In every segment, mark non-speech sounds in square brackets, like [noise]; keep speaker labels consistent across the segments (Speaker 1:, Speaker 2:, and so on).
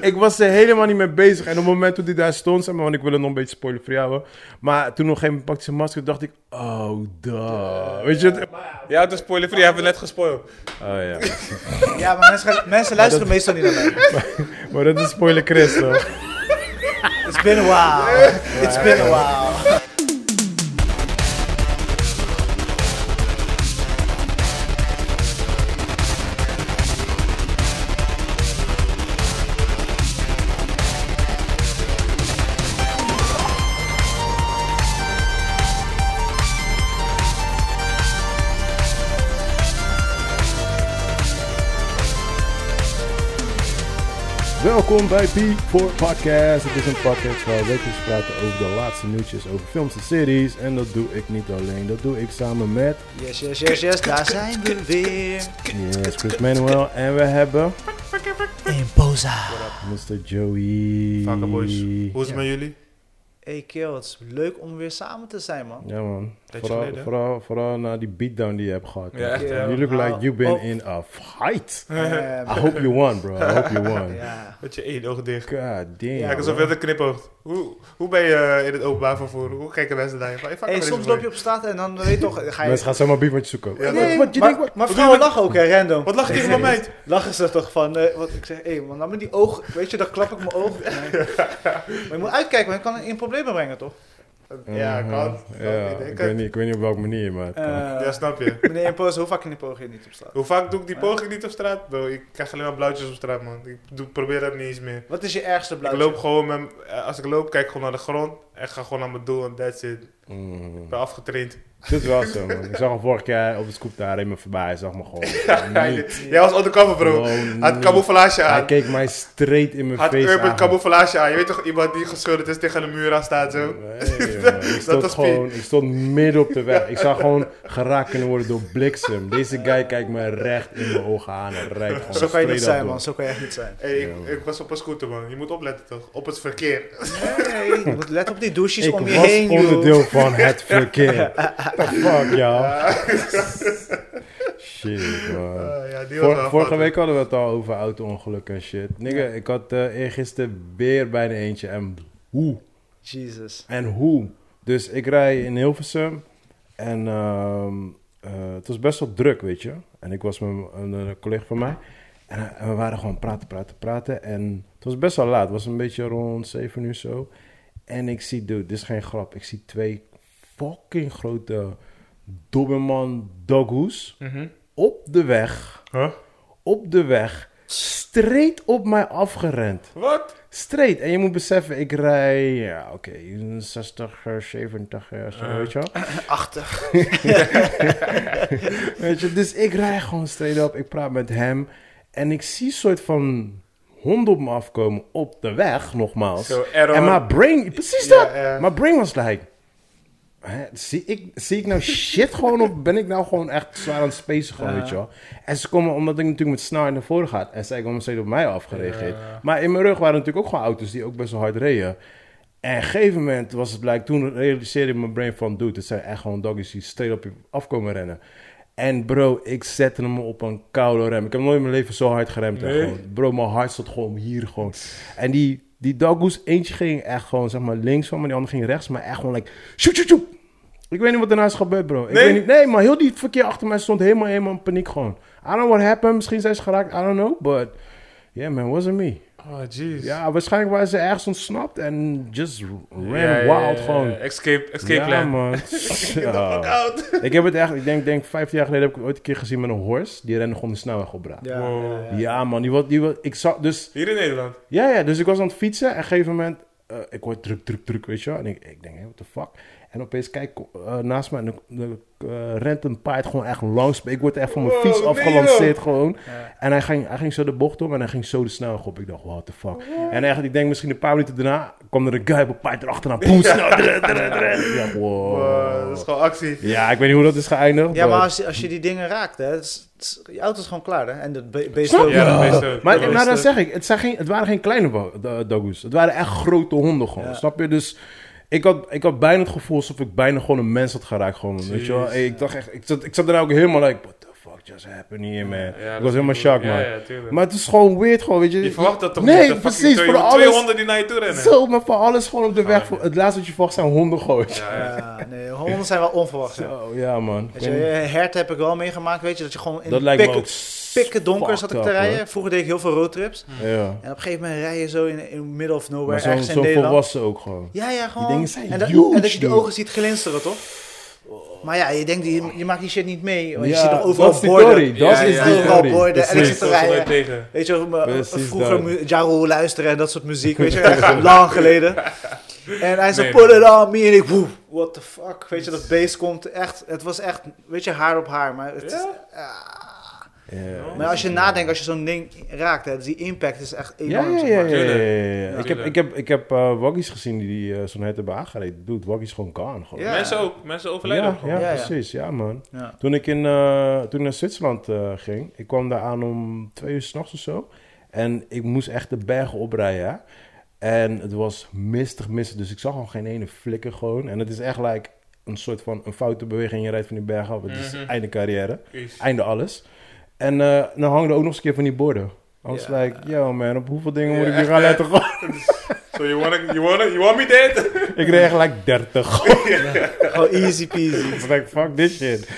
Speaker 1: ik was er helemaal niet mee bezig. En op het moment toen hij daar stond, zeg maar, want ik wil het nog een beetje spoilen voor jou. hoor. Maar toen nog geen pakte zijn masker, dacht ik, oh, duh. Weet je het?
Speaker 2: Jij had een spoiler voor, jij hebt het net gespoild.
Speaker 1: Oh ja.
Speaker 3: Ja, maar mensen, gaan- mensen luisteren meestal niet naar mij.
Speaker 1: Maar dat is spoiler Chris, toch?
Speaker 3: It's been a while. It's been a while.
Speaker 1: Welkom bij P4 Podcast. Het is een podcast waar we wekelijks praten over de laatste nieuwtjes over films en series. En dat doe ik niet alleen, dat doe ik samen met
Speaker 3: Yes, yes, yes, yes. Daar zijn we weer.
Speaker 1: yes, Chris Manuel. En we hebben
Speaker 3: Imposa.
Speaker 1: Mr. Joey.
Speaker 2: Vakken boys, hoe is het met jullie?
Speaker 3: Hey Kill, het is leuk om weer samen te
Speaker 1: [laughs]
Speaker 3: zijn, man.
Speaker 1: Ja man,
Speaker 2: Tijdje
Speaker 1: vooral,
Speaker 2: geleden, hè?
Speaker 1: vooral, vooral na die beatdown die je hebt gehad.
Speaker 2: Ja, echt,
Speaker 3: hè?
Speaker 1: You look like you've been
Speaker 3: Oh.
Speaker 1: in a fight.
Speaker 3: Eh,
Speaker 1: I hope you won bro, I hope you
Speaker 2: [laughs]
Speaker 1: won.
Speaker 3: ja.
Speaker 2: Met je één oog dicht.
Speaker 1: God damn.
Speaker 3: Ja,
Speaker 2: Kijk alsof je
Speaker 1: bro.
Speaker 2: het knipoogt. Hoe, hoe ben je eh, in het openbaar vervoer? Hoe kijken mensen naar je? Van, hey, fuck
Speaker 3: Hey,
Speaker 2: met
Speaker 3: soms
Speaker 2: deze
Speaker 3: loop je op straat en dan weet je toch, ga je...
Speaker 1: Mensen gaan zomaar beef met je zoeken.
Speaker 2: Ja,
Speaker 1: Wat-
Speaker 3: Nee,
Speaker 1: wat, je
Speaker 3: maar,
Speaker 1: denkt, wat-
Speaker 3: maar
Speaker 2: Wat
Speaker 3: vrouwen
Speaker 2: doe je
Speaker 3: lachen ook, hè, random.
Speaker 2: boy. Wat lach je tegen mijn meid?
Speaker 3: [laughs] Lachen ze toch van, eh, wat ik zeg, hé man, nou met die oog, weet je, dan klap ik mijn oog. Nee. Maar je moet uitkijken, want je kan in problemen brengen, toch?
Speaker 2: Ja,
Speaker 1: Mhm.
Speaker 2: kan. kan
Speaker 1: Ja,
Speaker 2: niet, hè?
Speaker 1: ik,
Speaker 2: Kan-
Speaker 1: weet niet, ik weet niet op welke manier, maar... het kan.
Speaker 3: Eh,
Speaker 2: Ja, snap je.
Speaker 3: Meneer Imposa, hoe vaak knipoog je niet op straat?
Speaker 2: Hoe vaak doe ik die poging niet op straat? Bro, ik krijg alleen maar blauwtjes op straat, man. Ik doe, probeer dat niet eens meer.
Speaker 3: Wat is je ergste
Speaker 2: Ik
Speaker 3: blauwtje?
Speaker 2: loop gewoon met, m- eh, als ik loop, kijk ik gewoon naar de grond en ga gewoon naar mijn doel en that's it. Ik
Speaker 1: Mm.
Speaker 2: ben afgetraind.
Speaker 1: Dit is wel zo, man. Ik zag hem vorige keer op de scoop daar, hij reed me voorbij. Hij zag me
Speaker 2: [laughs]
Speaker 1: gewoon. niet.
Speaker 2: Jij was undercover, bro.
Speaker 1: Gewoon
Speaker 2: Had
Speaker 1: niet.
Speaker 2: camouflage
Speaker 1: Hij
Speaker 2: aan.
Speaker 1: keek mij straight in mijn
Speaker 2: Had
Speaker 1: face
Speaker 2: urban
Speaker 1: aan.
Speaker 2: camouflage aan. Je weet toch iemand die geschilderd is tegen de muur aan staat, zo?
Speaker 1: Nee,
Speaker 2: [laughs]
Speaker 1: man. ik stond
Speaker 2: was
Speaker 1: gewoon, ik stond midden op de weg. Ik zou gewoon geraakt kunnen worden door bliksem. Deze guy kijkt me recht in mijn ogen aan en rijdt gewoon
Speaker 3: Zo kan je
Speaker 1: straight
Speaker 3: niet
Speaker 1: op
Speaker 3: zijn,
Speaker 1: door.
Speaker 3: man. Zo kan je echt niet zijn.
Speaker 2: Hey, ik, ik was op een scooter, man. Je moet opletten, toch? Op het verkeer.
Speaker 3: Nee, je moet let op die douches
Speaker 1: Ik
Speaker 3: om je
Speaker 1: was
Speaker 3: heen, joh.
Speaker 1: onderdeel van het
Speaker 3: [laughs]
Speaker 1: verkeer. The fuck, jou. Shit, man.
Speaker 2: Ah, ja, die was
Speaker 1: Vor-
Speaker 2: wel
Speaker 1: vorige
Speaker 2: fout,
Speaker 1: week hadden we het al over auto-ongelukken en shit. Nigga, ik had eh eergisteren weer bijna eentje. En hoe?
Speaker 3: Jesus.
Speaker 1: En hoe? Dus ik rij in Hilversum. En ehm, eh, het was best wel druk, weet je. En ik was met een, een collega van mij. En, eh, en we waren gewoon praten, praten, praten. En het was best wel laat. Het was een beetje rond 7 uur zo. En ik zie, dude, dit is geen grap. Ik zie twee fucking grote Doberman doghoes
Speaker 2: Mhm.
Speaker 1: op de weg
Speaker 2: Huh?
Speaker 1: op de weg straight op mij afgerend.
Speaker 2: Wat?
Speaker 1: Straight. En je moet beseffen, ik rij, ja, oké, 60, eh, 70, eh, zo,
Speaker 2: Eh.
Speaker 1: weet je wel.
Speaker 3: Achter.
Speaker 1: Weet je, dus ik rij gewoon straight op. Ik praat met hem en ik zie een soort van honden op me afkomen op de weg, nogmaals.
Speaker 2: Zo, error.
Speaker 1: en mijn brain, precies
Speaker 2: Ja, eh.
Speaker 1: dat.
Speaker 2: ja.
Speaker 1: Mijn brain was like, hè, zie, ik, zie ik nou shit gewoon of ben ik nou gewoon echt zwaar aan het spacen gewoon, weet je wel. En ze komen, omdat ik natuurlijk met snelheid naar voren ga en zij komen steeds op mij afgereageerd. Maar in mijn rug waren natuurlijk ook gewoon auto's die ook best wel hard reden. En op een gegeven moment was het like, toen realiseerde ik mijn brain van, dude, dit zijn echt gewoon doggies die straight op je afkomen rennen. En bro, ik zette hem op een koude rem. Ik heb nooit in mijn leven zo hard geremd. hè,
Speaker 2: Nee?
Speaker 1: gewoon. Bro, mijn hart zat gewoon hier gewoon. En die, die doggoes, eentje ging echt gewoon zeg maar links van me, die andere ging rechts. Maar echt gewoon like, shoot, shoot, shoot. Ik weet niet wat daarna is gebeurd, bro. Ik
Speaker 2: Nee?
Speaker 1: Weet niet, nee, maar heel die verkeer achter mij stond helemaal, helemaal in paniek gewoon. I don't know what happened. Misschien zijn ze geraakt, I don't know. But yeah man, wasn't me.
Speaker 2: Oh, jeez.
Speaker 1: Ja, waarschijnlijk waren ze ergens ontsnapt en just ran
Speaker 2: Ja, ja, ja,
Speaker 1: wild
Speaker 2: ja.
Speaker 1: gewoon.
Speaker 2: Escape, escape
Speaker 1: Ja,
Speaker 2: plan. [laughs]
Speaker 1: man. Ja. Ik heb het echt, ik denk, denk 15 jaar geleden heb ik het ooit een keer gezien met een horse. Die rende gewoon de snelweg op, bra. Ja,
Speaker 3: Ja,
Speaker 2: Wow.
Speaker 3: ja, ja.
Speaker 1: man, die was, die was, ik zag, dus,
Speaker 2: Hier in Nederland.
Speaker 1: ja, ja, dus ik was aan het fietsen en op een gegeven moment, eh, ik hoor druk, druk, druk, weet je wel. En ik, ik denk, hey, what the fuck. En opeens kijk ik eh, naast me en dan dan, eh, rent een paard gewoon echt langs. me. Ik word echt van mijn
Speaker 2: Wow,
Speaker 1: fiets
Speaker 2: nee,
Speaker 1: afgelanceerd gewoon.
Speaker 3: Ja.
Speaker 1: En hij ging, hij ging zo de bocht om en hij ging zo de snelweg op. Ik dacht, what the fuck. En eigenlijk, ik denk misschien een paar minuten daarna kwam er een guy op een paard erachteraan. Boem, snel. drrr, drrr, drrr. Ik dacht, wow.
Speaker 2: Wow, dat is gewoon actie.
Speaker 1: Ja, ik weet niet hoe dat is geëindigd.
Speaker 3: Ja,
Speaker 1: but-
Speaker 3: maar als, je- als je die dingen raakt, hè, het is- het is- je auto is gewoon klaar, hè. En dat be- beest
Speaker 1: Snap
Speaker 3: ook.
Speaker 1: je?
Speaker 2: Ja, dat beest ook.
Speaker 1: Maar
Speaker 2: Dat
Speaker 1: nou, dat
Speaker 2: beest
Speaker 1: zeg ik. Het, zijn geen, het waren geen kleine wo- do- dogoes. Het waren echt grote honden gewoon.
Speaker 3: Ja.
Speaker 1: Snap je? Dus ik had, ik had bijna het gevoel alsof ik bijna gewoon een mens had geraakt. Gewoon, weet je wel?
Speaker 2: Jeez.
Speaker 1: Ik dacht echt... Ik zat, ik zat daarna ook helemaal like... What the fuck just happened here, man?
Speaker 2: Ja, dat
Speaker 1: ik
Speaker 2: is
Speaker 1: was helemaal
Speaker 2: goed.
Speaker 1: shocked,
Speaker 2: Ja,
Speaker 1: man.
Speaker 2: ja, tuurlijk.
Speaker 1: Maar het is gewoon weird, gewoon, weet je.
Speaker 2: je verwacht dat toch
Speaker 1: Nee,
Speaker 2: niet? dat fucking
Speaker 1: precies, voor
Speaker 2: 200
Speaker 1: alles-
Speaker 2: 200 die naar je toe rennen.
Speaker 1: Zo, maar voor alles gewoon op de weg.
Speaker 2: Ah,
Speaker 1: voor,
Speaker 2: ja.
Speaker 1: het laatste wat je verwacht zijn honden gooien. Ja,
Speaker 2: Ja, ja.
Speaker 3: Ja, nee, honden zijn wel onverwacht. hè.
Speaker 1: Zo, ja man.
Speaker 3: Weet je, hert heb ik wel meegemaakt, weet je, dat je gewoon in
Speaker 1: Dat
Speaker 3: dat
Speaker 1: lijkt me ook
Speaker 3: pikken donker zat ik
Speaker 1: fucked
Speaker 3: te
Speaker 1: up,
Speaker 3: rijden.
Speaker 1: hoor.
Speaker 3: Vroeger deed ik heel veel roadtrips.
Speaker 1: Ja.
Speaker 3: En op een gegeven moment rij je zo in, in middle of nowhere,
Speaker 1: Maar zo'n
Speaker 3: ergens in
Speaker 1: zo
Speaker 3: Nederland.
Speaker 1: volwassen ook gewoon.
Speaker 3: Ja, ja, gewoon.
Speaker 1: dingen zijn
Speaker 3: en, dat,
Speaker 1: huge,
Speaker 3: en dat je die
Speaker 1: dude.
Speaker 3: ogen ziet glinsteren, toch? Maar ja, je denkt, je, je maakt die shit niet mee. Want je
Speaker 1: Ja,
Speaker 3: ziet toch overal
Speaker 1: dat is die
Speaker 3: borden.
Speaker 1: theorie, dat
Speaker 3: Je ziet
Speaker 2: is die
Speaker 3: overal
Speaker 1: theorie.
Speaker 3: borden en ik
Speaker 1: Precies.
Speaker 3: zit te
Speaker 2: Dat is nooit
Speaker 3: rijden.
Speaker 2: tegen.
Speaker 3: Weet je, wel, me-
Speaker 1: Precies
Speaker 3: vroeger
Speaker 1: dat.
Speaker 3: mu- Ja Rule luisteren en dat soort muziek,
Speaker 1: [laughs]
Speaker 3: weet je, echt lang geleden. En hij zei,
Speaker 2: Nee,
Speaker 3: put
Speaker 2: nee.
Speaker 3: it on me, en ik, woe, what the fuck, weet je, dat bass komt echt, het was echt, weet je, haar op haar, maar het is, ah.
Speaker 1: Ja.
Speaker 3: Maar als je nadenkt, als je zo'n ding raakt, hè, dus die impact is echt
Speaker 1: Ja,
Speaker 3: enorm,
Speaker 1: ja,
Speaker 3: zeg
Speaker 1: ja,
Speaker 3: maar.
Speaker 1: ja, ja, ja, ja.
Speaker 2: Tuurlijk.
Speaker 1: Ik heb, ik heb, ik heb eh, waggies gezien die eh, zo'n hete baan gereden. Dude, waggies gewoon kan. Gewoon.
Speaker 3: Ja.
Speaker 2: Mensen ook. Mensen overlijden
Speaker 1: Ja,
Speaker 2: ook gewoon.
Speaker 1: ja,
Speaker 3: Ja, ja.
Speaker 1: precies. Ja, man.
Speaker 3: Ja.
Speaker 1: Toen ik, in, eh, toen ik naar Zwitserland eh, ging, ik kwam daar aan om twee uur s'nachts of zo. En ik moest echt de bergen oprijden. hè. En het was mistig, mistig. Dus ik zag al geen ene flikker gewoon. En het is echt like een soort van een foute beweging. Je rijdt van die bergen af. Het is
Speaker 2: Mhm.
Speaker 1: einde carrière.
Speaker 2: Prees.
Speaker 1: Einde alles. En eh dan hangen er ook nog eens een keer van die borden. I was
Speaker 3: Ja.
Speaker 1: like, yo man, op hoeveel dingen
Speaker 2: Ja,
Speaker 1: moet ik hier
Speaker 2: echt,
Speaker 1: gaan
Speaker 2: hè?
Speaker 1: letten?
Speaker 2: [laughs]
Speaker 1: [laughs] Gewoon,
Speaker 2: So you wanna, you wanna, you want me dead?
Speaker 1: ik reed echt like 30. [laughs] Ik
Speaker 3: Gewoon easy peasy.
Speaker 1: was like, fuck this shit.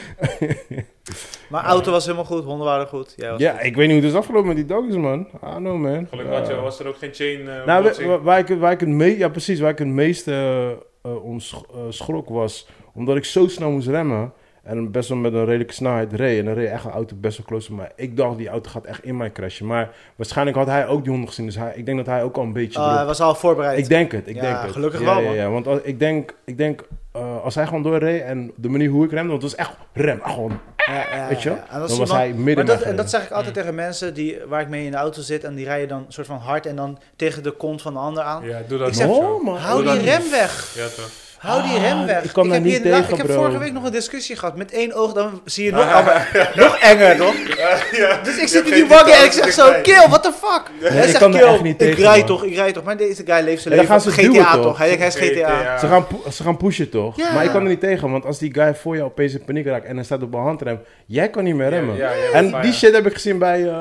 Speaker 3: Maar auto was helemaal goed, honden waren goed. Jij was
Speaker 1: Ja, ik weet niet hoe het is afgelopen met die doggies, man. I don't know, man.
Speaker 2: Gelukkig had je-
Speaker 1: Ja.
Speaker 2: was er ook geen chain. eh,
Speaker 1: Nou,
Speaker 2: botsing.
Speaker 1: wa- wa- waar ik, waar ik het mee, ja, precies, waar ik het meeste eh, eh, om sch- eh, schrok was, omdat ik zo snel moest remmen en best wel met een redelijke snelheid reed. En dan reed echt een auto best wel close op mij. Ik dacht, die auto gaat echt in mij crashen. Maar waarschijnlijk had hij ook die honden gezien, dus hij, ik denk dat hij ook al een beetje...
Speaker 3: Ah, hij
Speaker 1: druk-
Speaker 3: was al voorbereid.
Speaker 1: ik denk het, ik
Speaker 3: Ja,
Speaker 1: denk het.
Speaker 3: gelukkig
Speaker 1: ja,
Speaker 3: wel,
Speaker 1: ja,
Speaker 3: man.
Speaker 1: ja, want als, ik denk, ik denk eh, als hij gewoon doorreed en de manier hoe ik remde, want het was echt rem, ah, gewoon,
Speaker 3: Ja, ja,
Speaker 1: weet je
Speaker 3: ja.
Speaker 1: wel?
Speaker 3: En dat
Speaker 1: dan
Speaker 3: is
Speaker 1: was
Speaker 3: iemand-
Speaker 1: hij midden
Speaker 3: maar
Speaker 1: in mij
Speaker 3: dat, en dat
Speaker 1: gereden.
Speaker 3: zeg ik altijd tegen mensen die, waar ik mee in de auto zit en die rijden dan soort van hard en dan tegen de kont van de ander aan.
Speaker 2: Ja, doe dat
Speaker 3: Ik zeg,
Speaker 2: niet zo.
Speaker 1: Oh, man.
Speaker 3: Hou
Speaker 2: Doe
Speaker 3: die
Speaker 2: dat
Speaker 3: rem weg.
Speaker 2: Ja, toch.
Speaker 3: Hou die
Speaker 1: Ah,
Speaker 3: rem weg.
Speaker 1: ik kwam daar
Speaker 3: heb
Speaker 1: niet
Speaker 3: hier laat-
Speaker 1: tegen,
Speaker 3: ik heb
Speaker 1: bro.
Speaker 3: vorige week nog een discussie gehad. Met één oog, dan
Speaker 2: [laughs]
Speaker 3: zie je nog, allemaal- nog enger, toch?
Speaker 2: Ja.
Speaker 3: Dus
Speaker 2: Je
Speaker 3: ik zit
Speaker 2: hebt
Speaker 3: in die
Speaker 2: geen
Speaker 3: wagen en ik
Speaker 2: details
Speaker 3: zeg zo,
Speaker 2: erbij.
Speaker 3: kill, what the fuck? Hij
Speaker 1: ik
Speaker 3: zegt,
Speaker 1: kan daar
Speaker 3: kill,
Speaker 1: echt niet
Speaker 3: ik
Speaker 1: tegen,
Speaker 3: rijd
Speaker 1: man.
Speaker 3: toch, ik rijd toch. Maar deze guy leeft zijn
Speaker 1: En dan gaan ze
Speaker 3: leven. GTA
Speaker 1: duwen,
Speaker 3: toch?
Speaker 1: toch?
Speaker 3: Hij, hij is GTA.
Speaker 1: Ze gaan, pu- ze gaan pushen toch?
Speaker 3: Ja.
Speaker 1: Maar ik kan er niet tegen, want als die guy voor jou opeens in paniek raakt en hij staat op een handrem, jij kan niet meer remmen.
Speaker 2: Ja, ja, ja,
Speaker 1: en
Speaker 2: ja.
Speaker 1: die shit heb ik gezien bij eh,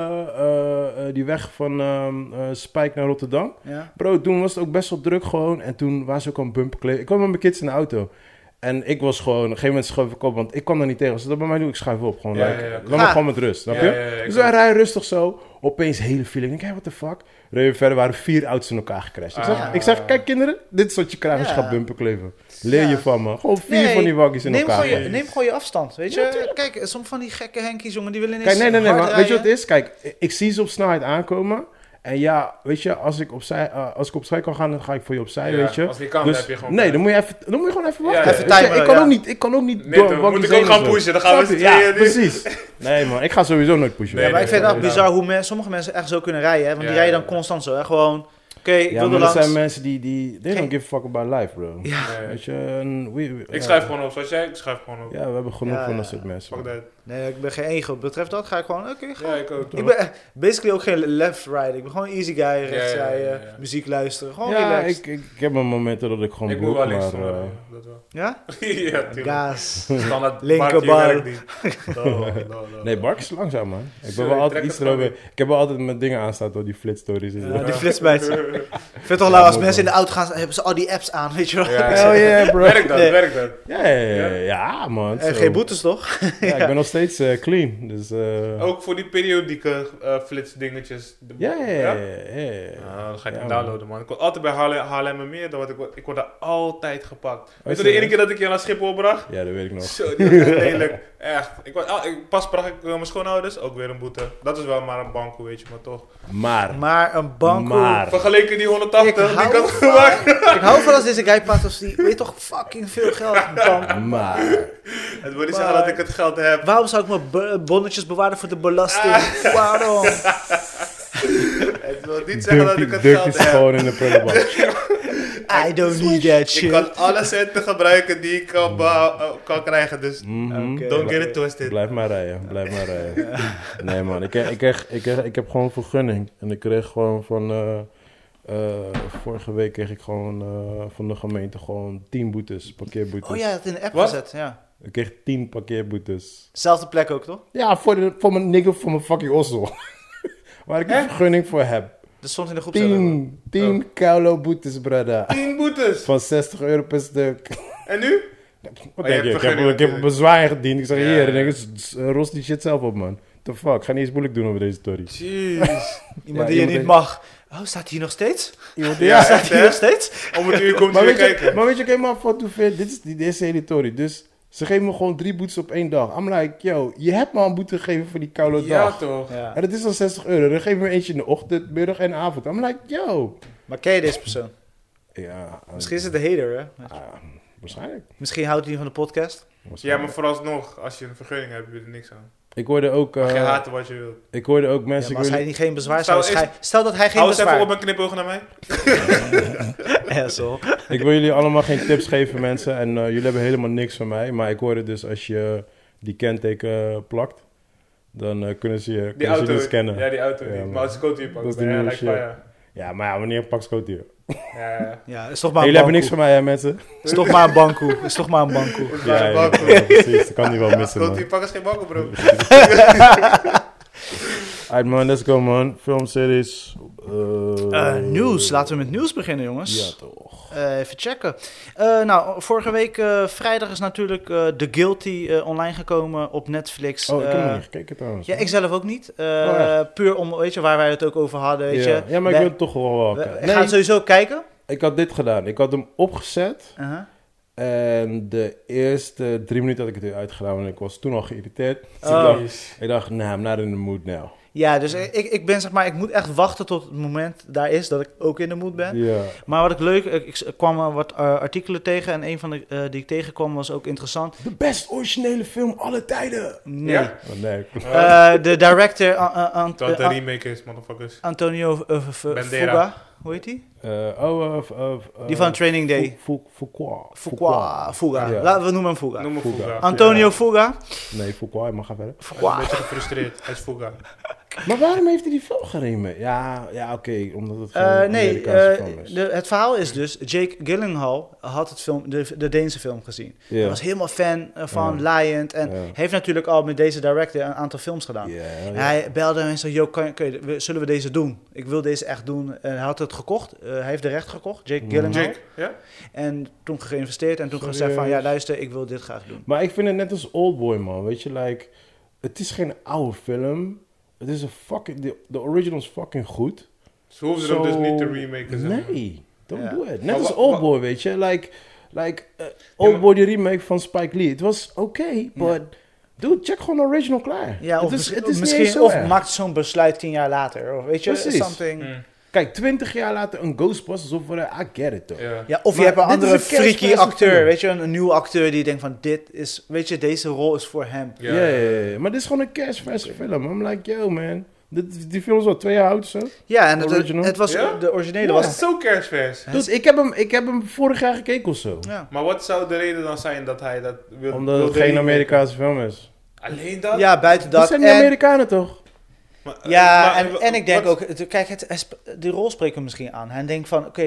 Speaker 1: eh, eh, die weg van ehm, eh, Spijk naar Rotterdam.
Speaker 3: Ja.
Speaker 1: Bro, toen was het ook best wel druk gewoon. En toen was ook al een bumperkleed. Ik kwam met mijn kids in de auto. En ik was gewoon, op een gegeven moment schoof ik op, want ik kan er niet tegen. Als ze dat bij mij doen, ik schuif op. Gewoon,
Speaker 2: Ja,
Speaker 1: like,
Speaker 2: ja, ja.
Speaker 1: Laat me
Speaker 3: Ah.
Speaker 1: gewoon met rust, snap
Speaker 2: Ja,
Speaker 1: je?
Speaker 2: ja, ja, ik
Speaker 1: dus wij
Speaker 2: ook.
Speaker 1: rijden rustig zo. Opeens hele feeling. Ik denk, hé, what the fuck? Reden we verder, waren vier auto's in elkaar gecrashed. Ik, zeg,
Speaker 3: Ah.
Speaker 1: ik zeg, kijk kinderen, dit is wat je krijgt als je
Speaker 3: Ja.
Speaker 1: gaat bumperkleven. Leer
Speaker 3: Ja.
Speaker 1: je van me. Gewoon vier
Speaker 3: Nee,
Speaker 1: van die waggies in
Speaker 3: neem
Speaker 1: elkaar.
Speaker 3: Gewoon je,
Speaker 1: man.
Speaker 3: neem gewoon je afstand, weet je. Kijk, sommige van die gekke henkies, jongen, die willen
Speaker 2: dus
Speaker 3: ineens
Speaker 1: Kijk, nee, nee, nee.
Speaker 3: hard
Speaker 1: maar weet je wat
Speaker 3: rijden.
Speaker 1: het is? Kijk, ik- ik zie ze op snelheid aankomen. En ja, weet je, als ik opzij, eh, als ik opzij kan gaan, dan ga ik voor je opzij,
Speaker 2: Ja,
Speaker 1: weet je.
Speaker 2: als niet kan,
Speaker 1: Dus-
Speaker 2: dan heb je gewoon
Speaker 1: Nee,
Speaker 2: pijn.
Speaker 1: dan moet je, even, dan moet je gewoon even
Speaker 2: Ja,
Speaker 1: wachten.
Speaker 2: ja, ja.
Speaker 1: Weet je,
Speaker 3: Timer,
Speaker 1: ik, kan
Speaker 3: ja.
Speaker 1: ook niet, ik kan ook niet
Speaker 2: Nee,
Speaker 1: door
Speaker 2: dan moet
Speaker 1: waggies
Speaker 2: ik ook
Speaker 1: heen
Speaker 2: gaan
Speaker 1: en zo.
Speaker 2: pushen, dan gaan we
Speaker 1: Snap je?
Speaker 2: z'n tweeën
Speaker 1: Ja,
Speaker 2: nu.
Speaker 1: precies.
Speaker 2: [laughs]
Speaker 1: Nee man, ik ga sowieso nooit pushen.
Speaker 2: Nee,
Speaker 3: Ja, maar ik
Speaker 2: nee,
Speaker 3: vind het echt
Speaker 2: nee,
Speaker 3: bizar hoe men, sommige mensen echt zo kunnen rijden. Hè? Want
Speaker 2: Ja,
Speaker 3: die rijden
Speaker 2: ja,
Speaker 3: dan
Speaker 2: ja.
Speaker 3: constant zo. Hè? Gewoon, oké, ik
Speaker 1: Ja,
Speaker 3: wil
Speaker 1: maar
Speaker 3: er
Speaker 1: dat
Speaker 3: langs.
Speaker 1: zijn mensen die, die they don't
Speaker 3: Geen-
Speaker 1: give a fuck about life, bro.
Speaker 3: Ja,
Speaker 2: Nee.
Speaker 1: Weet je, en we- we- ja.
Speaker 2: Ik schrijf gewoon op, zoals jij, ik schrijf gewoon op.
Speaker 1: Ja, we hebben genoeg
Speaker 3: Ja,
Speaker 1: van dat
Speaker 3: ja.
Speaker 1: soort mensen.
Speaker 2: Fuck
Speaker 1: man.
Speaker 2: dat.
Speaker 3: nee, ik ben geen ego. Wat Betreft dat ga ik gewoon, oké, ga.
Speaker 2: Ja, ik ook.
Speaker 3: Ik ben eh, basically ook geen left rider. Ik ben gewoon easy guy, rechts
Speaker 2: ja, ja,
Speaker 3: rijden,
Speaker 2: ja.
Speaker 3: muziek luisteren. Gewoon
Speaker 1: Ja,
Speaker 3: relaxed.
Speaker 1: ik, ik, ik heb mijn momenten dat ik gewoon
Speaker 2: Ik moet
Speaker 1: broek,
Speaker 2: wel links
Speaker 1: maar,
Speaker 2: doen,
Speaker 1: eh,
Speaker 2: ja, dat wel. [laughs]
Speaker 3: Ja?
Speaker 2: Ja, tuurlijk. [laughs]
Speaker 3: Gaas.
Speaker 2: Standaard
Speaker 3: Linkerbal.
Speaker 2: Bark, je werkt niet. No, no, no,
Speaker 1: Nee,
Speaker 2: no.
Speaker 1: Bark is langzaam, man. Ik ben
Speaker 2: Sorry,
Speaker 1: wel
Speaker 2: ik
Speaker 1: altijd
Speaker 2: trek
Speaker 1: iets
Speaker 2: het gewoon
Speaker 1: erover. Ik heb wel altijd mijn dingen aanstaan door die flitstories. en zo.
Speaker 3: Ja, die
Speaker 2: [laughs]
Speaker 3: flitsbijt. Ik vind het toch lauw als
Speaker 1: mooi,
Speaker 3: mensen in de
Speaker 1: man.
Speaker 3: auto gaan, hebben ze al die apps aan, weet je [laughs] wel.
Speaker 2: [laughs] Ja,
Speaker 1: Hell yeah, bro.
Speaker 2: Werk dat,
Speaker 3: Nee.
Speaker 2: werk dat.
Speaker 1: Ja, ja, ja, ja, man.
Speaker 3: En
Speaker 1: zo.
Speaker 3: Eh, geen boetes toch?
Speaker 1: Ja, ik ben nog steeds eh, clean. Dus, eh,
Speaker 2: Ook voor die periodieke eh, flitsdingetjes. De-
Speaker 1: ja, ja, ja, ja, ja, ja.
Speaker 2: Ah, dan ga ik
Speaker 1: Ja,
Speaker 2: hem
Speaker 1: man.
Speaker 2: downloaden, man. Ik word altijd bij HL HLM meer, dan wat ik word, ik word daar altijd gepakt. Weet je de
Speaker 1: Oh, serieus?
Speaker 2: ene keer dat ik je naar Schiphol bracht?
Speaker 1: Ja, dat weet ik nog.
Speaker 2: Zo, die was echt lelijk. Echt. Ik, word- ah, ik- pas bracht ik eh, mijn schoonouders, ook weer een boete. Dat is wel maar een banko, weet je, maar toch.
Speaker 1: Maar,
Speaker 3: Maar een banko.
Speaker 1: Maar.
Speaker 2: Vergeleken die
Speaker 3: Ik
Speaker 2: 180, die
Speaker 3: hou
Speaker 2: kan
Speaker 3: van-
Speaker 2: gemaakt.
Speaker 3: Ik hou van als deze guy praat als die, weet toch, fucking veel geld heeft, man.
Speaker 1: maar.
Speaker 2: Het wil niet
Speaker 3: Maar-
Speaker 2: zeggen dat ik het geld heb.
Speaker 3: Waarom zou ik mijn bo- bonnetjes bewaren voor de belasting?
Speaker 2: Ah.
Speaker 3: [laughs] Waarom?
Speaker 2: Het wil niet zeggen dat
Speaker 1: Dirty,
Speaker 2: [laughs] ik het
Speaker 1: dirty
Speaker 2: geld
Speaker 1: is
Speaker 2: heb.
Speaker 1: gewoon in de
Speaker 2: [laughs]
Speaker 1: prullenbak.
Speaker 3: I don't need that
Speaker 2: Ik
Speaker 3: shit.
Speaker 2: kan alle centen gebruiken die ik kan, behou- eh, kan krijgen, dus
Speaker 1: Mhm.
Speaker 3: Oké.
Speaker 2: don't get it twisted.
Speaker 1: Blijf maar rijden, blijf maar
Speaker 2: [laughs]
Speaker 1: rijden. Nee man, ik, ik, kreeg, ik, kreeg- ik heb gewoon vergunning. En ik kreeg gewoon van... eh, eh, vorige week kreeg ik gewoon eh, van de gemeente gewoon 10 boetes, parkeerboetes.
Speaker 3: Oh ja, dat in de app
Speaker 2: Wat?
Speaker 3: gezet, ja.
Speaker 1: Ik kreeg 10 parkeerboetes.
Speaker 3: Zelfde plek ook, toch?
Speaker 1: Ja, voor, de, voor mijn nigger, voor mijn fucking ossel. [laughs] Waar ik een vergunning voor heb.
Speaker 3: Dat stond in de groep.
Speaker 1: 10, 10 koulo boetes, brada.
Speaker 2: 10 boetes.
Speaker 1: Van 60 euro per stuk.
Speaker 2: En nu?
Speaker 1: Wat
Speaker 2: Oh, je
Speaker 1: denk je? Ik
Speaker 2: hebt
Speaker 1: heb,
Speaker 2: vergunning
Speaker 1: ik heb een
Speaker 2: natuurlijk.
Speaker 1: bezwaar gediend. Ik zeg
Speaker 2: Ja,
Speaker 1: hier,
Speaker 2: ja.
Speaker 1: en denk, ik, "S- ros die shit zelf op, man. The fuck, ga niet eens moeilijk doen over deze story.
Speaker 2: Jeez.
Speaker 1: Ja,
Speaker 3: Iemand die je
Speaker 1: iemand
Speaker 3: niet
Speaker 1: heeft-
Speaker 3: mag. Oh, staat hij nog steeds?
Speaker 2: Ja,
Speaker 3: staat
Speaker 2: echt
Speaker 3: hij nog
Speaker 2: hè?
Speaker 3: steeds?
Speaker 2: Om het uur komt
Speaker 1: Maar
Speaker 2: hij weer
Speaker 1: weet, je,
Speaker 2: kijken.
Speaker 1: maar weet je, kijk maar van hoeveel, dit is die deze hele story. Dus ze geven me gewoon drie boetes op één dag. I'm like, yo, je hebt me al een boete gegeven voor die koude
Speaker 2: Ja
Speaker 1: dag.
Speaker 2: toch.
Speaker 1: En dat is al 60 euro. Dan geven we eentje in de ochtend, middag en avond. I'm like, yo.
Speaker 3: Maar ken je deze persoon?
Speaker 1: Ja, eh,
Speaker 3: Misschien is het een hater, hè?
Speaker 1: ah, waarschijnlijk.
Speaker 3: Misschien houdt hij niet van de podcast.
Speaker 2: Ja,
Speaker 1: waarschijnlijk.
Speaker 2: maar vooralsnog, als je een vergunning hebt, heb je er niks aan.
Speaker 1: Ik hoorde ook, eh,
Speaker 2: Mag je haten wat je wilt.
Speaker 1: ik hoorde ook
Speaker 3: Ja,
Speaker 1: mensen...
Speaker 3: maar als
Speaker 1: ik
Speaker 3: hij
Speaker 1: hoorde-
Speaker 3: niet geen bezwaar
Speaker 2: Zou
Speaker 3: zou
Speaker 2: is-
Speaker 3: schrijven. Stel dat hij geen
Speaker 2: Hou eens even
Speaker 3: bezwaar
Speaker 2: op een knipoog naar mij.
Speaker 3: Asshole.
Speaker 1: Ik wil jullie allemaal geen tips geven, mensen. En eh, jullie hebben helemaal niks van mij. Maar ik hoorde dus, als je die kenteken plakt, dan eh, kunnen ze je,
Speaker 2: Die
Speaker 1: kunnen ze je
Speaker 2: auto.
Speaker 1: niet scannen.
Speaker 2: Ja, die auto
Speaker 1: Ja,
Speaker 2: niet.
Speaker 1: man.
Speaker 2: Maar als ik auto hier pak,
Speaker 1: Dat is
Speaker 2: dan
Speaker 1: die
Speaker 2: ja,
Speaker 1: nieuwe
Speaker 2: lijkt
Speaker 1: shit.
Speaker 2: wel, ja.
Speaker 1: Ja, maar ja, wanneer pak scoot hier?
Speaker 2: Ja, ja.
Speaker 3: Ja, is toch maar een
Speaker 1: jullie hebben niks
Speaker 3: bankoe.
Speaker 1: van mij, hè, mensen?
Speaker 3: Is toch maar een bankoe. Is toch maar een bankoe.
Speaker 2: Is
Speaker 1: Ja,
Speaker 2: waar,
Speaker 1: ja,
Speaker 2: bank, hoor.
Speaker 1: ja,
Speaker 2: [laughs]
Speaker 1: precies. Dat kan niet wel missen,
Speaker 2: Groot
Speaker 1: man.
Speaker 2: hier pakken is geen
Speaker 1: [laughs]
Speaker 2: banken, bro.
Speaker 1: Alright, man, let's go, man. Filmseries.
Speaker 3: Eh,
Speaker 1: eh
Speaker 3: nieuws. Laten we met nieuws beginnen, jongens.
Speaker 1: Ja, toch.
Speaker 3: Eh, even checken. Eh, nou, vorige week eh, vrijdag is natuurlijk eh The Guilty eh, online gekomen op Netflix.
Speaker 1: Oh, ik heb
Speaker 3: Eh,
Speaker 1: nog niet gekeken, trouwens.
Speaker 3: ja, ik zelf ook niet. Eh,
Speaker 1: Oh,
Speaker 3: puur om, weet je, waar wij het ook over hadden, weet
Speaker 1: ja.
Speaker 3: je.
Speaker 1: ja, maar ik
Speaker 3: Wij-
Speaker 1: wil het toch wel wel
Speaker 3: we,
Speaker 1: kijken.
Speaker 3: we gaan
Speaker 1: Nee,
Speaker 3: sowieso kijken.
Speaker 1: ik had dit gedaan. Ik had hem opgezet.
Speaker 3: Uh-huh.
Speaker 1: En de eerste drie minuten had ik het weer uitgedaan, want ik was toen al geïrriteerd. Dus
Speaker 3: Oh.
Speaker 1: ik dacht, ik dacht, nah, I'm not in the mood now.
Speaker 3: Ja, dus ik, ik ben zeg maar, ik moet echt wachten tot het moment daar is dat ik ook in de mood ben.
Speaker 1: Ja.
Speaker 3: Maar wat ik leuk, ik, ik kwam eh, wat eh, artikelen tegen en een van de eh, die ik tegenkwam was ook interessant.
Speaker 1: De best originele film alle tijden.
Speaker 3: Nee. ah.
Speaker 2: Ja?
Speaker 1: Oh,
Speaker 3: [laughs]
Speaker 1: nee.
Speaker 2: Ja.
Speaker 3: Eh, de director An- An- An-
Speaker 2: Terwijl het een
Speaker 3: An-
Speaker 2: remake is, motherfuckers.
Speaker 3: Antonio eh, v- v-
Speaker 2: Bandera.
Speaker 3: Fuga, hoe heet die?
Speaker 1: Eh, oh, eh, eh, eh,
Speaker 3: Die van Training Day.
Speaker 1: Fou- Fou- Foucault.
Speaker 3: Fuqua. Fuga.
Speaker 1: Ja.
Speaker 3: Laten we noemen hem Fuga.
Speaker 2: Noem me
Speaker 1: Fuga.
Speaker 2: Fuga.
Speaker 3: Antonio Fuga.
Speaker 1: Nee, Foucault, maar ga verder.
Speaker 2: Hij is een
Speaker 3: Fuga.
Speaker 2: beetje gefrustreerd. Hij is Fuga.
Speaker 3: Ah,
Speaker 1: Maar waarom heeft hij die film geremen? Ja, ja oké, omdat het geen
Speaker 3: Eh, nee,
Speaker 1: Amerikaanse
Speaker 3: eh,
Speaker 1: film is.
Speaker 3: de- het verhaal is dus, Jake Gyllenhaal had het film, de, de Deense film gezien.
Speaker 1: Ja.
Speaker 3: Hij was helemaal fan eh, van Lion en
Speaker 1: Ja.
Speaker 3: heeft natuurlijk al met deze director een aantal films gedaan.
Speaker 1: Ja,
Speaker 3: En
Speaker 1: ja.
Speaker 3: Hij belde hem en zei, yo, kan, kan je- we- zullen we deze doen? Ik wil deze echt doen. En hij had het gekocht, eh, hij heeft de recht gekocht,
Speaker 1: Mm.
Speaker 3: Jake Gyllenhaal.
Speaker 2: Jake, ja?
Speaker 3: En toen geïnvesteerd en toen
Speaker 1: Serieus?
Speaker 3: gezegd van, ja luister, ik wil dit graag doen.
Speaker 1: Maar ik vind het net als Oldboy, man. Weet je, like, het is geen oude film. Het is een fucking, de, de original is fucking goed.
Speaker 2: Ze hoeven
Speaker 1: Zo-
Speaker 2: hem dus niet te remaken. zeg maar.
Speaker 1: Nee, don't
Speaker 3: Ja.
Speaker 1: do it. Net
Speaker 2: Maar
Speaker 1: als
Speaker 2: wa-
Speaker 1: Oldboy, weet je. Like, like eh, Oldboy, die remake van Spike Lee. Het was oké, but... Dude, check gewoon de original klaar.
Speaker 3: Ja, of
Speaker 1: het is,
Speaker 3: misschien,
Speaker 1: het is
Speaker 3: misschien-
Speaker 1: niet eens zo
Speaker 3: of
Speaker 1: erg.
Speaker 3: maakt zo'n besluit tien jaar later. Of weet je,
Speaker 1: Precies.
Speaker 3: something.
Speaker 2: Mm.
Speaker 1: Kijk, twintig jaar later een Ghostbusters of whatever, I get it, toch.
Speaker 2: Ja.
Speaker 3: Ja, of
Speaker 1: Maar
Speaker 3: je hebt een
Speaker 1: dit is
Speaker 3: andere
Speaker 1: een kerstprijs
Speaker 3: freaky acteur,
Speaker 1: film.
Speaker 3: weet je, een, een nieuwe acteur die denkt van dit is, weet je, deze rol is voor hem.
Speaker 1: Ja, ja, ja, ja. maar dit is gewoon een kerstverse film. I'm like, yo, man. Dit, die film is wel twee jaar oud, zo.
Speaker 3: Ja, en het,
Speaker 1: Original.
Speaker 3: het was
Speaker 2: Ja?
Speaker 3: de originele
Speaker 2: Dat
Speaker 3: was
Speaker 2: was zo kerstvers.
Speaker 1: Dude, ik heb, hem, ik heb hem vorig jaar gekeken of zo.
Speaker 3: Ja.
Speaker 2: Maar wat zou de reden dan zijn dat hij dat wil
Speaker 1: Omdat
Speaker 2: wil
Speaker 1: het geen
Speaker 2: remaken?
Speaker 1: Amerikaanse film is.
Speaker 2: Alleen dat?
Speaker 3: ja, buiten
Speaker 1: Dat
Speaker 3: dat.
Speaker 1: zijn
Speaker 3: En,
Speaker 1: die Amerikanen toch?
Speaker 2: Maar, eh,
Speaker 3: ja,
Speaker 2: maar-
Speaker 3: en, en ik denk
Speaker 2: wat-
Speaker 3: ook, het- kijk, het, hij sp- die rol spreekt hem misschien aan. Hij denkt van, oké,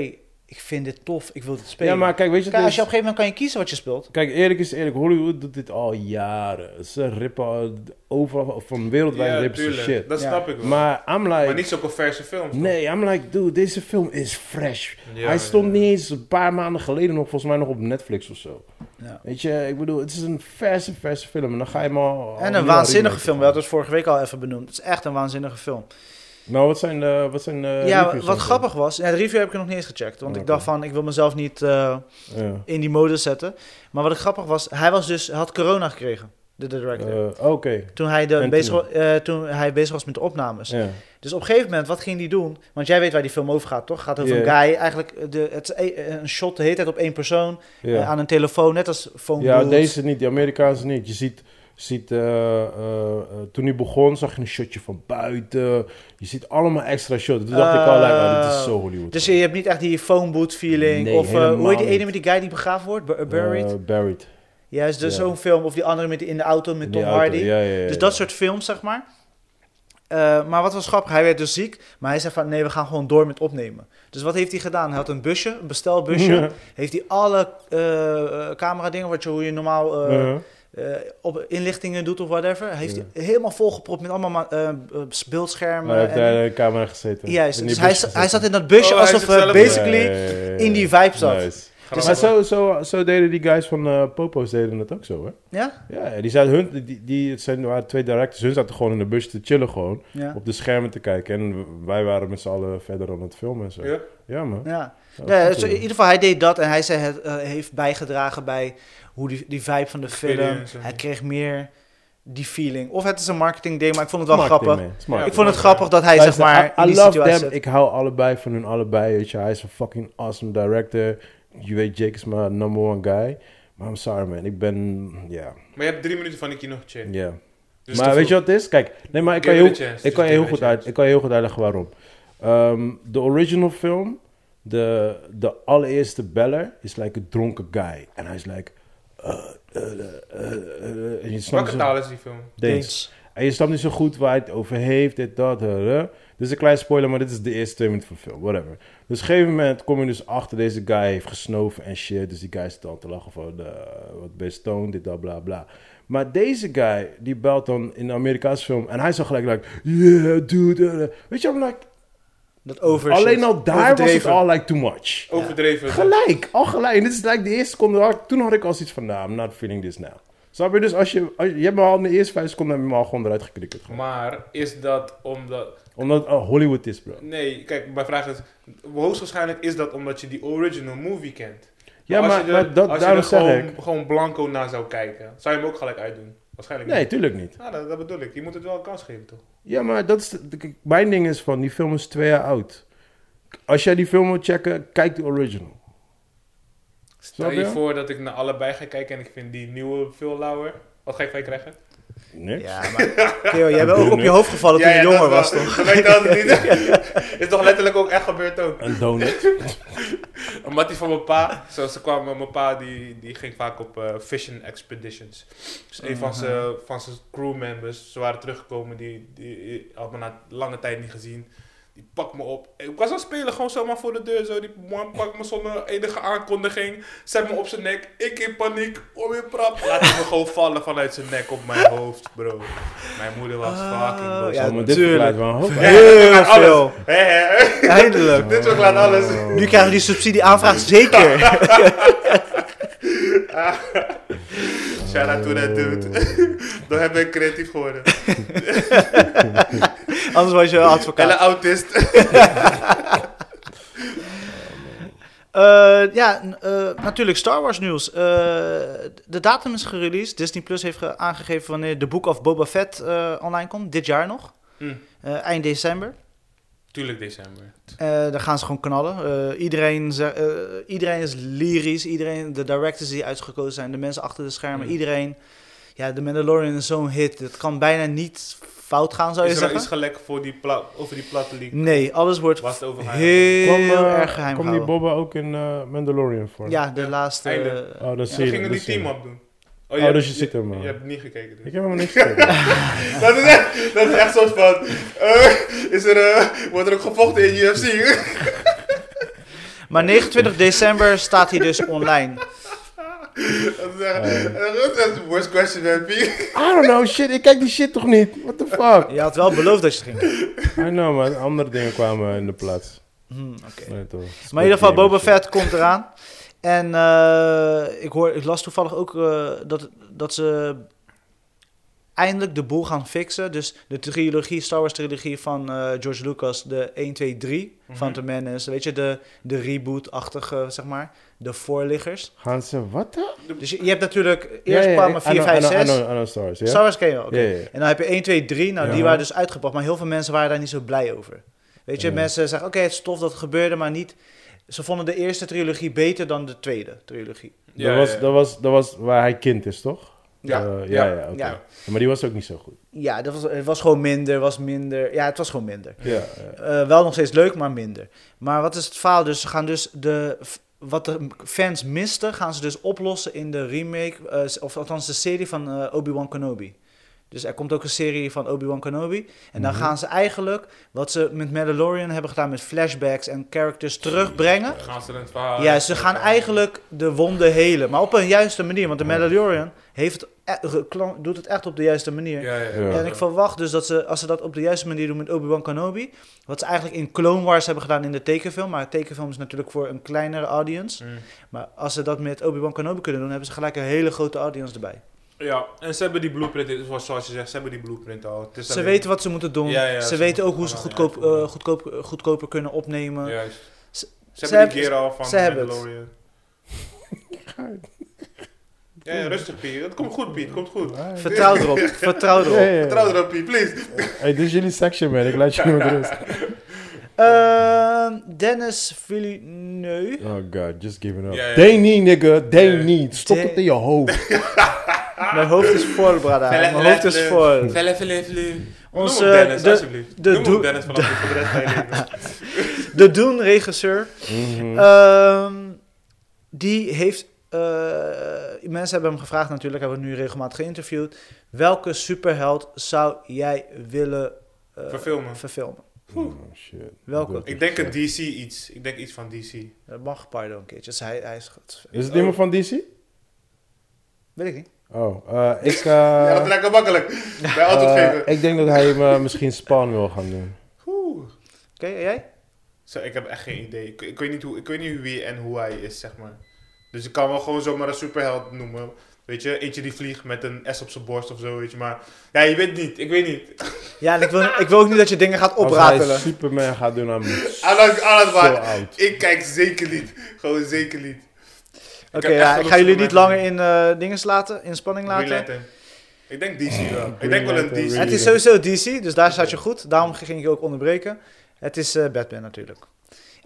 Speaker 3: ik vind dit tof, ik wil dit spelen.
Speaker 1: Ja, maar kijk, weet je,
Speaker 3: Kijk,
Speaker 1: het
Speaker 3: als je
Speaker 1: is-
Speaker 3: op een gegeven moment kan je kiezen wat je speelt.
Speaker 1: Kijk, eerlijk is eerlijk. Hollywood doet dit al jaren. Ze rippen al- overal van wereldwijd
Speaker 2: Ja,
Speaker 1: rippen ze
Speaker 2: tuurlijk.
Speaker 1: shit.
Speaker 2: Dat
Speaker 3: Ja.
Speaker 2: snap ik wel. Maar,
Speaker 1: Maar I'm like...
Speaker 2: niet zo'n verse films. toch?
Speaker 1: Nee, I'm like, dude, deze film is fresh.
Speaker 2: Ja,
Speaker 1: Hij stond
Speaker 2: ja.
Speaker 1: niet eens een paar maanden geleden nog, volgens mij nog op Netflix of zo.
Speaker 3: Ja.
Speaker 1: Weet je, ik bedoel, het is een verse, verse film. En dan ga je hem al... al
Speaker 3: En
Speaker 1: Oh, nu al
Speaker 3: een waanzinnige
Speaker 1: remaken.
Speaker 3: film, we hadden het vorige week al even benoemd. Het is echt een waanzinnige film.
Speaker 1: Nou, wat zijn de... Wat zijn de
Speaker 3: ja,
Speaker 1: reviews
Speaker 3: wat
Speaker 1: dan?
Speaker 3: grappig was, ja, de review heb ik nog niet eens gecheckt. Want ik
Speaker 1: Oh, Oké.
Speaker 3: dacht van, ik wil mezelf niet eh,
Speaker 1: Ja.
Speaker 3: in die mode zetten. Maar wat ik grappig was, hij was dus, hij had corona gekregen, de director.
Speaker 1: Eh, Oké.
Speaker 3: toen, hij de,
Speaker 1: en
Speaker 3: bezig,
Speaker 1: toen?
Speaker 3: wa- eh, toen hij bezig was met de opnames.
Speaker 1: Ja.
Speaker 3: Dus op een gegeven moment, wat ging hij doen? Want jij weet waar die film over gaat, toch? Gaat over
Speaker 1: Ja.
Speaker 3: een guy, eigenlijk de, het, is e- een shot de hele tijd op één persoon.
Speaker 1: ja.
Speaker 3: eh, aan een telefoon, net als phone
Speaker 1: Ja,
Speaker 3: booths.
Speaker 1: deze niet, die Amerikaanse niet. Je ziet, ziet eh, eh, eh, toen hij begon, zag je een shotje van buiten. Je ziet allemaal extra shots. Toen dacht ik al, like, oh, dit is zo Hollywood.
Speaker 3: Dus je hebt niet echt die phone booth feeling.
Speaker 1: Nee,
Speaker 3: of eh, hoe
Speaker 1: helemaal
Speaker 3: heet die ene
Speaker 1: niet.
Speaker 3: met die guy die begraven wordt? Bu- Buried?
Speaker 1: Eh, buried.
Speaker 3: ja, is dus
Speaker 1: ja.
Speaker 3: zo'n film. Of die andere met, in de auto met
Speaker 1: In
Speaker 3: Tom
Speaker 1: die auto.
Speaker 3: Hardy.
Speaker 1: Ja, ja, ja,
Speaker 3: Dus
Speaker 1: ja.
Speaker 3: dat
Speaker 1: [laughs]
Speaker 3: soort films, zeg maar. Eh, maar wat was grappig, hij werd dus ziek. Maar hij zei van, nee, we gaan gewoon door met opnemen. Dus wat heeft hij gedaan? Hij had een busje, eh, een bestelbusje. heeft hij alle eh camera dingen, wat je, hoe je normaal eh,
Speaker 1: Ja.
Speaker 3: eh, op inlichtingen doet of whatever. Hij heeft hij helemaal volgepropt met allemaal ma- eh, eh, beeldschermen.
Speaker 1: Maar hij heeft
Speaker 3: en-
Speaker 1: daar in de camera gezeten.
Speaker 3: Juist,
Speaker 1: In
Speaker 3: dus
Speaker 1: die
Speaker 3: hij,
Speaker 1: bus
Speaker 3: za-
Speaker 1: gezeten.
Speaker 3: hij zat in dat busje
Speaker 2: Oh, hij
Speaker 3: alsof
Speaker 2: zit
Speaker 3: we
Speaker 2: zelf-
Speaker 3: basically
Speaker 1: Ja, ja, ja, ja, ja.
Speaker 3: in die vibe zat.
Speaker 1: Nice.
Speaker 2: Grappig.
Speaker 1: Maar zo, zo, zo deden die guys van eh, Popo's deden het ook zo, hè?
Speaker 3: Ja?
Speaker 1: Ja, ja, die zaten hun, die- die, die het zijn, waren twee directors, hun zaten gewoon in de bus te chillen gewoon,
Speaker 3: Ja.
Speaker 1: op de schermen te kijken. En wij waren met z'n allen verder aan het filmen en zo. Ja,
Speaker 2: Ja.
Speaker 1: man.
Speaker 3: ja.
Speaker 1: Dat
Speaker 3: Nee,
Speaker 1: was
Speaker 3: dus
Speaker 1: goed,
Speaker 3: in ieder geval, hij deed dat en hij zei, het, eh, heeft bijgedragen bij hoe die, die vibe van de film.
Speaker 2: Experience, ja.
Speaker 3: Hij kreeg meer die feeling. Of het is een marketing ding, maar ik vond het wel
Speaker 1: Marketing,
Speaker 3: grappig.
Speaker 1: man. Smart.
Speaker 2: Ja,
Speaker 3: Ik vond het
Speaker 2: Ja.
Speaker 3: grappig dat hij zeg
Speaker 1: Luister,
Speaker 3: maar
Speaker 1: I,
Speaker 3: in
Speaker 1: I
Speaker 3: die
Speaker 1: love
Speaker 3: situatie
Speaker 1: them.
Speaker 3: zat.
Speaker 1: Ik hou allebei van hun allebei, weet je. Hij is een fucking awesome director. Je weet, Jake is mijn number one guy. Maar I'm sorry, man. Ik ben, ja,
Speaker 2: Maar je hebt drie minuten van die kino
Speaker 1: ja.
Speaker 2: gecheckt. Dus
Speaker 1: maar
Speaker 2: te
Speaker 1: weet je
Speaker 2: vroeg.
Speaker 1: wat het is? Kijk, nee, maar ik kan je
Speaker 2: Give
Speaker 1: heel,
Speaker 2: it a chance.
Speaker 1: ik kan je
Speaker 2: Give
Speaker 1: heel
Speaker 2: it a
Speaker 1: goed uit,
Speaker 2: chance.
Speaker 1: ik kan je heel goed uitleggen waarom. Ehm, de original film, de, de allereerste beller is like een dronken guy. En hij is like... eh, eh, eh, eh, eh, en je snapt
Speaker 2: Welke
Speaker 1: niet
Speaker 2: taal
Speaker 1: zo-
Speaker 2: is die film?
Speaker 1: Deens. En je snapt niet zo goed waar hij het over heeft, dit, dat, dat, dat. Dit is een kleine spoiler, maar dit is de eerste twee minuten van de film, whatever. Dus op een gegeven moment kom je dus achter, deze guy heeft gesnoven en shit. Dus die guy zit dan te lachen van, eh, wat ben je stoned, dit, dat, bla, bla. Maar deze guy, die belt dan in de Amerikaanse film en hij is dan gelijk, like, yeah, dude. eh, eh. Weet je, I'm like,
Speaker 3: Dat over
Speaker 1: alleen al daar was het
Speaker 3: Overdreven.
Speaker 1: al like too much.
Speaker 2: Overdreven.
Speaker 1: Gelijk, al gelijk. En dit is like de eerste seconde. waar ik- Toen had ik al zoiets van, nou, I'm not feeling this now. Snap je? Dus als je, als je, je hebt me al in de eerste vijf seconden heb je me al gewoon eruit geknikkerd. gewoon.
Speaker 2: Maar is dat omdat...
Speaker 1: Omdat het, oh, Hollywood is, bro.
Speaker 2: Nee, kijk, mijn vraag is... Hoogstwaarschijnlijk is dat omdat je die original movie kent.
Speaker 1: Ja,
Speaker 2: als
Speaker 1: maar,
Speaker 2: je er-
Speaker 1: maar dat,
Speaker 2: als
Speaker 1: daarom
Speaker 2: je er
Speaker 1: zeg
Speaker 2: gewoon,
Speaker 1: ik...
Speaker 2: gewoon blanco naar zou kijken, zou je hem ook gelijk uitdoen? Waarschijnlijk
Speaker 1: Nee,
Speaker 2: niet.
Speaker 1: tuurlijk niet.
Speaker 2: Nou, dat, dat bedoel ik. Je moet het wel een kans geven, toch?
Speaker 1: Ja, maar dat is, de- kijk, mijn ding is van, die film is twee jaar oud. Als jij die film wil checken, kijk de original.
Speaker 2: Stel je
Speaker 1: je?
Speaker 2: voor dat ik naar allebei ga kijken en ik vind die nieuwe veel lauwer. Wat ga ik van je krijgen?
Speaker 1: Niks.
Speaker 3: Ja, maar Theo, jij bent ook op je hoofd gevallen toen
Speaker 2: Ja,
Speaker 3: je
Speaker 2: ja,
Speaker 3: jonger
Speaker 2: dat
Speaker 3: was,
Speaker 2: wel.
Speaker 3: toch?
Speaker 2: Dat weet ik altijd
Speaker 3: [laughs]
Speaker 2: niet. [laughs] is toch letterlijk ook echt gebeurd ook.
Speaker 1: Een donut.
Speaker 2: Een mattie van mijn pa. Zo, ze kwam, mijn pa die, die ging vaak op eh, fishing expeditions. Dus een
Speaker 3: Mhm.
Speaker 2: van zijn van zijn crewmembers, ze waren teruggekomen, die, die had me na lange tijd niet gezien. Die pakt me op. Ik was aan het spelen, gewoon zomaar voor de deur. Zo. Die man pakt me zonder enige aankondiging. Zet me op zijn nek. Ik in paniek. Om in prap. Laat hij me gewoon vallen vanuit zijn nek op mijn hoofd, bro. Mijn moeder was
Speaker 3: Oh,
Speaker 2: fucking boos.
Speaker 3: ja,
Speaker 1: Zal me dit
Speaker 3: tuurlijk.
Speaker 1: verklaart wel een hoop.
Speaker 2: Ja,
Speaker 1: hè?
Speaker 3: Heel
Speaker 2: dat verklaart
Speaker 3: veel.
Speaker 2: alles. Hè, hè.
Speaker 3: Eindelijk.
Speaker 2: Dit verklaart alles.
Speaker 1: Oh.
Speaker 3: Nu krijgen we die subsidieaanvraag
Speaker 2: [laughs]
Speaker 3: zeker.
Speaker 2: Shout out to that dude. [laughs] Dan heb ik creatief geworden.
Speaker 3: Anders was je advocaat.
Speaker 2: Hele autist.
Speaker 3: Eh, ja, n- eh, natuurlijk Star Wars nieuws. Eh, de datum is gereleased. Disney Plus heeft ge- aangegeven wanneer de Book of Boba Fett eh, online komt. Dit jaar nog.
Speaker 2: Hmm.
Speaker 3: Eh, eind december.
Speaker 2: Tuurlijk december.
Speaker 3: Eh dan gaan ze gewoon knallen. Eh, iedereen, ze- eh, iedereen is lyrisch. Iedereen, de directors die uitgekozen zijn, de mensen achter de schermen,
Speaker 2: Hmm.
Speaker 3: iedereen. Ja, The Mandalorian is zo'n hit. Het kan bijna niet fout gaan, zou je
Speaker 2: Is er al
Speaker 3: zeggen.
Speaker 2: iets gelekt voor die pla- over die platte leak?
Speaker 3: Nee, alles wordt
Speaker 2: Wat over haar-
Speaker 3: heel
Speaker 1: Kwam, eh,
Speaker 3: erg geheim
Speaker 1: kwam die
Speaker 3: gehouden.
Speaker 1: Boba ook in eh, Mandalorian voor?
Speaker 3: Ja, de laatste...
Speaker 2: eindelijk.
Speaker 3: eh,
Speaker 1: Oh, dat
Speaker 2: Ze
Speaker 1: zie je.
Speaker 2: gingen
Speaker 1: dat
Speaker 2: die
Speaker 1: zie je.
Speaker 2: team up doen.
Speaker 1: Oh,
Speaker 2: hebt-
Speaker 1: dus je ziet hem,
Speaker 2: Je,
Speaker 1: man.
Speaker 2: hebt niet gekeken.
Speaker 1: Ik
Speaker 2: Dus.
Speaker 1: heb helemaal niks
Speaker 3: [laughs]
Speaker 1: gezien.
Speaker 2: [laughs] Dat, is echt, dat is echt soort van. eh, is er, eh, wordt er ook gevochten in UFC?
Speaker 3: Maar 29 december staat hij dus online.
Speaker 2: [laughs] dat is echt. eh, dat is the worst question man. Wie-
Speaker 1: I don't know, shit. Ik kijk die shit toch niet? What the fuck?
Speaker 3: Je had wel beloofd dat je het ging doen.
Speaker 1: I know, man. Andere dingen kwamen in de plaats.
Speaker 3: Hmm, oké.
Speaker 1: Nee, toch.
Speaker 3: Maar in ieder geval, Boba
Speaker 1: Squid Game en
Speaker 3: Fett komt eraan. En eh, ik, hoor, ik las toevallig ook eh, dat, dat ze eindelijk de boel gaan fixen. Dus de trilogie, Star Wars trilogie van eh, George Lucas, de 1, 2, 3
Speaker 2: Mhm.
Speaker 3: van The Menace. Weet je, de, de reboot-achtige, zeg maar, de voorliggers.
Speaker 1: shit. Gaan ze wat dan?
Speaker 3: Dus je, je hebt natuurlijk, eerst kwamen 4,
Speaker 1: I know-
Speaker 3: 5,
Speaker 1: I know- I
Speaker 3: 6.
Speaker 1: know- I know Stars, ja?
Speaker 3: Star Wars ken je wel, oké.
Speaker 1: Ja, ja, ja.
Speaker 3: En dan heb je 1, 2, 3. Nou, die
Speaker 1: Ja.
Speaker 3: waren dus uitgebracht. Maar heel veel mensen waren daar niet zo blij over. Weet je,
Speaker 1: Ja.
Speaker 3: mensen zeggen, oké, het is tof dat het gebeurde, maar niet... Ze vonden de eerste trilogie beter dan de tweede trilogie.
Speaker 1: dat, was, dat, was, dat was waar hij kind is, toch?
Speaker 2: Ja.
Speaker 1: Eh,
Speaker 2: Ja.
Speaker 1: ja, ja, oké.
Speaker 3: Ja.
Speaker 1: Maar die was ook niet zo goed.
Speaker 3: Ja, dat was, het was gewoon minder, was minder. Ja, het was gewoon minder.
Speaker 1: Ja.
Speaker 3: Eh, wel nog steeds leuk, maar minder. Maar wat is het verhaal? Dus ze gaan dus de... f- Wat de fans misten, gaan ze dus oplossen in de remake... eh, of althans de serie van eh, Obi-Wan Kenobi. Dus er komt ook een serie van Obi-Wan Kenobi. En dan
Speaker 1: Mhm.
Speaker 3: gaan ze eigenlijk wat ze met Mandalorian hebben gedaan met flashbacks en characters terugbrengen.
Speaker 2: Gaan ze het verhaal...
Speaker 3: Ja, ze gaan eigenlijk de wonden helen. Maar op een juiste manier. Want de Mandalorian heeft, het e- gekla- doet het echt op de juiste manier.
Speaker 2: Ja, ja, ja.
Speaker 1: Ja.
Speaker 3: En ik verwacht dus dat ze, als ze dat op de juiste manier doen met Obi-Wan Kenobi. Wat ze eigenlijk in Clone Wars hebben gedaan in de tekenfilm. Maar tekenfilm is natuurlijk voor een kleinere audience.
Speaker 2: Mm.
Speaker 3: Maar als ze dat met Obi-Wan Kenobi kunnen doen, hebben ze gelijk een hele grote audience erbij.
Speaker 2: Ja, en ze hebben die blueprint, dus zoals je zegt, ze hebben die blueprint al. Het is
Speaker 3: Ze
Speaker 2: alleen-
Speaker 3: weten wat ze moeten doen.
Speaker 2: Ja, ja,
Speaker 3: ze,
Speaker 2: ze
Speaker 3: weten
Speaker 2: moeten
Speaker 3: ook hoe ze
Speaker 2: gewoon
Speaker 3: goedkoop,
Speaker 2: uitvoeren.
Speaker 3: eh, goedkoop, goedkoper kunnen opnemen.
Speaker 2: Juist.
Speaker 3: Ze-
Speaker 2: Ze,
Speaker 3: ze
Speaker 2: hebben die
Speaker 3: hebben-
Speaker 2: gear al van
Speaker 3: ze hebben
Speaker 2: [laughs]
Speaker 3: het.
Speaker 2: Mandalorian. Ja, ja, rustig Piet. Het komt goed Piet, het komt goed. [laughs]
Speaker 3: Vertrouw erop. Vertrouw erop.
Speaker 1: Ja, ja, ja.
Speaker 2: Vertrouw erop Piet, please.
Speaker 1: Hey, dit is jullie section, man. Ik laat jullie met
Speaker 2: [laughs]
Speaker 1: rust.
Speaker 3: Ehm, Dennis Villeneuve.
Speaker 1: Oh god, just giving up.
Speaker 2: Ja, ja.
Speaker 1: They need, nigga. They
Speaker 2: Ja.
Speaker 1: need. Stop
Speaker 3: They-
Speaker 1: het in je
Speaker 2: [laughs]
Speaker 1: hoofd.
Speaker 2: Ah.
Speaker 3: Mijn hoofd is vol, brada. Mijn hoofd is vol.
Speaker 2: Velle, velle, velle. Onze
Speaker 3: Onze,
Speaker 2: Dennis,
Speaker 3: de-
Speaker 2: alsjeblieft.
Speaker 3: de
Speaker 2: Noem hem
Speaker 3: doe-
Speaker 2: Dennis
Speaker 3: [laughs]
Speaker 2: vanaf nu voor de rest van je leven.
Speaker 3: De Doen-regisseur.
Speaker 2: Eh,
Speaker 1: Mhm.
Speaker 3: Ehm, die heeft. eh, mensen hebben hem gevraagd, natuurlijk, hebben we nu regelmatig geïnterviewd. Welke superheld zou jij willen eh,
Speaker 2: Verfilmen.
Speaker 3: verfilmen?
Speaker 1: Oh, shit.
Speaker 3: Welke?
Speaker 1: Good.
Speaker 2: Ik denk een DC iets. Ik denk iets van DC.
Speaker 3: Dat mag Pardo een keertje. Dus hij, hij is goed.
Speaker 1: Is het iemand van DC?
Speaker 3: Weet ik niet.
Speaker 1: Oh, eh, ik... eh,
Speaker 2: [laughs] ja, dat lijkt me makkelijk. Bij antwoord
Speaker 1: eh,
Speaker 2: geven.
Speaker 1: ik denk dat hij hem eh, misschien Spawn wil gaan doen.
Speaker 2: Oeh.
Speaker 3: Oké, en jij?
Speaker 2: Zo, ik heb echt geen idee. Ik, ik, weet niet hoe, ik weet niet wie en hoe hij is, zeg maar. Dus ik kan wel gewoon zomaar een superheld noemen. Weet je, eentje die vliegt met een S op zijn borst of zo, weet je. Maar ja, je weet niet. Ik weet niet.
Speaker 3: Ja, en ik wil, ik wil ook niet dat je dingen gaat
Speaker 1: Als hij
Speaker 3: opratelen.
Speaker 1: Superman gaat doen, dan ben ik
Speaker 2: Aan het- aan het
Speaker 1: zo
Speaker 2: waard.
Speaker 1: oud.
Speaker 2: Ik kijk zeker niet. Gewoon zeker niet.
Speaker 3: Oké, ja, ik ga jullie niet langer in eh dingen laten, in spanning
Speaker 2: Green
Speaker 3: laten.
Speaker 2: Lantern. Ik denk DC wel.
Speaker 1: Green
Speaker 2: Ik denk wel een
Speaker 1: Lantern,
Speaker 2: DC.
Speaker 1: Green
Speaker 3: Het is sowieso DC, dus daar staat je goed. Daarom ging ik je ook onderbreken. Het is eh, Batman natuurlijk.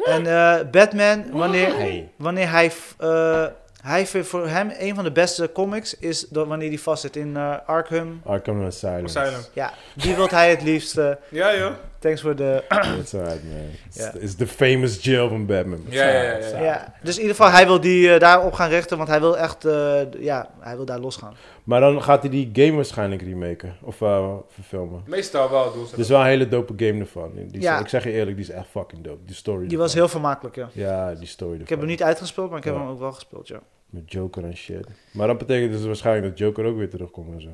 Speaker 3: En eh, Batman, wanneer,
Speaker 1: Why?
Speaker 3: wanneer hij... f- eh, hij vindt voor hem een van de beste comics is dat wanneer hij vastzit in eh, Arkham.
Speaker 1: Arkham Asylum.
Speaker 2: Asylum.
Speaker 3: Ja, die wil hij het liefst. eh,
Speaker 2: Ja, joh.
Speaker 3: thanks voor de...
Speaker 1: That's alright, man. It's,
Speaker 3: Ja.
Speaker 1: it's the famous jail van Batman.
Speaker 2: Ja, ja, ja, ja.
Speaker 1: It's alright.
Speaker 3: Ja, dus in ieder geval, hij wil die eh, daarop gaan richten, want hij wil echt... eh, d- ja, hij wil daar losgaan.
Speaker 1: Maar dan gaat hij die game waarschijnlijk remaken. Of eh, verfilmen.
Speaker 2: Meestal wel doen ze
Speaker 1: Er
Speaker 3: Dus-
Speaker 1: is wel een hele dope game ervan. Die is-
Speaker 3: Ja.
Speaker 1: Ik zeg je eerlijk, die is echt fucking dope. Die story
Speaker 3: Die was
Speaker 1: ervan.
Speaker 3: heel vermakelijk, ja.
Speaker 1: Ja, die story ervan.
Speaker 3: Ik heb hem niet uitgespeeld, maar ik heb
Speaker 1: Ja. Oh,
Speaker 3: hem ook wel gespeeld, ja.
Speaker 1: Met Joker en shit. Maar dat betekent dus waarschijnlijk dat Joker ook weer terugkomt en zo.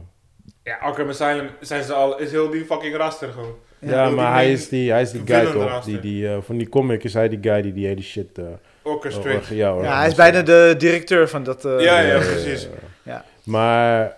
Speaker 2: Ja, Arkham Asylum zijn ze al, is heel die fucking raster gewoon.
Speaker 3: Ja,
Speaker 1: Ja,
Speaker 2: wil die
Speaker 1: maar hij
Speaker 2: main
Speaker 1: is die, hij is die guy
Speaker 2: villain
Speaker 1: toch?
Speaker 2: erachter.
Speaker 1: Die, die, eh, van die comic is hij die guy die die hele shit... eh,
Speaker 3: Oh,
Speaker 2: Orchestrate.
Speaker 1: orga- ja,
Speaker 3: Ja, hij is
Speaker 1: organiseert.
Speaker 3: bijna de directeur van dat... eh,
Speaker 2: Ja, ja, precies.
Speaker 3: Ja.
Speaker 1: Maar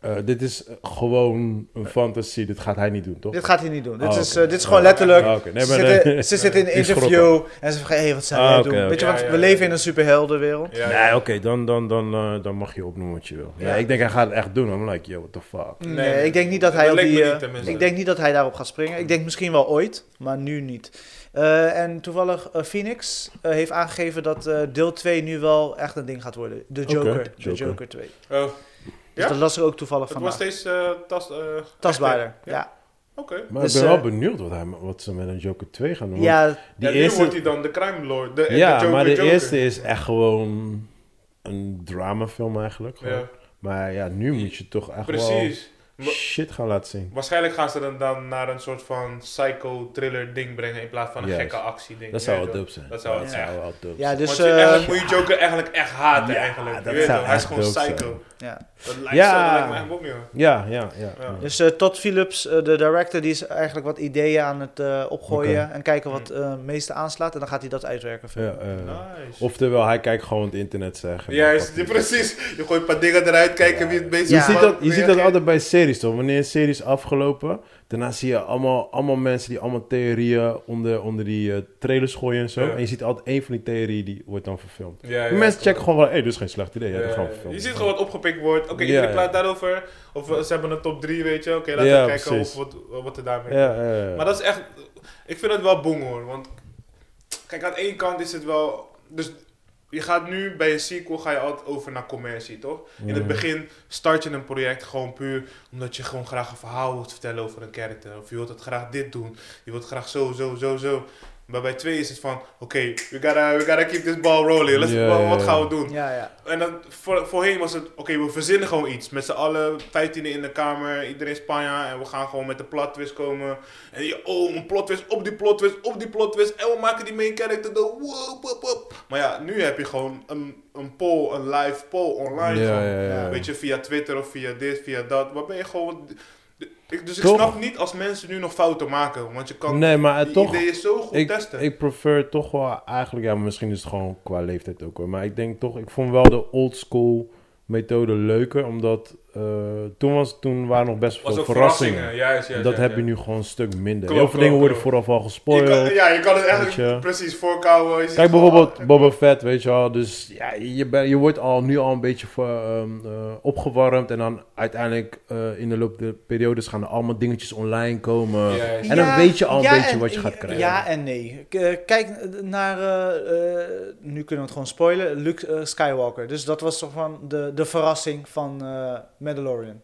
Speaker 1: eh, dit is gewoon een fantasie. Dit gaat hij niet doen, toch?
Speaker 3: Dit gaat hij niet doen. Dit,
Speaker 1: Oh,
Speaker 3: is,
Speaker 1: oké.
Speaker 3: eh, dit is gewoon
Speaker 1: Oh,
Speaker 3: letterlijk.
Speaker 1: Ah, oké. Nee,
Speaker 3: ze,
Speaker 1: maar
Speaker 3: zitten,
Speaker 1: nee.
Speaker 3: ze zitten in een
Speaker 1: Die schrokken.
Speaker 3: interview en ze vragen: hé, wat zou
Speaker 1: Ah,
Speaker 3: jij
Speaker 1: oké,
Speaker 3: doen?
Speaker 1: oké.
Speaker 3: Weet je,
Speaker 2: Ja,
Speaker 3: want
Speaker 2: ja,
Speaker 3: we
Speaker 2: ja.
Speaker 3: leven in een superheldenwereld.
Speaker 2: Ja,
Speaker 1: Nee,
Speaker 2: ja.
Speaker 1: oké, dan, dan, dan, eh, dan mag je opnoemen wat je wil.
Speaker 2: Ja.
Speaker 1: Nee, ik denk hij gaat het echt doen. I'm like, yo, what the fuck.
Speaker 3: Nee,
Speaker 2: Nee,
Speaker 3: ik denk niet dat
Speaker 2: dat
Speaker 3: hij op
Speaker 2: leek
Speaker 3: die.
Speaker 2: me niet,
Speaker 3: eh,
Speaker 2: tenminste.
Speaker 3: ik denk niet dat hij daarop gaat springen. Ik denk misschien wel ooit, maar nu niet. Eh, en toevallig eh, Phoenix eh, heeft aangegeven dat eh, deel 2 nu wel echt een ding gaat worden. De
Speaker 1: Oké,
Speaker 3: Joker. De
Speaker 1: Joker.
Speaker 3: Joker 2.
Speaker 2: Oh,
Speaker 3: Dus
Speaker 2: Ja?
Speaker 3: dat las ik ook toevallig
Speaker 2: het was
Speaker 3: vandaag.
Speaker 2: steeds eh, tas, eh,
Speaker 3: Tastbaarder.
Speaker 2: echt,
Speaker 3: Ja.
Speaker 2: Oké.
Speaker 1: Maar
Speaker 3: Dus,
Speaker 1: ik ben wel
Speaker 3: eh,
Speaker 1: benieuwd wat, hij, wat ze met een Joker 2 gaan doen.
Speaker 3: Ja,
Speaker 1: die
Speaker 2: en nu
Speaker 1: eerste,
Speaker 2: wordt hij dan de crime lord. De,
Speaker 1: ja
Speaker 2: de Joker,
Speaker 1: maar de
Speaker 2: Joker.
Speaker 1: eerste is echt gewoon een dramafilm eigenlijk. gewoon.
Speaker 2: Ja,
Speaker 1: Maar ja, nu moet je toch echt
Speaker 2: precies.
Speaker 1: wel
Speaker 2: Wa-
Speaker 1: shit gaan laten zien.
Speaker 2: Waarschijnlijk gaan ze dan, dan naar een soort van psycho-thriller ding brengen in plaats van een
Speaker 1: Juist.
Speaker 2: gekke actie ding.
Speaker 1: Dat zou
Speaker 2: Ja,
Speaker 1: wel dope zijn.
Speaker 2: Dat zou wel echt.
Speaker 1: wel dope
Speaker 3: ja, dus.
Speaker 2: Want je,
Speaker 3: eh,
Speaker 2: eigenlijk moet je Joker eigenlijk echt haten
Speaker 1: Ja,
Speaker 2: eigenlijk. Je
Speaker 1: dat
Speaker 2: weet
Speaker 1: zou
Speaker 2: toch, hij is
Speaker 1: echt
Speaker 2: gewoon
Speaker 1: dope
Speaker 2: psycho.
Speaker 3: ja.
Speaker 2: Dat lijkt
Speaker 1: Ja.
Speaker 2: zo, dat lijkt me echt bom, joh.
Speaker 1: Ja, ja, ja.
Speaker 2: Ja.
Speaker 1: ja.
Speaker 3: Dus tot Todd Phillips, eh, de director, die is eigenlijk wat ideeën aan het eh, opgooien en kijken
Speaker 2: Hm.
Speaker 3: wat eh, het meeste aanslaat. En dan gaat hij dat uitwerken.
Speaker 1: Ja, eh,
Speaker 2: Nice.
Speaker 1: Oftewel, hij kijkt gewoon het internet zeggen.
Speaker 2: Ja, is, die- precies. Je gooit een paar dingen eruit, kijken wie het meest
Speaker 3: Ja.
Speaker 1: Je, ziet dat, je ziet dat
Speaker 2: reageert.
Speaker 1: altijd bij series, toch? Wanneer een serie is afgelopen, daarna zie je allemaal, allemaal mensen die allemaal theorieën onder, onder die eh, trailers gooien en zo.
Speaker 2: Ja.
Speaker 1: En je ziet altijd één van die theorieën die wordt dan verfilmd.
Speaker 2: Ja, ja,
Speaker 1: Die mensen
Speaker 2: klopt.
Speaker 1: checken gewoon wel, hé, hey, dit is geen slecht idee, ja,
Speaker 2: Ja,
Speaker 1: dat gaan we
Speaker 2: ja.
Speaker 1: verfilmen.
Speaker 2: Eh, je ziet gewoon wat opgepikt wordt. Oké,
Speaker 1: Ja,
Speaker 2: iedereen
Speaker 1: ja.
Speaker 2: praat daarover. Of eh, ze hebben een top 3, weet je. Oké, laten
Speaker 1: Ja,
Speaker 2: we kijken
Speaker 1: precies.
Speaker 2: of, wat, eh, wat er daarmee
Speaker 1: Ja, ja, ja.
Speaker 2: Maar dat is echt... Ik vind het wel boem hoor. Want kijk, aan de ene kant is het wel... Dus je gaat nu bij een sequel ga je altijd over naar commercie, toch? In het
Speaker 1: Mhm.
Speaker 2: begin start je een project gewoon puur omdat je gewoon graag een verhaal wilt vertellen over een character. Of je wilt het graag dit doen. Je wilt graag zo, zo, zo, zo. Maar bij twee is het van, oké, we, gotta, we gotta keep this ball rolling. Let's,
Speaker 1: Ja,
Speaker 2: wa-
Speaker 1: ja,
Speaker 2: wat
Speaker 1: ja.
Speaker 2: gaan we doen?
Speaker 3: Ja, ja.
Speaker 2: En dan, voor, voorheen was het, oké, we verzinnen gewoon iets. Met z'n allen, 15 in de kamer, iedereen Spanje. En we gaan gewoon met de plot twist komen. En je, oh, een plot twist, op die plot twist, op die plot twist. En we maken die main character de woop, woop, woop. Maar ja, nu heb je gewoon een, een poll, een live poll online.
Speaker 1: Ja,
Speaker 2: gewoon.
Speaker 1: ja, ja.
Speaker 2: Weet je, via Twitter of via dit, via dat. Waar ben je gewoon... Ik, dus ik
Speaker 1: Toch?
Speaker 2: snap niet als mensen nu nog fouten maken. Want je kan
Speaker 1: Nee, maar het
Speaker 2: die
Speaker 1: toch-
Speaker 2: ideeën zo goed
Speaker 1: Ik,
Speaker 2: testen.
Speaker 1: ik prefer toch wel eigenlijk, ja, misschien is het gewoon qua leeftijd ook hoor. Maar ik denk toch, ik vond wel de old school methode leuker. Omdat eh, toen, was, toen waren nog best
Speaker 4: Was
Speaker 1: veel
Speaker 4: ook
Speaker 1: verrassingen.
Speaker 4: verrassingen. Juist, juist,
Speaker 1: dat
Speaker 4: juist,
Speaker 1: heb
Speaker 4: ja.
Speaker 1: je nu gewoon een stuk minder.
Speaker 2: Klopt,
Speaker 1: Heel veel dingen
Speaker 2: klopt,
Speaker 1: worden
Speaker 2: klopt.
Speaker 1: vooral al
Speaker 2: Je
Speaker 1: gespoild.
Speaker 2: kan, ja, je kan het echt
Speaker 1: Weet je.
Speaker 2: precies voorkouwen. Je ziet
Speaker 1: Kijk
Speaker 2: gewoon,
Speaker 1: bijvoorbeeld
Speaker 2: ah,
Speaker 1: Boba Fett, weet je wel. Dus ja, je, ben, je wordt al, nu al een beetje voor, ehm, eh, opgewarmd. En dan uiteindelijk eh, in de loop der periodes gaan er allemaal dingetjes online komen.
Speaker 4: Ja, ja.
Speaker 1: En dan
Speaker 3: Ja,
Speaker 1: weet je al een
Speaker 3: ja
Speaker 1: beetje
Speaker 3: en-
Speaker 1: wat je gaat krijgen.
Speaker 3: Ja en nee. K- eh, Kijk naar, eh, eh, nu kunnen we het gewoon spoilen, Luke eh, Skywalker. Dus dat was toch van de, de verrassing van eh, Mandalorian.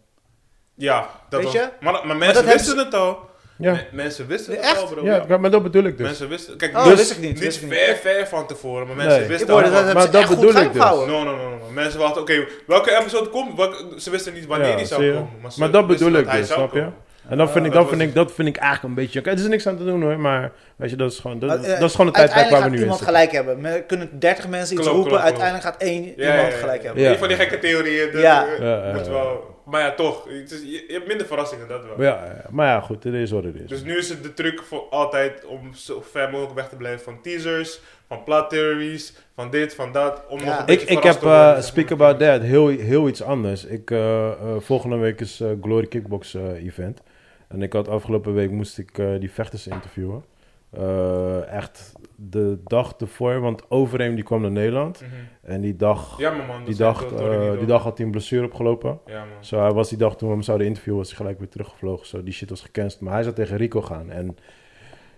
Speaker 2: Ja, dat
Speaker 3: Weet
Speaker 2: was-
Speaker 3: je?
Speaker 2: Maar, maar mensen
Speaker 3: dat
Speaker 2: wisten het al.
Speaker 1: Ja.
Speaker 2: Me- mensen wisten het
Speaker 3: Echt?
Speaker 2: al, bro.
Speaker 1: Ja,
Speaker 2: Ja.
Speaker 1: maar dat bedoel ik dus.
Speaker 2: Mensen wisten Kijk,
Speaker 3: Oh,
Speaker 2: dus
Speaker 3: wist ik niet, wist ik niet.
Speaker 2: ver, ver van tevoren, maar mensen
Speaker 1: Nee.
Speaker 3: Ik
Speaker 2: wisten
Speaker 3: hoorde dat
Speaker 2: al.
Speaker 3: hebben ze
Speaker 1: Maar dat
Speaker 3: echt goed
Speaker 1: bedoel ik
Speaker 3: geheim
Speaker 1: dus.
Speaker 3: gehouden.
Speaker 2: No, no, no, no. Mensen wachten, oké, welke episode komt? Welke- ze wisten niet wanneer
Speaker 1: Ja,
Speaker 2: die zou
Speaker 1: zie je?
Speaker 2: komen. Maar, ze
Speaker 1: Maar dat
Speaker 2: wisten
Speaker 1: bedoel ik
Speaker 2: hij
Speaker 1: dus,
Speaker 2: zou
Speaker 1: snap je?
Speaker 2: komen.
Speaker 1: En dat vind, ik,
Speaker 2: dat
Speaker 1: dat,
Speaker 2: was
Speaker 1: vind ik, dat vind ik eigenlijk een beetje... Kijk, er is niks aan te doen hoor, maar weet je, dat is gewoon, dat,
Speaker 3: Maar, eh,
Speaker 1: dat is gewoon het tijdperk waar we nu in zitten.
Speaker 3: Uiteindelijk gaat iemand gelijk hebben. We kunnen 30 mensen iets
Speaker 2: Klopt,
Speaker 3: roepen,
Speaker 2: klopt, klopt.
Speaker 3: uiteindelijk gaat één
Speaker 2: Ja,
Speaker 3: iemand
Speaker 2: ja, ja.
Speaker 3: gelijk hebben.
Speaker 1: Ja.
Speaker 2: Die van die gekke theorieën. Dat,
Speaker 3: Ja.
Speaker 2: eh,
Speaker 1: Ja, ja,
Speaker 2: moet
Speaker 1: ja.
Speaker 2: wel. Maar ja, toch. Het is, je, je hebt minder verrassingen, dat wel.
Speaker 1: Maar ja, ja, maar ja, goed, dit is wat het is.
Speaker 2: Dus nu is het de truc voor altijd om zo ver mogelijk weg te blijven van teasers, van plot theories, van dit, van dat. Om
Speaker 3: Ja.
Speaker 2: nog een
Speaker 1: ik,
Speaker 2: beetje
Speaker 1: ik
Speaker 2: verrast
Speaker 1: heb
Speaker 2: te worden,
Speaker 1: eh,
Speaker 2: zeg
Speaker 1: Speak
Speaker 2: maar.
Speaker 1: About That, heel, heel iets anders. Ik, eh, eh, volgende week is eh, Glory Kickbox eh, event. En ik had afgelopen week moest ik eh, die vechters interviewen. Eh, echt de dag ervoor, want Overeem die kwam naar Nederland.
Speaker 2: Mhm.
Speaker 1: En die dag,
Speaker 2: Jammer man. dat
Speaker 1: die,
Speaker 2: zijn
Speaker 1: dag,
Speaker 2: door- door
Speaker 1: eh,
Speaker 2: niet
Speaker 1: die
Speaker 2: door.
Speaker 1: dag had hij een blessure opgelopen.
Speaker 2: Ja man.
Speaker 1: Zo, hij was die dag toen we hem zouden interviewen, was hij gelijk weer teruggevlogen. Zo, die shit was gecanceld. Maar hij zou tegen Rico gaan. En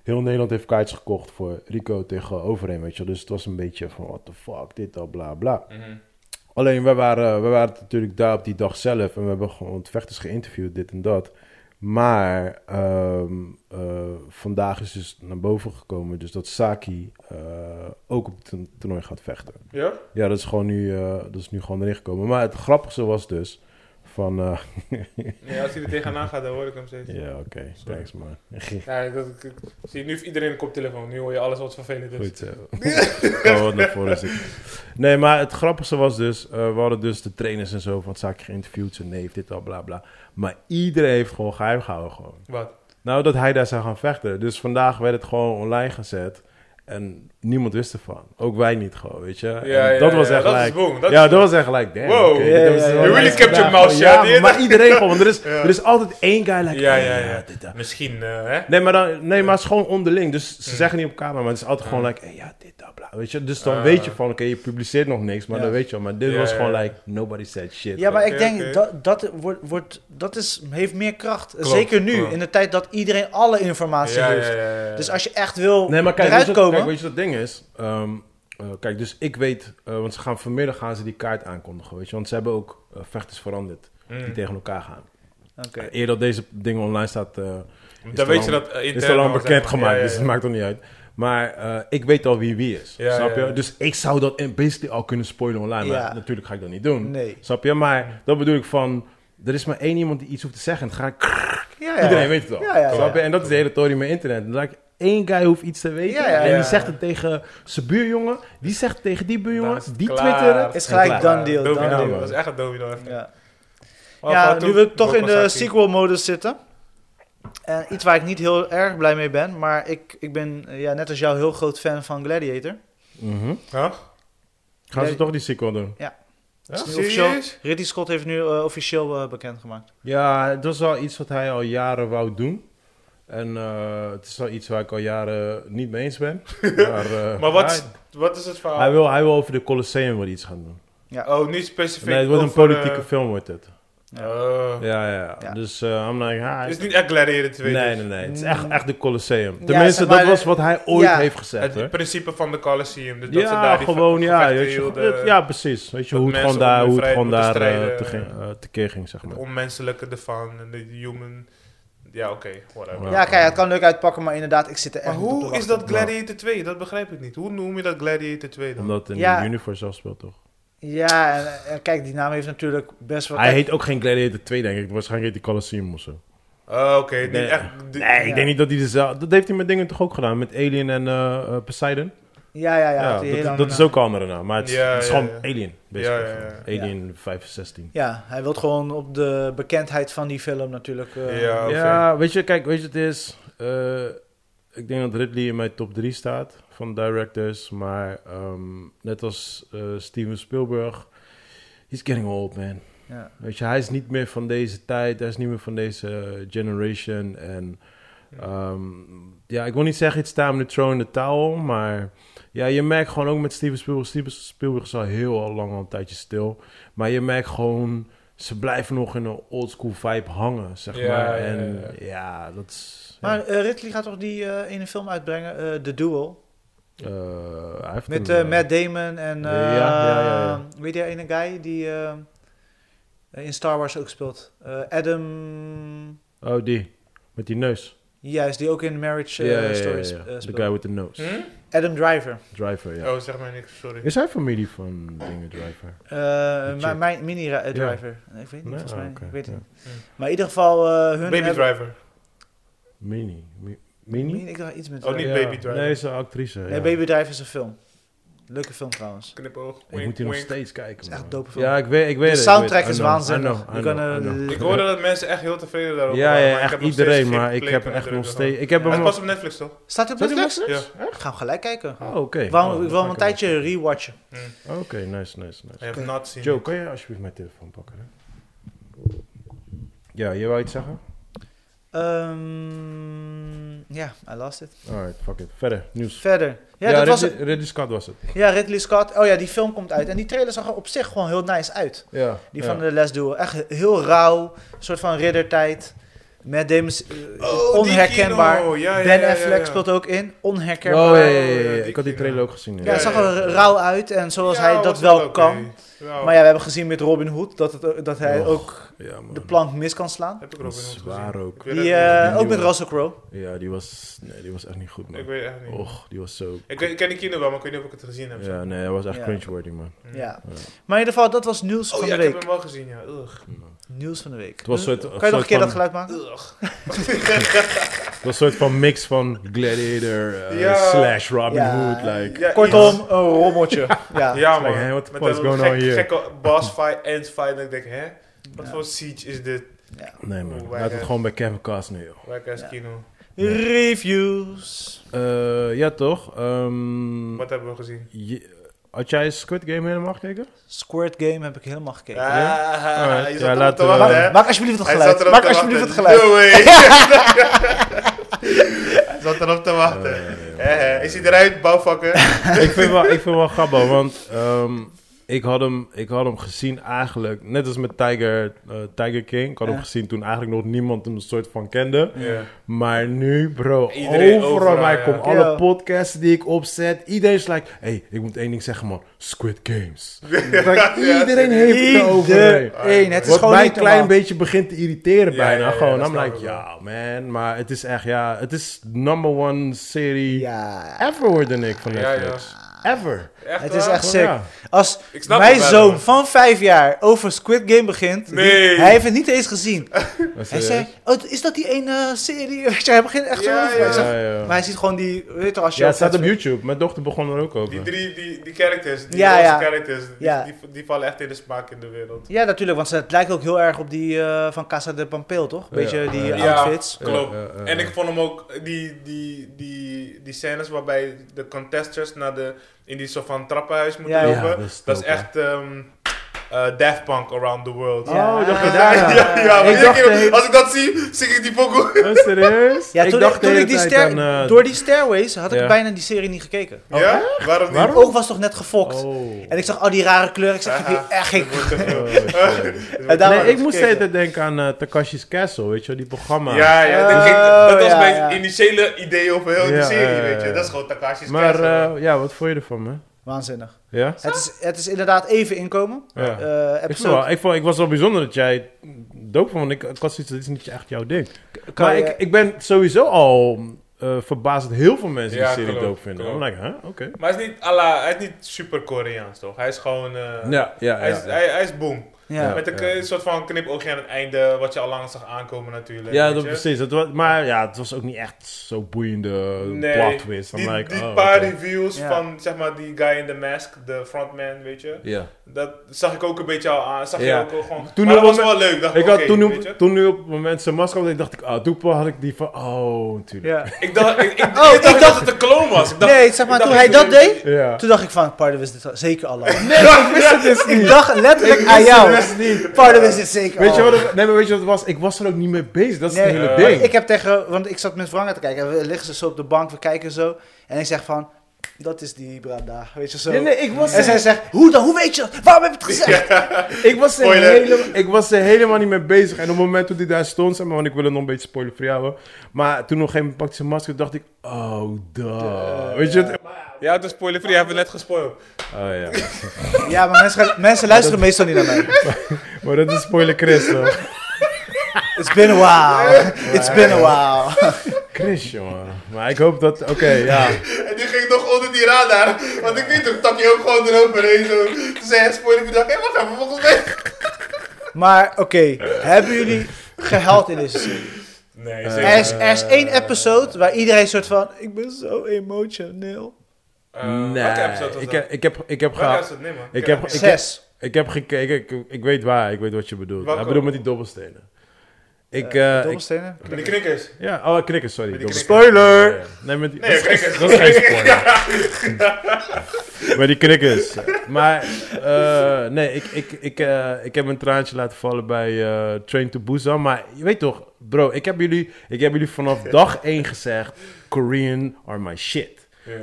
Speaker 1: heel Nederland heeft kaartjes gekocht voor Rico tegen Overeem, weet je wel. Dus het was een beetje van, what the fuck, dit al, bla, bla.
Speaker 2: Mhm.
Speaker 1: Alleen, wij waren, wij waren natuurlijk daar op die dag zelf. En we hebben gewoon de vechters geïnterviewd, dit en dat. Maar ehm, eh, vandaag is dus naar boven gekomen... dus dat Saki eh, ook op het toernooi gaat vechten.
Speaker 2: Ja?
Speaker 1: Ja, dat is gewoon nu, eh, dat is nu gewoon erin gekomen. Maar het grappigste was dus van... eh,
Speaker 2: [laughs] Ja, als hij er tegenaan gaat, dan hoor ik hem steeds.
Speaker 1: ja, oké,
Speaker 2: Sorry.
Speaker 1: thanks man.
Speaker 2: [laughs] Ja, dat, ik, ik zie nu heeft iedereen een koptelefoon. Nu hoor je alles wat vervelend is.
Speaker 1: Goed zo. [laughs] Kan wat naar voren zitten. Nee, maar het grappigste was dus... eh, we hadden dus de trainers en zo van Saki geïnterviewd. Zijn neef, dit al, bla bla. Maar iedereen heeft gewoon geheim gehouden gewoon.
Speaker 2: Wat?
Speaker 1: Nou, dat hij daar zou gaan vechten. Dus vandaag werd het gewoon online gezet. En niemand wist ervan. Ook wij niet gewoon, weet je.
Speaker 2: Ja,
Speaker 1: En
Speaker 2: ja,
Speaker 1: dat was
Speaker 2: ja,
Speaker 1: echt
Speaker 2: dat
Speaker 1: like-
Speaker 2: is boom. Dat
Speaker 1: ja,
Speaker 2: is
Speaker 1: dat was echt gelijk. Damn,
Speaker 2: Wow.
Speaker 1: oké,
Speaker 3: Ja,
Speaker 1: dit
Speaker 3: ja,
Speaker 1: was wel
Speaker 3: ja, You
Speaker 1: nice
Speaker 2: really kept your
Speaker 1: gedaan.
Speaker 2: mouth shut,
Speaker 1: Ja,
Speaker 2: yeah.
Speaker 1: maar iedereen gewoon. want Er
Speaker 2: [laughs]
Speaker 1: is, er is altijd één guy like... "Ah,
Speaker 2: Ja, ja, ja.
Speaker 1: dit, dat.
Speaker 2: Misschien, eh, hè?
Speaker 1: Nee, maar, dan, nee, maar het is gewoon onderling. Dus ze zeggen niet op camera, maar het is altijd gewoon like... hey, ja, dit, dat, bla. Weet je? Dus dan
Speaker 2: Ah.
Speaker 1: weet je van, oké, je publiceert nog niks. Maar
Speaker 3: Ja.
Speaker 1: dan weet je al. Maar dit
Speaker 2: Ja,
Speaker 1: was
Speaker 2: ja,
Speaker 1: gewoon
Speaker 2: ja.
Speaker 1: like... Nobody said shit.
Speaker 3: Ja, maar
Speaker 2: Oké,
Speaker 3: ik denk
Speaker 2: oké.
Speaker 3: dat dat, wordt, wordt, dat is, heeft meer kracht.
Speaker 2: Klopt,
Speaker 3: Zeker nu,
Speaker 2: klopt.
Speaker 3: in de tijd dat iedereen alle informatie
Speaker 2: Ja,
Speaker 3: heeft.
Speaker 2: ja, ja, ja.
Speaker 3: Dus als je echt wil
Speaker 1: Nee, maar kijk, weet
Speaker 3: eruit
Speaker 1: je, wat-
Speaker 3: komen.
Speaker 1: kijk, weet je wat het ding is? Ehm, eh, kijk, dus ik weet, eh, want ze gaan vanmiddag gaan ze die kaart aankondigen, weet je. Want ze hebben ook eh, vechters veranderd
Speaker 2: Mm.
Speaker 1: die tegen elkaar gaan.
Speaker 3: Oké.
Speaker 1: Eer dat deze dingen online staat, eh,
Speaker 2: Dan
Speaker 1: het
Speaker 2: weet
Speaker 1: al-
Speaker 2: je dat eh,
Speaker 1: is
Speaker 2: intern
Speaker 1: het al
Speaker 2: al,
Speaker 1: lang
Speaker 2: zeg
Speaker 1: bekend
Speaker 2: maar.
Speaker 1: gemaakt,
Speaker 2: Ja, ja,
Speaker 1: dus het
Speaker 2: ja.
Speaker 1: maakt toch niet uit. Maar eh, ik weet al wie wie is,
Speaker 2: Ja,
Speaker 1: snap je?
Speaker 2: ja, ja.
Speaker 1: Dus ik zou dat in principe al kunnen spoilen online,
Speaker 3: Ja.
Speaker 1: maar natuurlijk ga ik dat niet doen.
Speaker 3: Nee.
Speaker 1: Snap je? Maar dat bedoel ik van, er is maar één iemand die iets hoeft te zeggen. Dan ga ik
Speaker 3: Ja, ja.
Speaker 1: Iedereen weet het al.
Speaker 3: Ja, ja, ja.
Speaker 1: Snap je? En dat is de hele theorie met internet. Dan denk ik, één guy hoeft iets te weten.
Speaker 3: Ja, ja,
Speaker 1: En
Speaker 2: ja.
Speaker 1: die zegt het tegen zijn buurjongen. Die zegt het tegen die
Speaker 2: Dan
Speaker 1: buurjongen.
Speaker 2: is het
Speaker 1: Die
Speaker 2: klaar.
Speaker 1: twitteren.
Speaker 3: Is gelijk
Speaker 1: En klaar.
Speaker 3: done deal,
Speaker 2: Domino,
Speaker 1: done deal.
Speaker 2: Dat is echt een domino effect.
Speaker 3: Ja,
Speaker 2: Oh,
Speaker 3: ja
Speaker 2: Fatou,
Speaker 3: nu we toch in de
Speaker 2: Bokkasaki.
Speaker 3: sequel-modus zitten. En iets waar ik niet heel erg blij mee ben. Maar ik, ik ben eh, ja, net als jou heel groot fan van Gladiator.
Speaker 1: Mhm.
Speaker 2: Huh?
Speaker 1: Gaan ze
Speaker 3: Nee.
Speaker 1: toch die sequel doen?
Speaker 2: Ja?
Speaker 3: Is nu officieel,
Speaker 2: Serieus?
Speaker 3: Ridley Scott heeft nu eh, officieel eh, bekendgemaakt.
Speaker 1: Ja, dat is wel iets wat hij al jaren wou doen. En eh, het is wel iets waar ik al jaren niet mee eens
Speaker 3: [laughs]
Speaker 1: ben. Maar, eh,
Speaker 2: Maar wat,
Speaker 1: hij,
Speaker 2: is- wat is het verhaal?
Speaker 1: hij wil, hij wil over de Colosseum wel iets gaan doen.
Speaker 2: Oh, niet specifiek.
Speaker 1: Nee, het wordt een
Speaker 2: over,
Speaker 1: politieke film, wordt het.
Speaker 2: eh, oh.
Speaker 1: Ja, ja.
Speaker 3: Ja.
Speaker 1: Dus eh I'm like, hi.
Speaker 2: Het is niet echt Gladiator 2.
Speaker 1: Nee,
Speaker 2: dus.
Speaker 1: nee, nee. Het is
Speaker 3: Mm.
Speaker 1: echt, echt de Colosseum.
Speaker 3: Ja,
Speaker 1: Tenminste,
Speaker 3: zeg maar,
Speaker 1: dat was
Speaker 3: eh,
Speaker 1: wat hij ooit
Speaker 3: ja.
Speaker 1: heeft gezegd.
Speaker 2: Het
Speaker 1: hè?
Speaker 2: principe van de Colosseum. Dus dat ze
Speaker 1: Ja,
Speaker 2: daar die ve-
Speaker 1: gewoon, ja.
Speaker 2: gevechten
Speaker 1: weet je,
Speaker 2: hielden,
Speaker 1: het- ja, precies. Weet je,
Speaker 2: dat
Speaker 1: hoe het gewoon
Speaker 2: mensen om
Speaker 1: daar,
Speaker 2: hun
Speaker 1: hoe het
Speaker 2: vrijheid
Speaker 1: gewoon daar
Speaker 2: moeten
Speaker 1: eh, te
Speaker 2: strijden.
Speaker 1: ging- eh, tekeer ging, zeg
Speaker 2: Het
Speaker 1: maar.
Speaker 2: onmenselijke ervan. En de human... Ja, oké, whatever.
Speaker 1: Ja.
Speaker 3: Ja, kijk, het kan leuk uitpakken, maar inderdaad, ik zit er echt
Speaker 2: Maar
Speaker 3: niet op te
Speaker 2: hoe is
Speaker 3: wachten.
Speaker 2: dat Gladiator 2? Dat begrijp ik niet. Hoe noem je dat Gladiator 2 dan?
Speaker 1: Omdat in
Speaker 3: Ja.
Speaker 1: de universe afspeelt, toch?
Speaker 3: Ja, en, en kijk, die naam heeft natuurlijk best wel...
Speaker 1: Hij heet ook geen Gladiator 2, denk ik. Waarschijnlijk heet hij Colosseum of zo.
Speaker 2: Oh, oké. die
Speaker 1: Nee.
Speaker 2: echt- die-
Speaker 1: Nee,
Speaker 3: Ja.
Speaker 1: ik denk niet dat hij dezelfde... Dat heeft hij met dingen toch ook gedaan? Met Alien en eh, eh, Poseidon?
Speaker 3: Ja, ja, ja. die hele
Speaker 1: dat,
Speaker 3: andere
Speaker 1: dat is
Speaker 3: naam.
Speaker 1: ook een andere naam. Maar het is,
Speaker 2: Ja,
Speaker 1: het is
Speaker 2: ja,
Speaker 1: gewoon
Speaker 2: ja.
Speaker 1: Alien, basically.
Speaker 2: Ja, ja,
Speaker 3: ja.
Speaker 1: Alien 516.
Speaker 3: Ja, hij wil gewoon op de bekendheid van die film natuurlijk... eh,
Speaker 2: Ja. oké.
Speaker 1: Ja, weet je, kijk, weet je, het is... eh, ik denk dat Ridley in mijn top 3 staat van directors. Maar ehm, net als eh, Steven Spielberg, he's getting old, man.
Speaker 3: ja.
Speaker 1: Weet je, hij is niet meer van deze tijd, hij is niet meer van deze eh, generation. En ehm, ja, ik wil niet zeggen, it's time to throw in the towel, maar ja, je merkt gewoon ook met Steven Spielberg. Steven Spielberg is al heel al lang al een tijdje stil, maar je merkt gewoon, ze blijven nog in een oldschool vibe hangen, zeg
Speaker 2: Ja,
Speaker 1: maar.
Speaker 2: ja,
Speaker 1: En ja,
Speaker 2: ja.
Speaker 1: dat is. ja.
Speaker 3: Maar eh, Ridley gaat toch die eh, ene film uitbrengen, eh The Duel?
Speaker 1: Eh, hij heeft
Speaker 3: Met
Speaker 1: een,
Speaker 3: eh,
Speaker 1: eh,
Speaker 3: Matt Damon en... eh
Speaker 1: Ja, ja, ja, ja.
Speaker 3: Weet je, die ene guy die eh, in Star Wars ook speelt? Eh, Adam...
Speaker 1: Oh, die. Met die neus.
Speaker 3: Juist, die ook in Marriage
Speaker 1: Ja,
Speaker 3: eh,
Speaker 1: ja, ja, ja,
Speaker 3: Stories
Speaker 1: ja.
Speaker 3: eh,
Speaker 1: The
Speaker 3: speelt.
Speaker 1: guy with the nose.
Speaker 2: Hm?
Speaker 3: Adam Driver.
Speaker 1: Driver, ja.
Speaker 2: Oh, zeg maar niks, sorry.
Speaker 1: Is hij familie van dingen Driver?
Speaker 3: Eh,
Speaker 1: Die
Speaker 3: maar
Speaker 1: chick.
Speaker 3: mijn mini eh,
Speaker 1: Ja.
Speaker 3: driver. Ik weet niet,
Speaker 1: Nee,
Speaker 3: volgens mij.
Speaker 1: oh, oké,
Speaker 3: ik weet het
Speaker 1: ja.
Speaker 3: niet. Maar in ieder geval eh, hun
Speaker 2: Baby
Speaker 3: hebben-
Speaker 2: Driver.
Speaker 1: Mini. Mi- Mini?
Speaker 3: Mini- Ik dacht iets met
Speaker 2: Oh, niet
Speaker 3: driver.
Speaker 1: Ja.
Speaker 2: Baby Driver.
Speaker 1: Nee, is een actrice.
Speaker 3: Nee,
Speaker 1: ja.
Speaker 3: Baby Driver is een film. Leuke film trouwens.
Speaker 2: Knipoog.
Speaker 1: Ik moet
Speaker 2: Wink,
Speaker 1: die nog
Speaker 2: wink.
Speaker 1: steeds kijken.
Speaker 3: is echt
Speaker 1: man.
Speaker 3: dope film.
Speaker 1: Ja, ik weet, ik weet
Speaker 3: De
Speaker 1: het, ik
Speaker 3: soundtrack
Speaker 1: weet het.
Speaker 3: is
Speaker 1: I know,
Speaker 3: waanzinnig.
Speaker 1: I know,
Speaker 3: Je
Speaker 1: I
Speaker 3: kan,
Speaker 1: know,
Speaker 3: eh,
Speaker 1: I know.
Speaker 2: Ik hoorde dat mensen echt heel tevreden daarover
Speaker 1: Ja,
Speaker 2: waren,
Speaker 1: ja,
Speaker 2: maar ik
Speaker 1: echt
Speaker 2: heb nog steeds
Speaker 1: iedereen,
Speaker 2: geen
Speaker 1: maar ik
Speaker 2: play
Speaker 1: heb
Speaker 2: kunnen
Speaker 1: echt nog
Speaker 2: drukken.
Speaker 1: steeds... Ik heb
Speaker 2: Maar
Speaker 1: hem
Speaker 2: Het
Speaker 1: al-
Speaker 2: was op Netflix toch?
Speaker 3: Staat hij op
Speaker 1: Staat hij op
Speaker 3: Netflix?
Speaker 1: Netflix?
Speaker 3: Ik ga hem gelijk kijken.
Speaker 1: Oh, oké.
Speaker 3: Ik wou,
Speaker 1: Oh,
Speaker 3: ik wil hem een
Speaker 1: oké.
Speaker 3: tijdje rewatchen.
Speaker 1: Oké, nice, nice,
Speaker 2: Hm, I
Speaker 1: nice.
Speaker 2: have not seen
Speaker 1: Joe, kan je alsjeblieft mijn telefoon pakken? Hè? Ja, je wou iets zeggen?
Speaker 3: Ehm, ja, I lost it.
Speaker 1: Alright, fuck it. Verder, nieuws.
Speaker 3: Verder. Ja, dat was
Speaker 1: Ridley, Ridley Scott was het.
Speaker 3: het. Ja, Ridley Scott. Oh ja, die film komt uit. En die trailer zag er op zich gewoon heel nice uit.
Speaker 1: Ja.
Speaker 3: Die
Speaker 1: ja.
Speaker 3: van de Les Duel. Echt heel rauw. Een soort van riddertijd. Met Damon's eh, onherkenbaar.
Speaker 2: Oh, die kino. Oh, Ja, ja,
Speaker 3: ben
Speaker 2: ja, ja,
Speaker 3: Affleck
Speaker 2: ja.
Speaker 3: speelt ook in.
Speaker 1: Oh,
Speaker 3: Onherkenbaar.
Speaker 1: ja, ja,
Speaker 2: Oh,
Speaker 1: ja, ja.
Speaker 2: ja, die
Speaker 1: Ik had die
Speaker 2: kino.
Speaker 1: trailer ook gezien.
Speaker 3: Ja,
Speaker 1: Ja.
Speaker 3: het zag er
Speaker 2: ja, ja.
Speaker 3: rauw uit. En zoals
Speaker 2: Ja,
Speaker 3: hij
Speaker 2: was
Speaker 3: dat
Speaker 2: wel
Speaker 3: wel
Speaker 2: oké.
Speaker 3: kan.
Speaker 2: Ja,
Speaker 3: Maar ja, we hebben gezien met Robin Hood dat, het, dat hij
Speaker 1: Och,
Speaker 3: ook
Speaker 1: Ja, man.
Speaker 3: de plank mis kan slaan.
Speaker 2: Heb ik er ook in ons
Speaker 1: Zwaar
Speaker 2: gezien.
Speaker 1: ook.
Speaker 2: Ik weet
Speaker 3: Die,
Speaker 2: echt
Speaker 3: eh,
Speaker 1: die
Speaker 3: ook met
Speaker 1: nieuwe.
Speaker 3: Russell Crowe.
Speaker 1: Ja, die was... Nee, die was echt niet goed,
Speaker 2: niet. Ik
Speaker 1: man.
Speaker 2: weet echt niet.
Speaker 1: Och, die was zo...
Speaker 2: Ik, weet- ik ken die kino wel, maar ik weet niet of ik het gezien heb.
Speaker 1: Ja, nee, hij was echt
Speaker 3: Ja.
Speaker 1: cringeworthy, man.
Speaker 2: Hm.
Speaker 3: Ja. Maar in ieder geval, dat was nieuws
Speaker 2: Oh
Speaker 3: van
Speaker 2: ja,
Speaker 3: de
Speaker 2: ik heb
Speaker 3: week.
Speaker 2: hem wel gezien, ja. Ugh.
Speaker 3: Nieuws van de week.
Speaker 1: was een soort-
Speaker 3: kan je
Speaker 1: soort
Speaker 3: nog een keer
Speaker 1: van-
Speaker 3: dat geluid maken?
Speaker 2: Ugh.
Speaker 1: Het was een soort van mix van Gladiator eh,
Speaker 2: Ja.
Speaker 1: slash Robin
Speaker 3: Ja.
Speaker 1: Hood. Like.
Speaker 2: Ja,
Speaker 3: Kortom, een rommeltje. Ja.
Speaker 2: Ja,
Speaker 1: Like,
Speaker 2: man.
Speaker 1: hey, what the
Speaker 2: Met
Speaker 1: fuck is
Speaker 2: een
Speaker 1: going
Speaker 2: gek-
Speaker 1: on here?
Speaker 2: gekke boss fight, end fight. En ik denk, hè? Wat
Speaker 3: Ja.
Speaker 2: voor siege is dit?
Speaker 1: Nee man,
Speaker 2: Oeh,
Speaker 1: laat het
Speaker 2: eh,
Speaker 1: gewoon bij Kevin Costner joh.
Speaker 2: Wack-ass
Speaker 3: Ja.
Speaker 2: kino.
Speaker 3: Reviews.
Speaker 1: Eh, ja toch? Ehm,
Speaker 2: Wat hebben we gezien?
Speaker 1: je- had jij Squid Game helemaal gekeken? [laughs]
Speaker 3: Squid Game heb ik helemaal gekeken.
Speaker 2: Ah,
Speaker 1: Alright, ja,
Speaker 2: je zat erop
Speaker 1: laten
Speaker 2: te
Speaker 1: we-
Speaker 2: wachten,
Speaker 1: Ja.
Speaker 2: hè?
Speaker 3: Maak alsjeblieft het
Speaker 2: Hij zat
Speaker 3: geluid.
Speaker 2: erop
Speaker 3: Maak
Speaker 2: te
Speaker 3: alsjeblieft het
Speaker 2: wachten.
Speaker 3: geluid.
Speaker 2: No way.
Speaker 3: [laughs]
Speaker 2: Hij zat erop te wachten. Eh, eh, is hij eruit, bouwvakker?
Speaker 1: ik, vind wel, ik vind wel grappig, want ehm, ik, had hem, ik had hem gezien eigenlijk, net als met Tiger, eh, Tiger King, ik had
Speaker 3: Ja.
Speaker 1: hem gezien toen eigenlijk nog niemand hem een soort van kende.
Speaker 2: Ja.
Speaker 1: Maar nu, bro,
Speaker 2: Iedereen
Speaker 1: overal,
Speaker 2: overal,
Speaker 1: waar ik
Speaker 2: ja.
Speaker 1: kom, alle
Speaker 3: Ja.
Speaker 1: podcasts die ik opzet, iedereen is like, hey, ik moet één ding zeggen man, Squid Games. Like,
Speaker 3: [laughs]
Speaker 1: iedereen heeft het erover.
Speaker 3: Iedereen. Het is
Speaker 1: Wat
Speaker 3: gewoon
Speaker 1: mij
Speaker 3: niet
Speaker 1: een klein
Speaker 3: normaal.
Speaker 1: beetje begint te irriteren
Speaker 2: Ja,
Speaker 1: bijna.
Speaker 2: ja, ja,
Speaker 1: gewoon,
Speaker 2: dat
Speaker 1: I'm
Speaker 2: snap
Speaker 1: like,
Speaker 2: ik wel.
Speaker 1: ja man. Maar het is echt, ja, het is number one serie
Speaker 3: Ja.
Speaker 1: ever, hoorde ik van
Speaker 2: Ja, ja.
Speaker 1: Netflix. Ever.
Speaker 2: Echt
Speaker 3: Het is
Speaker 2: waar?
Speaker 3: echt sick.
Speaker 1: Ja.
Speaker 3: Als
Speaker 2: Ik snap
Speaker 3: mijn
Speaker 2: het wel,
Speaker 3: zoon
Speaker 2: man.
Speaker 3: van vijf jaar over Squid Game begint,
Speaker 2: Nee.
Speaker 3: hij heeft het niet eens gezien.
Speaker 1: Dat
Speaker 3: Hij
Speaker 1: is-
Speaker 3: zei, oh, is dat die ene serie? [laughs] Weet je, hij begint echt zo.
Speaker 2: Ja,
Speaker 3: over.
Speaker 2: ja.
Speaker 3: Ik zeg,
Speaker 1: Ja, ja.
Speaker 3: Maar hij ziet gewoon die, weet je toch, als je
Speaker 1: Ja,
Speaker 3: op
Speaker 1: het staat op
Speaker 3: Netflix-
Speaker 1: YouTube. Mijn dochter begon er ook
Speaker 2: Die
Speaker 1: over.
Speaker 2: drie, die, die characters, die
Speaker 3: Ja,
Speaker 2: roze
Speaker 3: ja.
Speaker 2: characters, die,
Speaker 3: Ja.
Speaker 2: die, die vallen echt in de smaak in de wereld.
Speaker 3: Ja, natuurlijk, want het lijkt ook heel erg op die eh, van Casa de Pampeel, toch? Beetje
Speaker 1: Ja.
Speaker 3: die
Speaker 1: Ja.
Speaker 3: outfits.
Speaker 2: Klopt.
Speaker 1: Ja, ja, ja,
Speaker 2: En
Speaker 1: ja.
Speaker 2: ik vond hem ook, die, die, die, die scènes waarbij de contesters naar de, in die soort van trappenhuis moeten
Speaker 3: Ja, ja.
Speaker 2: lopen,
Speaker 1: Ja, dat is
Speaker 2: dat, is
Speaker 1: dope, hè?
Speaker 2: echt ehm eh, Daft Punk around the world.
Speaker 3: Ja.
Speaker 1: Oh, dacht je
Speaker 3: Ah.
Speaker 1: daar?
Speaker 2: [laughs] Ja,
Speaker 1: Ja,
Speaker 2: ja, maar
Speaker 1: Ik
Speaker 2: ik
Speaker 1: dacht
Speaker 2: keer-
Speaker 1: de hele-
Speaker 2: als ik dat zie, zing ik die pokoe.
Speaker 1: Oh, serieus?
Speaker 3: Ja, toen ik,
Speaker 1: dacht de
Speaker 3: toen ik
Speaker 1: hele
Speaker 3: die
Speaker 1: tijd
Speaker 3: ster-
Speaker 1: aan, eh,
Speaker 3: door die stairways had ik
Speaker 1: ja.
Speaker 3: bijna die serie niet gekeken.
Speaker 2: ja? Waarom niet? [laughs]
Speaker 1: Waarom?
Speaker 3: Mijn oog was toch net gefokt.
Speaker 1: Oh. Ah.
Speaker 3: En ik zag al die rare kleuren. Ik zeg, ik heb
Speaker 2: Haha,
Speaker 3: hier echt geen...
Speaker 2: dit wordt te veel.
Speaker 1: Oh, shit.
Speaker 2: Dit
Speaker 3: En
Speaker 2: wordt-
Speaker 3: daar-
Speaker 1: Nee,
Speaker 3: maar-
Speaker 1: ik moest de hele tijd denken aan eh, Takashi's Castle, weet je wel, die programma.
Speaker 2: Ja, ja, dat-
Speaker 3: Oh,
Speaker 2: kijk, dat was
Speaker 3: ja,
Speaker 2: mijn
Speaker 3: ja.
Speaker 2: initiële idee over heel die
Speaker 1: Ja,
Speaker 2: serie,
Speaker 1: ja, ja,
Speaker 2: weet je.
Speaker 1: ja.
Speaker 2: Dat is gewoon Takashi's
Speaker 1: Maar
Speaker 2: Castle.
Speaker 1: eh, ja, wat vond je ervan, hè?
Speaker 3: Waanzinnig.
Speaker 1: Ja?
Speaker 3: Het is, het is inderdaad even inkomen.
Speaker 1: Ja.
Speaker 3: Eh,
Speaker 1: Ik, vond wel-
Speaker 3: episode...
Speaker 1: ik, vond, ik was wel bijzonder dat jij dope van, want ik, ik had zoiets, dit is niet echt jouw ding.
Speaker 3: Kan
Speaker 1: maar
Speaker 3: je-
Speaker 1: ik, ik ben sowieso al eh, verbaasd dat heel veel mensen
Speaker 2: Ja,
Speaker 1: die serie
Speaker 2: klopt,
Speaker 1: dope vinden.
Speaker 2: klopt.
Speaker 1: I'm like, huh? Oké.
Speaker 2: Maar hij is niet, à la, hij is niet super Koreaans, toch? Hij is gewoon... eh,
Speaker 1: Ja, ja,
Speaker 2: hij, is,
Speaker 1: ja.
Speaker 2: Hij, hij is boom.
Speaker 3: ja.
Speaker 2: Met een
Speaker 1: ja.
Speaker 2: k- soort van knipoogje aan het einde, wat je al lang zag aankomen natuurlijk.
Speaker 1: Ja,
Speaker 2: weet
Speaker 1: dat,
Speaker 2: je.
Speaker 1: precies. Dat was, maar ja, het was ook niet echt zo boeiende
Speaker 2: Nee,
Speaker 1: plot twist. I'm
Speaker 2: Die,
Speaker 1: like,
Speaker 2: die
Speaker 1: oh,
Speaker 2: paar
Speaker 1: oké.
Speaker 2: reviews
Speaker 3: Ja.
Speaker 2: van, zeg maar, die guy in the mask, de frontman, weet je.
Speaker 1: Ja.
Speaker 2: Dat zag ik ook een beetje al aan. Zag
Speaker 1: Ja.
Speaker 2: je ook al gewoon...
Speaker 1: Toen
Speaker 2: maar dat
Speaker 1: op
Speaker 2: was
Speaker 1: het
Speaker 2: wel leuk. Dacht
Speaker 1: Ik
Speaker 2: oké,
Speaker 1: had toen,
Speaker 2: weet je.
Speaker 1: nu, toen nu op het moment zijn masker opdeed, dacht ik, ah, toen had ik die van, oh, natuurlijk.
Speaker 3: Ja.
Speaker 2: Ik dacht, ik,
Speaker 1: [laughs]
Speaker 2: ik,
Speaker 3: Oh,
Speaker 2: ik dacht
Speaker 3: ik
Speaker 2: dat het een kloon was. Ik dacht,
Speaker 3: Nee, zeg maar,
Speaker 2: ik
Speaker 3: toen
Speaker 2: dacht
Speaker 3: hij dat
Speaker 2: iedereen-
Speaker 3: deed,
Speaker 1: Ja.
Speaker 3: toen dacht ik van, Pardo wist dit al- zeker al. lang.
Speaker 1: Nee, ik wist het dus
Speaker 3: [laughs] Ik
Speaker 1: niet.
Speaker 3: dacht letterlijk aan Ah, jou.
Speaker 1: dus
Speaker 3: Pardo wist dit zeker
Speaker 1: Weet
Speaker 3: al.
Speaker 1: je, wat het, nee, maar weet je wat het was? Ik was er ook niet mee bezig. Dat is het
Speaker 3: Oh. Nee,
Speaker 1: hele
Speaker 2: eh,
Speaker 1: ding.
Speaker 3: Ik heb tegen, want ik zat met Wanga te kijken. en We liggen ze zo op de bank, we kijken zo. En ik zeg van, dat is die Brada. Weet je zo.
Speaker 1: Nee, nee, ik was
Speaker 3: en
Speaker 1: er,
Speaker 3: zij zegt, hoe dan? Hoe weet je dat? Waarom heb je het gezegd?
Speaker 1: ik was er,
Speaker 2: Spoiler.
Speaker 1: helemaal, ik was er helemaal niet mee bezig. En op het moment toen hij daar stond, zeg maar, want ik wil het nog een beetje spoilen voor jou. hoor. Maar toen nog een gegeven moment pakte zijn masker, dacht ik, oh, duh. Weet je wat?
Speaker 2: Ja, het is spoiler free. Hebben we net gespoild.
Speaker 1: Oh ja.
Speaker 3: Ja, maar mensen, gaan- mensen luisteren meestal niet naar mij.
Speaker 1: Maar dat is spoiler Chris, hoor.
Speaker 3: It's been a while. It's been a while.
Speaker 1: Chris, jongen. Maar ik hoop dat... Oké, ja.
Speaker 2: [laughs] En die ging nog onder die radar. Want ik weet toen tak je ook gewoon eroverheen. Zo. Toen zei hij spoiler free. dacht ik, hé, wacht even. Volgens mij...
Speaker 3: Maar oké, hebben jullie gehuild in deze serie?
Speaker 2: Nee,
Speaker 1: zeker.
Speaker 3: Er is, er is één episode waar iedereen soort van, ik ben zo emotioneel.
Speaker 2: Eh,
Speaker 1: nee. Ik, heb- ik heb, ik heb
Speaker 2: Welke
Speaker 1: gehaald.
Speaker 2: episode? Nee, man.
Speaker 1: Ik heb-
Speaker 2: Welke
Speaker 1: ik-
Speaker 3: Zes.
Speaker 1: Ik heb gekeken, ik, ik weet waar, ik weet wat je bedoelt.
Speaker 2: Welke?
Speaker 1: Ik bedoel met die dobbelstenen. Ik,
Speaker 3: Eh,
Speaker 1: eh, ik-
Speaker 3: dobbelstenen?
Speaker 2: Met die knikkers.
Speaker 1: ja, oh, knikken, sorry.
Speaker 2: Met die
Speaker 1: dobbelstenen.
Speaker 3: Spoiler!
Speaker 1: Ja, ja. Nee, met die,
Speaker 2: Nee,
Speaker 1: dat, is,
Speaker 2: knikkers.
Speaker 1: dat is geen spoiler.
Speaker 2: [laughs]
Speaker 1: maar die knikkers. Maar, eh, nee, ik, ik, ik, eh, ik heb een traantje laten vallen bij eh, Train to Busan. Maar je weet toch, bro, ik heb jullie, ik heb jullie
Speaker 2: [laughs]
Speaker 1: vanaf dag één gezegd, Korean are my shit.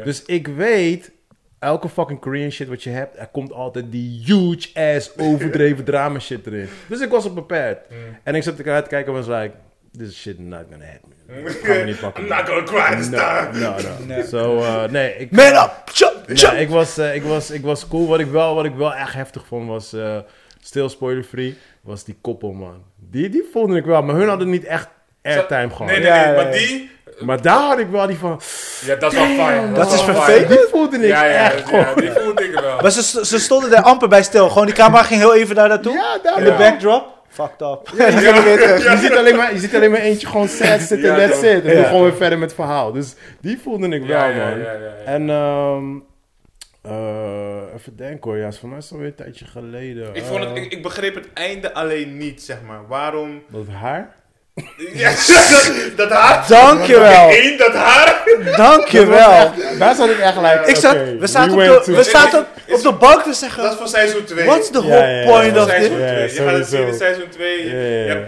Speaker 1: Dus ik weet, elke fucking Korean shit wat je hebt, er komt altijd die huge ass
Speaker 2: [laughs]
Speaker 1: overdreven drama shit erin. Dus ik was op beperkt.
Speaker 2: Mm.
Speaker 1: En ik zat eruit te kijken en was like, this shit not gonna hit
Speaker 2: [laughs]
Speaker 1: me. Ik ga me niet pakken.
Speaker 2: I'm not gonna cry this time.
Speaker 1: No, no, no. So, eh, nee, ik,
Speaker 3: Man up! Chop, chop.
Speaker 1: nee, ik, was, eh, ik, was, ik was cool. Wat ik wel, wat ik wel echt heftig vond was, eh stil spoiler free, was die koppel man. Die, die voelde ik wel, maar hun hadden niet echt airtime gehad.
Speaker 2: Nee, nee,
Speaker 3: Ja,
Speaker 2: nee.
Speaker 3: ja,
Speaker 2: Maar
Speaker 3: ja.
Speaker 2: die...
Speaker 1: Maar daar had ik wel die van,
Speaker 2: Ja, dat is wel fijn.
Speaker 3: Dat is
Speaker 2: perfect.
Speaker 3: vervelend.
Speaker 1: die voelde ik
Speaker 2: Ja, ja,
Speaker 1: echt gewoon.
Speaker 2: ja. Die voelde ik wel.
Speaker 3: Maar ze, ze stonden daar amper bij stil. Gewoon die camera ging heel even daar naartoe.
Speaker 1: Ja, daar
Speaker 3: En
Speaker 1: ja.
Speaker 3: de backdrop, fucked up. [laughs] En dan gingen we weer terug.
Speaker 1: Je, ziet alleen maar, je ziet alleen maar eentje
Speaker 2: [laughs]
Speaker 1: gewoon sad zitten
Speaker 2: Ja,
Speaker 1: en that's
Speaker 2: dat-
Speaker 1: it. En dan
Speaker 3: ja.
Speaker 1: gewoon weer verder met het verhaal. Dus die voelde ik
Speaker 2: Ja,
Speaker 1: wel,
Speaker 2: ja,
Speaker 1: man.
Speaker 2: ja, ja, ja.
Speaker 1: En ehm eh, even denken hoor. Ja, is voor mij is het alweer een tijdje geleden.
Speaker 2: Ik, vond het,
Speaker 1: Eh,
Speaker 2: ik, ik begreep het einde alleen niet, zeg maar. Waarom...
Speaker 1: Dat haar?
Speaker 2: Ja, [laughs] dat, dat haar.
Speaker 3: Dankjewel.
Speaker 2: Eén, dat haar.
Speaker 3: Dankjewel.
Speaker 1: Daar zat ik echt gelijk.
Speaker 3: Ik zat,
Speaker 1: Eh, oké,
Speaker 3: we zaten,
Speaker 1: went
Speaker 3: op, de,
Speaker 1: to-
Speaker 3: we zaten op, op de bank te
Speaker 2: Dat is
Speaker 3: zeggen,
Speaker 2: van seizoen 2.
Speaker 3: what's the
Speaker 1: Ja,
Speaker 3: whole
Speaker 1: ja, ja.
Speaker 3: point
Speaker 2: van
Speaker 3: of
Speaker 2: seizoen
Speaker 3: this?
Speaker 1: Ja,
Speaker 2: 2. Je gaat het zien in
Speaker 1: sowieso.
Speaker 2: seizoen 2.
Speaker 1: Ja, ja, ja.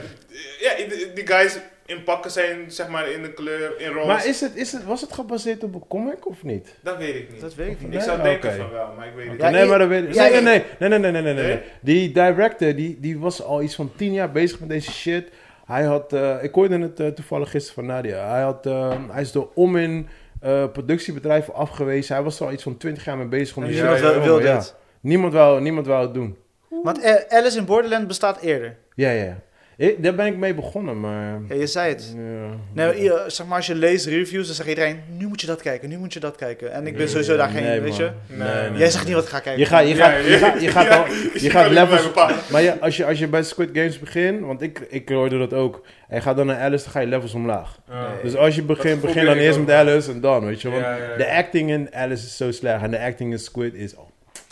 Speaker 2: Ja, ja, die, die guys in pakken zijn, zeg maar, in de kleur, in roze.
Speaker 1: Maar is het, is het, was het gebaseerd op een comic of niet?
Speaker 2: Dat weet ik niet.
Speaker 3: Dat weet ik niet.
Speaker 2: Ik zou
Speaker 1: Nee?
Speaker 2: denken
Speaker 1: Oké.
Speaker 2: van wel, maar ik weet het
Speaker 3: Ja,
Speaker 2: niet.
Speaker 1: nee,
Speaker 3: ik-
Speaker 1: maar dat weet ik.
Speaker 3: ja,
Speaker 1: nee, nee,
Speaker 3: ik-
Speaker 1: nee, nee, nee, nee, nee, nee, nee.
Speaker 2: Nee?
Speaker 1: Die director, die, die was al iets van tien jaar bezig met deze shit. Hij had, eh, ik hoorde het eh, toevallig gisteren van Nadia. Hij, had, eh, hij is door om in eh, productiebedrijven afgewezen. Hij was er al iets van twintig jaar mee bezig. Om
Speaker 3: En
Speaker 1: die
Speaker 2: Ja,
Speaker 1: shit
Speaker 3: niemand
Speaker 1: te
Speaker 2: ja,
Speaker 3: wil-
Speaker 1: filmen,
Speaker 3: wilde
Speaker 1: ja.
Speaker 3: het.
Speaker 1: Niemand wou, niemand wou het doen.
Speaker 3: Want eh, Alice in Borderland bestaat eerder.
Speaker 1: Ja, ja, ja. Ik- Daar ben ik mee begonnen, maar...
Speaker 3: Ja, je zei het.
Speaker 1: Ja.
Speaker 3: Nee, maar i- zeg maar, als je leest reviews, dan zegt iedereen, nu moet je dat kijken, nu moet je dat kijken. En ik ben sowieso daar geen,
Speaker 1: Nee,
Speaker 3: weet
Speaker 1: man.
Speaker 3: je.
Speaker 1: Nee, nee,
Speaker 3: Jij
Speaker 1: nee.
Speaker 3: zegt niet wat ik ga kijken.
Speaker 1: Je gaat, je
Speaker 2: Ja,
Speaker 1: gaat, je
Speaker 2: ja.
Speaker 1: gaat, je gaat,
Speaker 2: Ja,
Speaker 3: [laughs]
Speaker 1: al-
Speaker 2: Dus
Speaker 1: je
Speaker 2: kan
Speaker 1: gaat
Speaker 2: niet bij
Speaker 1: levels
Speaker 2: bepalen.
Speaker 1: Maar ja, als, je, als je bij Squid Games begint, want ik, ik hoorde dat ook. En gaat dan naar Alice, dan ga je levels omlaag.
Speaker 2: Ja.
Speaker 1: Dus als je begint,
Speaker 2: gevoel
Speaker 1: begin
Speaker 2: ken
Speaker 1: dan
Speaker 2: ik
Speaker 1: eerst
Speaker 2: ook.
Speaker 1: met Alice en dan, weet je. Want
Speaker 2: Ja, ja, ja.
Speaker 1: de acting in Alice is zo slecht en de acting in Squid is... oh,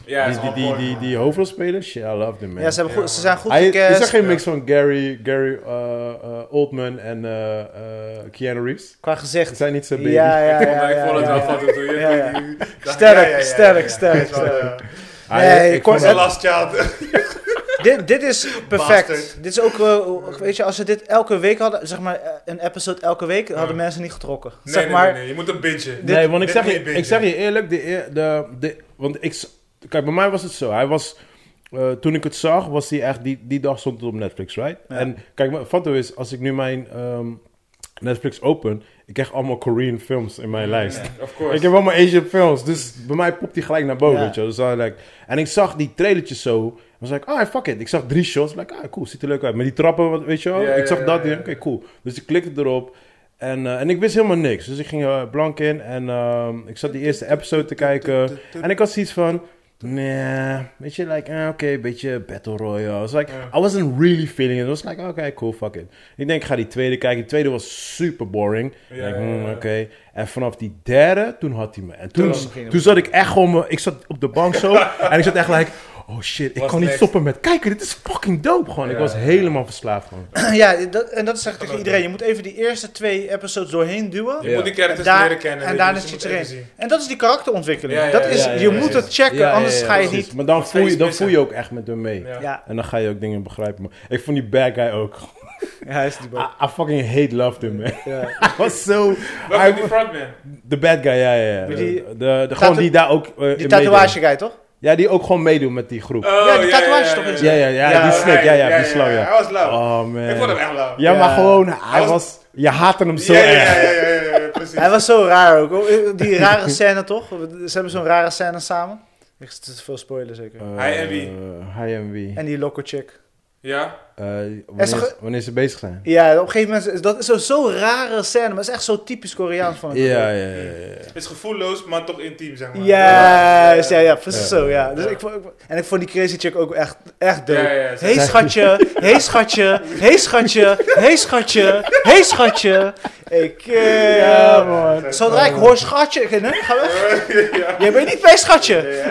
Speaker 2: Ja,
Speaker 1: die, die, die, die, die hoofdrolspeler, shit, I love them, man.
Speaker 3: Ja, ze, hebben goed, ze zijn goed
Speaker 1: Hij, is er
Speaker 3: gecast.
Speaker 1: geen mix van Gary, Gary eh, eh, Oldman en eh, eh, Keanu Reeves?
Speaker 3: Qua
Speaker 1: Het
Speaker 3: gezicht.
Speaker 1: zijn niet zijn baby.
Speaker 3: Ja, ja,
Speaker 2: Ik
Speaker 3: ja,
Speaker 2: vond- maar ik
Speaker 3: ja,
Speaker 2: vond het
Speaker 3: ja,
Speaker 2: wel
Speaker 3: ja.
Speaker 2: van toen je-
Speaker 3: Ja, ja.
Speaker 2: toen die- dacht,
Speaker 3: Sterk,
Speaker 2: ja, ja, ja, ja,
Speaker 3: sterk,
Speaker 2: ja.
Speaker 3: sterk,
Speaker 2: Het is wel,
Speaker 3: sterk.
Speaker 2: eh,
Speaker 1: Hij-
Speaker 3: Nee,
Speaker 1: ik
Speaker 3: Cor-
Speaker 1: vond
Speaker 2: The
Speaker 1: het-
Speaker 2: Last Child.
Speaker 3: Dit, dit is perfect.
Speaker 2: Bastard.
Speaker 3: Dit is ook, eh, weet je, als ze dit elke week hadden, zeg maar eh, een episode elke week, hadden
Speaker 2: Ja.
Speaker 3: mensen niet getrokken.
Speaker 2: Nee,
Speaker 3: zeg
Speaker 2: nee,
Speaker 3: maar,
Speaker 2: nee, nee, je moet een beetje.
Speaker 1: Nee, want ik
Speaker 2: dit
Speaker 1: zeg,
Speaker 2: moet
Speaker 1: je,
Speaker 2: je bingen.
Speaker 1: ik zeg je eerlijk, de, eer- de, de, want ik, s- kijk, bij mij was het zo. Hij was, eh, toen ik het zag, was hij echt, die, die dag stond het op Netflix, right?
Speaker 3: Ja.
Speaker 1: En kijk, mijn foto is, als ik nu mijn ehm, Netflix open, ik krijg allemaal Korean films in mijn lijst.
Speaker 2: Of course.
Speaker 1: Ik heb allemaal Asian films, dus bij mij popt die gelijk naar boven,
Speaker 3: Ja.
Speaker 1: weet je wel. Dus dan, like, en ik zag die trailertjes zo, en Dan zei ik, ah, fuck it. Ik zag drie shots. Ik dacht, ah, cool, ziet er leuk uit. Met die trappen, wat- weet je wel.
Speaker 2: Ja,
Speaker 1: ik zag
Speaker 2: ja,
Speaker 1: dat
Speaker 2: ja,
Speaker 1: hier.
Speaker 2: ja.
Speaker 1: Oké, cool. Dus ik klikte erop. En, eh, en ik wist helemaal niks. Dus ik ging eh, blank in. En ehm, ik zat die eerste episode te kijken. En ik had zoiets van... Nee, weet je, like, eh, oké, een beetje Battle Royale. It's like,
Speaker 2: Ja.
Speaker 1: I wasn't really feeling it. It was like, "Ah, oké, cool, fuck it. Ik denk, ik ga die tweede kijken. Die tweede was super boring.
Speaker 2: Ja,
Speaker 1: Ik denk,
Speaker 2: ja,
Speaker 1: hmm,
Speaker 2: ja.
Speaker 1: oké. En vanaf die derde, toen had hij me. En toen,
Speaker 3: Toen ging het.
Speaker 1: toen zat ik echt gewoon, me- ik zat op de bank zo. en ik zat echt like, oh shit, ik
Speaker 2: What's
Speaker 1: kan niet
Speaker 2: next?
Speaker 1: stoppen met kijken. Dit is fucking dope gewoon. ik
Speaker 2: Ja,
Speaker 1: was
Speaker 2: ja.
Speaker 1: helemaal verslaafd gewoon.
Speaker 3: [clears throat] ja, dat, en dat zeg ik tegen
Speaker 2: ook
Speaker 3: iedereen. Je moet even die eerste twee episodes doorheen duwen.
Speaker 2: Je
Speaker 1: Ja.
Speaker 2: moet die characters
Speaker 3: En daar-
Speaker 2: leren kennen.
Speaker 3: en
Speaker 2: weet
Speaker 3: daarna
Speaker 2: je, dus
Speaker 3: zit
Speaker 2: je
Speaker 3: je
Speaker 2: moet even zien.
Speaker 3: En dat is die karakterontwikkeling.
Speaker 2: Ja, ja,
Speaker 3: dat
Speaker 2: ja,
Speaker 3: is,
Speaker 2: ja, ja,
Speaker 3: je
Speaker 2: ja,
Speaker 3: moet
Speaker 2: ja.
Speaker 3: het checken,
Speaker 1: Ja, ja,
Speaker 3: anders
Speaker 1: ja,
Speaker 3: ga je
Speaker 1: precies.
Speaker 3: niet...
Speaker 1: Maar dan
Speaker 2: Nog
Speaker 1: voel, je,
Speaker 2: steeds
Speaker 1: dan
Speaker 2: missen.
Speaker 1: voel je ook echt met hem mee.
Speaker 2: Ja.
Speaker 3: Ja,
Speaker 1: En dan ga je ook dingen begrijpen. Maar ik vond die bad guy ook.
Speaker 3: hij is die
Speaker 1: I, I fucking hate loved him, man. [laughs]
Speaker 3: Ja.
Speaker 1: I was so...
Speaker 2: Welke die
Speaker 1: I-
Speaker 2: frontman?
Speaker 1: De bad guy, ja, ja, ja.
Speaker 3: Met
Speaker 1: De,
Speaker 3: die-
Speaker 1: de, de- gewoon
Speaker 3: tatu-
Speaker 1: die daar ook eh, in
Speaker 3: Die
Speaker 1: meedoet.
Speaker 3: tatoeage guy,
Speaker 1: [laughs]
Speaker 3: toch?
Speaker 1: Ja, die ook gewoon meedoet met die groep.
Speaker 2: Oh,
Speaker 3: Ja, die tatoeage toch eens.
Speaker 1: ja, ja, ja,
Speaker 3: Ja,
Speaker 1: die snik, ja, ja, die slag,
Speaker 2: Hij
Speaker 1: ja.
Speaker 2: was lauw.
Speaker 1: Oh, man.
Speaker 2: Ik vond hem echt lauw.
Speaker 1: Ja, maar
Speaker 3: Ja.
Speaker 1: gewoon, hij
Speaker 2: was-
Speaker 1: was... Je haatte hem zo
Speaker 2: ja,
Speaker 1: erg.
Speaker 2: ja, ja, ja, ja, ja, precies.
Speaker 3: Hij was zo raar ook. hoor. Eh, Die rare scène, toch? Ze hebben zo'n rare scène samen. Ik zit te veel spoiler zeker.
Speaker 1: Eh,
Speaker 2: Hij en wie?
Speaker 1: Hij en wie?
Speaker 3: En die loco chick.
Speaker 2: Ja?
Speaker 1: Eh, wanneer,
Speaker 3: En ze ge-
Speaker 1: wanneer ze bezig zijn.
Speaker 3: Ja, op een gegeven moment... is Dat is zo'n zo rare scène, maar het is echt zo typisch Koreaans van
Speaker 1: Ja, ja, ja, ja. ja.
Speaker 2: Is gevoelloos, maar toch intiem, zeg maar.
Speaker 3: Juist, ja, ja, precies
Speaker 1: Ja.
Speaker 3: zo, ja. Dus
Speaker 2: Ja.
Speaker 3: ik, vond- ik vond- en ik vond die crazy chick ook echt, echt dope.
Speaker 2: Ja, ja, ja.
Speaker 3: Hé hey, schatje, hé hey, schatje, hé hey, schatje, hé hey, schatje, hé hey, schatje. Ik, eh,
Speaker 1: Ja, man.
Speaker 3: Zodra ik hoor schatje, ik, nee, ga weg. Jij bent niet mijn schatje.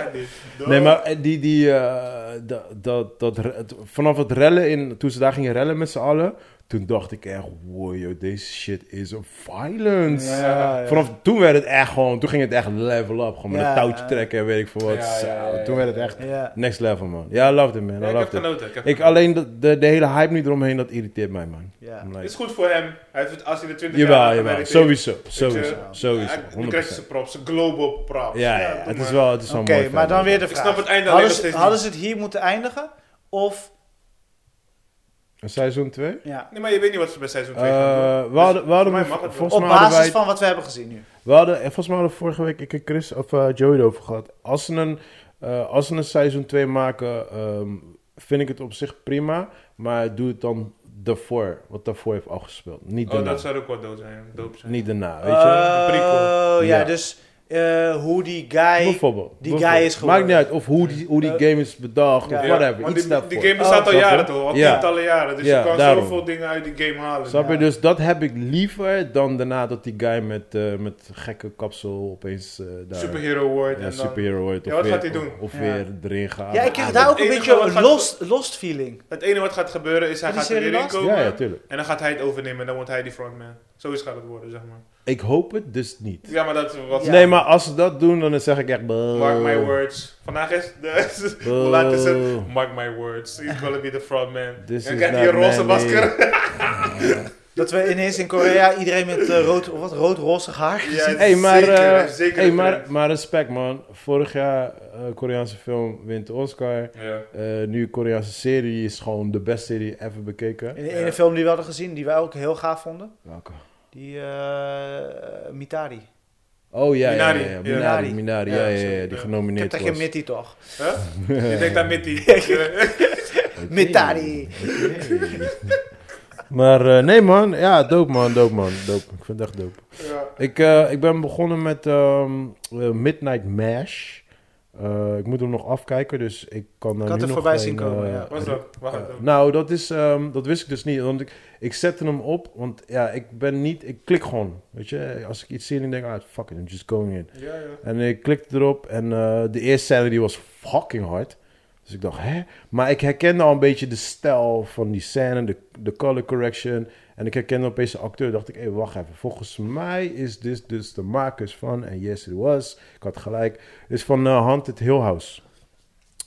Speaker 1: Nee, maar eh, die, die, eh, dat, dat, dat, re- het- vanaf het rellen, in, toen ze daar gingen rellen met z'n allen, toen dacht ik echt, wow, yo, deze shit is violence.
Speaker 3: Ja, ja.
Speaker 1: Vanaf toen werd het echt gewoon, toen ging het echt level up, gewoon met
Speaker 3: Ja,
Speaker 1: een touwtje
Speaker 3: ja.
Speaker 1: trekken en weet ik veel wat.
Speaker 2: Ja, ja, ja,
Speaker 1: Zo,
Speaker 2: ja,
Speaker 1: toen werd het echt
Speaker 3: Ja.
Speaker 1: next level, man. Ja, I loved it, man. I
Speaker 2: ik heb
Speaker 1: loved it.
Speaker 2: genoten. Ik heb
Speaker 1: Ik,
Speaker 2: genoten.
Speaker 1: alleen de, de, de hele hype nu eromheen, dat irriteert mij, man.
Speaker 3: Ja.
Speaker 1: I'm like,
Speaker 2: Het is goed voor hem. Hij heeft het, als hij de 20 jaar
Speaker 1: Jawel,
Speaker 2: aan
Speaker 1: jawel.
Speaker 2: gewerkt heeft,
Speaker 1: Sowieso, sowieso,
Speaker 2: je,
Speaker 1: sowieso.
Speaker 2: hij- Nu krijgt hij
Speaker 1: 100%.
Speaker 2: zijn props, zijn global props.
Speaker 1: Ja, ja,
Speaker 2: doe
Speaker 1: het is
Speaker 2: maar.
Speaker 1: wel, het is
Speaker 3: Oké,
Speaker 1: wel mooi.
Speaker 3: maar dan weer de
Speaker 2: Ik
Speaker 3: vraag.
Speaker 2: snap het einde alleen
Speaker 3: hadden,
Speaker 2: nog
Speaker 3: ze,
Speaker 2: steeds
Speaker 3: hadden
Speaker 2: niet.
Speaker 3: ze het hier moeten eindigen? Of,
Speaker 1: Seizoen 2?
Speaker 3: ja,
Speaker 2: Nee, maar je weet niet wat ze bij seizoen
Speaker 1: Eh
Speaker 2: 2 gaan doen. Dus
Speaker 1: we hadden, we hadden,
Speaker 2: mij mag het wel.
Speaker 1: volgens
Speaker 3: op
Speaker 1: mij hadden
Speaker 3: basis
Speaker 1: wij,
Speaker 3: van wat we hebben gezien nu?
Speaker 1: we hadden, eh, volgens mij hadden we vorige week ik en Chris of eh, Joey erover gehad. Als ze een, eh, als ze een seizoen 2 maken, ehm, vind ik het op zich prima. Maar doe het dan daarvoor, wat daarvoor heeft afgespeeld. Niet
Speaker 2: Oh,
Speaker 1: daarna.
Speaker 2: dat zou ook wel dood zijn. Doop zijn.
Speaker 1: Niet daarna, weet je.
Speaker 2: Een prequel.
Speaker 3: Oh, ja,
Speaker 1: Ja.
Speaker 3: dus eh, hoe die guy...
Speaker 1: bijvoorbeeld.
Speaker 3: die guy
Speaker 1: bijvoorbeeld.
Speaker 3: is geworden.
Speaker 1: Maakt niet uit of hoe die, hoe die
Speaker 3: Eh,
Speaker 1: game is bedacht
Speaker 3: ja.
Speaker 1: of
Speaker 2: Ja,
Speaker 1: whatever.
Speaker 2: want
Speaker 1: Iets
Speaker 2: die,
Speaker 1: daarvoor. Oh,
Speaker 2: die game bestaat al
Speaker 1: Snap je?
Speaker 2: jaren toch? Al
Speaker 1: Ja.
Speaker 2: tientallen jaren. Dus
Speaker 1: Ja,
Speaker 2: je kan
Speaker 1: daarom.
Speaker 2: zoveel dingen uit die game halen.
Speaker 1: Snap je?
Speaker 3: Ja.
Speaker 1: Dus dat heb ik liever dan daarna dat die guy met, eh, met gekke kapsel opeens eh, daar...
Speaker 2: Superhero wordt.
Speaker 1: Ja,
Speaker 2: en dan
Speaker 1: superhero wordt.
Speaker 2: Ja,
Speaker 1: of
Speaker 2: wat
Speaker 1: weer-
Speaker 2: gaat hij doen?
Speaker 1: Of
Speaker 3: Ja.
Speaker 1: weer erin gaan.
Speaker 3: Ja, ik kreeg daar ook een
Speaker 2: enige
Speaker 3: beetje
Speaker 2: wat
Speaker 3: een
Speaker 2: gaat-
Speaker 3: lost, lost feeling.
Speaker 2: Het ene wat gaat gebeuren is hij
Speaker 3: Wat is
Speaker 2: gaat er
Speaker 3: hier
Speaker 2: weer in
Speaker 3: last?
Speaker 2: komen.
Speaker 1: Ja, ja, tuurlijk.
Speaker 2: en dan gaat hij het overnemen en dan wordt hij die frontman. Zoiets gaat het worden, zeg maar.
Speaker 1: Ik hoop het dus niet.
Speaker 2: Ja, maar dat is wat...
Speaker 3: Ja.
Speaker 1: Nee, maar als ze dat doen, dan zeg ik echt... "Buh."
Speaker 2: Mark my words. Vandaag is de...
Speaker 1: Buh.
Speaker 2: Hoe laat is het? [laughs] Mark my words. He's gonna be the frontman.
Speaker 1: This
Speaker 2: en
Speaker 1: is
Speaker 2: krijgt hij een
Speaker 1: not
Speaker 2: roze
Speaker 1: man-made.
Speaker 3: [laughs]
Speaker 2: masker.
Speaker 3: Dat we ineens in Korea iedereen met eh, rood, wat, rood-rozig haar
Speaker 2: Ja,
Speaker 1: [laughs]
Speaker 3: gezien.
Speaker 1: Hey, maar,
Speaker 2: Zeker,
Speaker 1: eh,
Speaker 2: zeker
Speaker 1: hey,
Speaker 2: een
Speaker 1: maar,
Speaker 2: trend.
Speaker 1: maar respect man. Vorig jaar eh, Koreaanse film wint de Oscar.
Speaker 2: Ja.
Speaker 1: Eh, nu Koreaanse serie is gewoon de beste serie ever bekeken.
Speaker 3: In de ene film die we hadden gezien, die wij ook heel gaaf vonden.
Speaker 1: Welke?
Speaker 3: Die eh, Mitari.
Speaker 1: Oh ja, ja, ja, ja.
Speaker 2: Minari.
Speaker 1: Minari.
Speaker 3: Minari.
Speaker 1: Minari,
Speaker 2: Ja,
Speaker 1: ja, ja, ja,
Speaker 2: zo,
Speaker 1: die
Speaker 2: ja.
Speaker 3: Ik heb
Speaker 1: genomineerd
Speaker 3: dat geen
Speaker 1: was.
Speaker 3: Mitty toch?
Speaker 1: [laughs]
Speaker 2: Huh? Je denkt aan Mitty.
Speaker 1: Oké.
Speaker 3: Mitari.
Speaker 1: Oké. maar eh, nee man, ja, dope man, dope man, dope. Ik vind het echt dope.
Speaker 2: ja.
Speaker 1: Ik, eh, ik ben begonnen met ehm, eh, Midnight Mash. Eh, ik moet hem nog afkijken, dus ik kan daar
Speaker 3: had
Speaker 1: nu
Speaker 3: het
Speaker 1: nog
Speaker 3: voorbij
Speaker 1: geen,
Speaker 3: zien komen,
Speaker 1: eh,
Speaker 3: ja.
Speaker 2: Wat is dat? Wacht
Speaker 1: eh,
Speaker 2: even.
Speaker 1: nou, dat, is, ehm, dat wist ik dus niet. Want ik, ik zette hem op, want ja, ik ben niet... Ik klik gewoon, weet je. Als ik iets zie en ik denk, ah, fuck it, I'm just going in.
Speaker 2: Ja, ja.
Speaker 1: En ik klikte erop en eh, de eerste scène die was fucking hard. Dus ik dacht, hè? Maar ik herkende al een beetje de stijl van die scène, de, de color correction. En ik herkende opeens de acteur. Dacht ik, hé, wacht even. Volgens mij is dit dus de makers van... En yes, it was. Ik had gelijk. Is van eh, Haunted Hill House.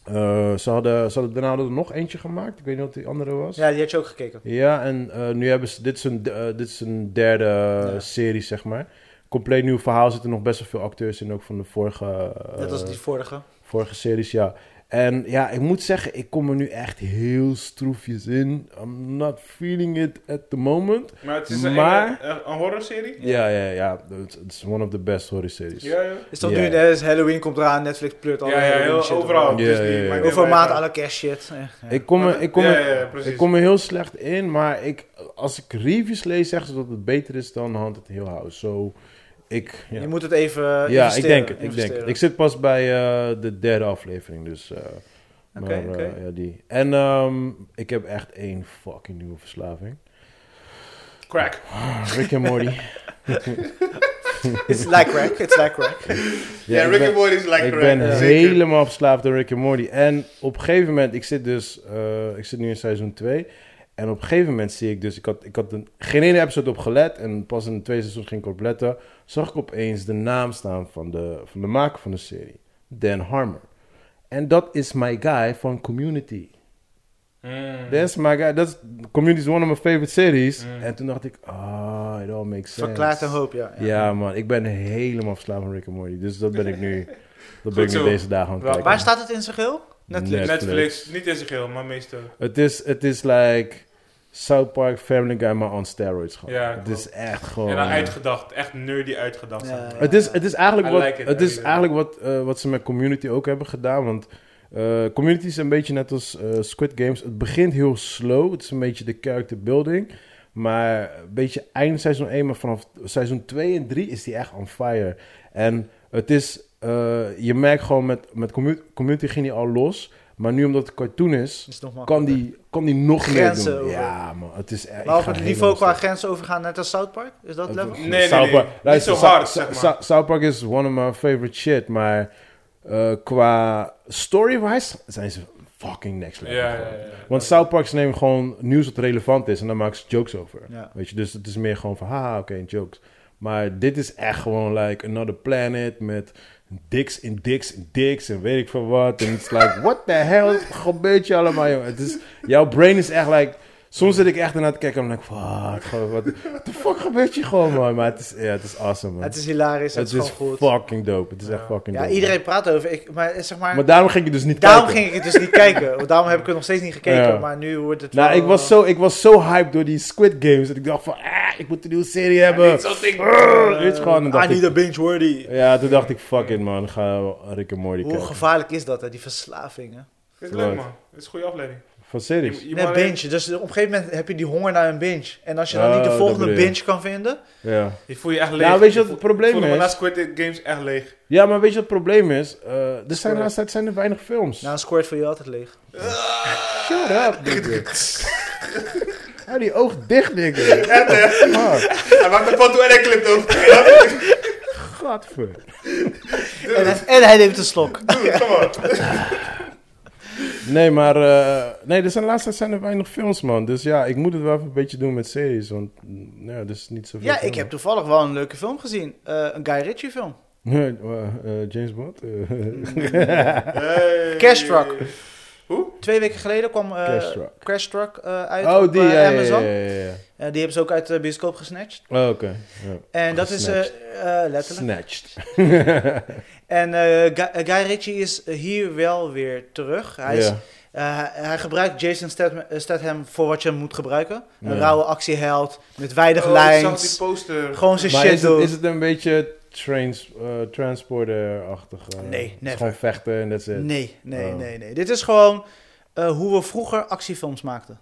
Speaker 1: Eh, ze, hadden, ze hadden daarna er nog eentje gemaakt. Ik weet niet wat die andere was.
Speaker 3: Ja, die had je ook gekeken.
Speaker 1: Ja, en eh, nu hebben ze. Dit is een, eh, dit is een derde eh,
Speaker 3: Ja.
Speaker 1: serie, zeg maar. Compleet nieuw verhaal. Zitten nog best wel veel acteurs in, ook van de vorige, eh,
Speaker 3: Net als die vorige.
Speaker 1: vorige series, ja. En ja, ik moet zeggen, ik kom er nu echt heel stroefjes in. I'm not feeling it at the moment.
Speaker 2: Maar het is een,
Speaker 1: Maar-
Speaker 2: enge- een, een horrorserie?
Speaker 1: Ja, ja, ja. It's, it's one of the best horror series.
Speaker 2: Ja, ja.
Speaker 3: Is dat
Speaker 1: Ja.
Speaker 3: nu, hè, is Halloween komt eraan, Netflix pleurt al
Speaker 2: Ja, ja, heel- overal. Dus
Speaker 1: Ja,
Speaker 2: Disney,
Speaker 1: ja, ja.
Speaker 2: maakt niet
Speaker 3: Over een
Speaker 2: uit.
Speaker 3: maand alle cash shit. Echt, ja.
Speaker 1: Ik kom er, ik kom
Speaker 2: Ja,
Speaker 1: er,
Speaker 2: ja, ja, precies.
Speaker 1: ik kom er heel slecht in, maar ik, als ik reviews lees, zeggen ze dat het beter is dan Haunted Hill House. Zo, ik... Ja,
Speaker 3: Je moet het even eh,
Speaker 1: ja ik
Speaker 3: investeren,
Speaker 1: denk het, ik denk het.
Speaker 3: investeren.
Speaker 1: Ik zit pas bij eh, de derde aflevering, dus... eh, maar, eh,
Speaker 3: oké.
Speaker 1: ja, die. En ehm, ik heb echt één fucking nieuwe verslaving.
Speaker 2: Crack.
Speaker 1: Rick en Morty.
Speaker 3: It's like crack, it's like
Speaker 1: [laughs]
Speaker 3: crack.
Speaker 2: Ja,
Speaker 1: ik
Speaker 2: Rick
Speaker 1: ben-
Speaker 2: and Morty is like
Speaker 1: ik
Speaker 2: crack.
Speaker 1: ben
Speaker 2: ja. Zeker.
Speaker 1: helemaal verslaafd door Rick en Morty. En op een gegeven moment, ik zit dus, eh, ik zit nu in seizoen 2. En op een gegeven moment zie ik dus, ik had, ik had een, geen ene episode op gelet. En pas in het tweede seizoen ging ik op letten. Zag ik opeens de naam staan van de, van de maker van de serie. Dan Harmer. En dat is my guy van Community.
Speaker 2: Mm.
Speaker 1: That's my guy. That's, Community is one of my favorite series. En toen dacht ik, ah, it all makes sense.
Speaker 3: Verklaart een hoop, ja.
Speaker 1: Ja, man, ik ben helemaal verslaafd aan Rick en Morty. Dus dat ben ik
Speaker 2: [laughs]
Speaker 1: nu, dat ben
Speaker 2: Goed
Speaker 1: ik nu
Speaker 2: zo.
Speaker 1: deze dagen aan het
Speaker 2: Waar-
Speaker 1: kijken.
Speaker 3: Waar staat het in zijn geheel? Netflix.
Speaker 1: Net-
Speaker 2: Netflix, niet in zijn geheel, maar meestal.
Speaker 1: Het is, het is like South Park, Family Guy, maar on steroids gewoon.
Speaker 2: Ja,
Speaker 1: het
Speaker 2: klopt.
Speaker 1: is echt gewoon... eh,
Speaker 2: en dan uitgedacht, echt nerdy uitgedacht.
Speaker 3: Ja,
Speaker 2: zeg maar.
Speaker 3: ja.
Speaker 1: Het is, het is eigenlijk
Speaker 2: I
Speaker 1: wat,
Speaker 2: like it,
Speaker 1: het
Speaker 2: I
Speaker 1: is
Speaker 2: like it.
Speaker 1: eigenlijk wat, eh, wat ze met Community ook hebben gedaan, want... eh, community is een beetje net als eh, Squid Games. Het begint heel slow. Het is een beetje de character building. Maar een beetje eind seizoen 1, maar vanaf seizoen 2 en 3 is die echt on fire. En het is, eh, je merkt gewoon met, met commu- community ging die al los. Maar nu omdat het cartoon is,
Speaker 3: Is het nog
Speaker 1: kan
Speaker 3: makkelijker.
Speaker 1: die, kan die nog meer
Speaker 3: Grenzen
Speaker 1: doen.
Speaker 3: over.
Speaker 1: Ja, man, het is echt.
Speaker 3: Maar
Speaker 1: ik
Speaker 3: op
Speaker 1: ga
Speaker 3: het
Speaker 1: helemaal
Speaker 3: niveau qua
Speaker 1: stuk.
Speaker 3: grens overgaan, net als South Park? Is dat level?
Speaker 2: Nee, nee,
Speaker 1: South
Speaker 2: nee.
Speaker 1: Park-
Speaker 2: Niet
Speaker 1: luister,
Speaker 2: zo hard,
Speaker 1: Sa-
Speaker 2: zeg
Speaker 1: Sa-
Speaker 2: maar.
Speaker 1: South Park is one of my favorite shit, maar eh, qua story-wise zijn ze fucking next
Speaker 2: Ja,
Speaker 1: level.
Speaker 2: ja,
Speaker 1: gewoon.
Speaker 2: ja, ja.
Speaker 1: Want South Park ze nemen gewoon nieuws wat relevant is en daar maken ze jokes over.
Speaker 3: Ja.
Speaker 1: Weet je, dus het is meer gewoon van, haha, oké, jokes. Maar dit is echt gewoon like Another Planet met dicks en dicks en dicks en weet ik veel wat. En het is like, what the hell gebeurt je allemaal, jongen? Het is, jouw brain is echt like... Soms zit ik echt ernaar te kijken en dan denk ik, fuck, gewoon, wat what the fuck gebeurt je gewoon, man? Maar het is, ja, het is awesome, man.
Speaker 3: Het is hilarisch, het, is gewoon goed.
Speaker 1: fucking dope. Het is echt
Speaker 2: Ja.
Speaker 1: fucking
Speaker 3: Ja,
Speaker 1: dope.
Speaker 3: iedereen praat over. Ik, maar eh, zeg maar,
Speaker 1: Maar daarom ging je dus niet
Speaker 3: daarom
Speaker 1: kijken.
Speaker 3: ging ik het dus niet kijken. Want daarom heb ik het nog steeds niet gekeken.
Speaker 1: Ja.
Speaker 3: Maar nu wordt het
Speaker 1: Nou,
Speaker 3: wel,
Speaker 1: ik was, zo, ik was zo hyped door die Squid Games. Dat ik dacht van, ah, ik moet een nieuwe serie hebben.
Speaker 2: Niet zo dik.
Speaker 1: Brrr, Weet je gewoon, dan
Speaker 3: eh, I
Speaker 1: dacht
Speaker 3: need
Speaker 1: ik,
Speaker 3: a binge-worthy.
Speaker 1: ja, toen dacht ik, fuck it man, ga Rick en Morty
Speaker 3: Hoe
Speaker 1: kijken.
Speaker 3: gevaarlijk is dat, hè? die verslaving? Hè?
Speaker 2: Dit is leuk, man. Dit is een goede afleiding.
Speaker 1: Van
Speaker 2: Je,
Speaker 1: series?
Speaker 2: je
Speaker 3: Nee,
Speaker 2: moet alleen-
Speaker 3: binge. Dus op een gegeven moment heb je die honger naar een binge. En als je dan
Speaker 1: Oh,
Speaker 3: niet de
Speaker 1: dat
Speaker 3: volgende
Speaker 1: bedoel je.
Speaker 3: binge kan vinden...
Speaker 1: Ja.
Speaker 2: je voel je echt leeg.
Speaker 1: Nou, weet je wat het
Speaker 2: Ik
Speaker 1: probleem
Speaker 2: voelde me na
Speaker 1: is?
Speaker 2: Squid Games echt leeg.
Speaker 1: Ja, maar weet je wat het probleem is? Eh, er zijn
Speaker 2: Sorry.
Speaker 1: laatst tijd zijn er weinig films.
Speaker 3: Nou, een squirt voor je altijd leeg.
Speaker 1: [laughs] Shut
Speaker 3: [laughs]
Speaker 1: up, nigga. Hou die oog dicht,
Speaker 3: [laughs]
Speaker 1: nigga. What the
Speaker 3: eh.
Speaker 1: fuck?
Speaker 2: [laughs] Hij maakt een foto en hij klipt ook.
Speaker 1: Godver.
Speaker 3: En, hij- en hij neemt een slok.
Speaker 1: Nee, maar eh, nee, er zijn laatst tijd zijn er weinig films, man. Dus ja, ik moet het wel even een beetje doen met series, want mm, ja, er is niet zoveel.
Speaker 3: Ja, ik
Speaker 1: film.
Speaker 3: heb toevallig wel een leuke film gezien. Eh, een Guy Ritchie film.
Speaker 1: Nee, [laughs] eh, eh, James Bond?
Speaker 3: Mm.
Speaker 1: [laughs] Eh,
Speaker 3: [laughs] Cash Truck.
Speaker 2: Oh, Hoe?
Speaker 3: Twee weken geleden kwam eh,
Speaker 1: Crash Truck.
Speaker 3: Crash Truck eh, uit
Speaker 1: oh,
Speaker 3: op
Speaker 1: die,
Speaker 3: eh,
Speaker 1: ja, ja, ja,
Speaker 3: Amazon.
Speaker 1: ja, ja.
Speaker 3: Eh, die hebben ze ook uit de bioscoop gesnatcht.
Speaker 1: Oh, oké. ja.
Speaker 3: En dat is eh, eh, letterlijk.
Speaker 1: Snatched.
Speaker 3: [laughs] En eh, Guy, eh, Guy Ritchie is hier wel weer terug. Hij, is,
Speaker 1: Ja.
Speaker 3: eh, hij- hij gebruikt Jason Statham, eh, Statham voor wat je hem moet gebruiken. Een
Speaker 1: Ja.
Speaker 3: rauwe actieheld met weinig
Speaker 2: Oh, ik zag die
Speaker 3: lijns.
Speaker 2: poster.
Speaker 3: Gewoon zijn
Speaker 1: Maar
Speaker 3: shit
Speaker 1: is het,
Speaker 3: doen.
Speaker 1: is het een beetje trains, eh, transporter-achtig? eh?
Speaker 3: Nee,
Speaker 1: Het is
Speaker 3: never.
Speaker 1: Gewoon vechten en dat is het.
Speaker 3: Nee, nee,
Speaker 1: Oh.
Speaker 3: nee, nee. Dit is gewoon eh, hoe we vroeger actiefilms maakten.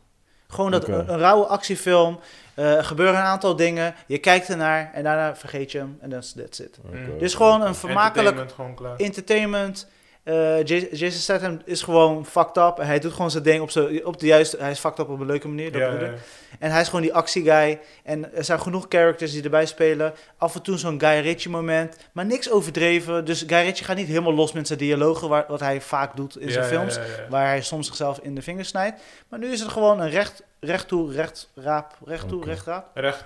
Speaker 3: Gewoon dat
Speaker 1: Oké.
Speaker 3: een, een rauwe actiefilm. eh, er gebeuren een aantal dingen. Je kijkt ernaar en daarna vergeet je hem. En that's, that's it.
Speaker 1: Oké.
Speaker 3: Dus gewoon een vermakelijk
Speaker 2: Entertainment gewoon klaar.
Speaker 3: entertainment. Eh, Jas- Jason Statham is gewoon fucked up. Hij doet gewoon zijn ding op, zijn, op de juiste... Hij is fucked up op een leuke manier. Dat
Speaker 2: Ja,
Speaker 3: bedoel ik.
Speaker 2: ja.
Speaker 3: En hij is gewoon die actieguy. En er zijn genoeg characters die erbij spelen. Af en toe zo'n Guy Ritchie moment. Maar niks overdreven. Dus Guy Ritchie gaat niet helemaal los met zijn dialogen. waar- wat hij vaak doet in
Speaker 2: Ja,
Speaker 3: zijn
Speaker 2: ja,
Speaker 3: films.
Speaker 2: ja, ja.
Speaker 3: Waar hij soms zichzelf in de vingers snijdt. Maar nu is het gewoon een recht, recht toe, recht raap. Recht toe,
Speaker 1: Oké.
Speaker 3: recht raap.
Speaker 2: Recht.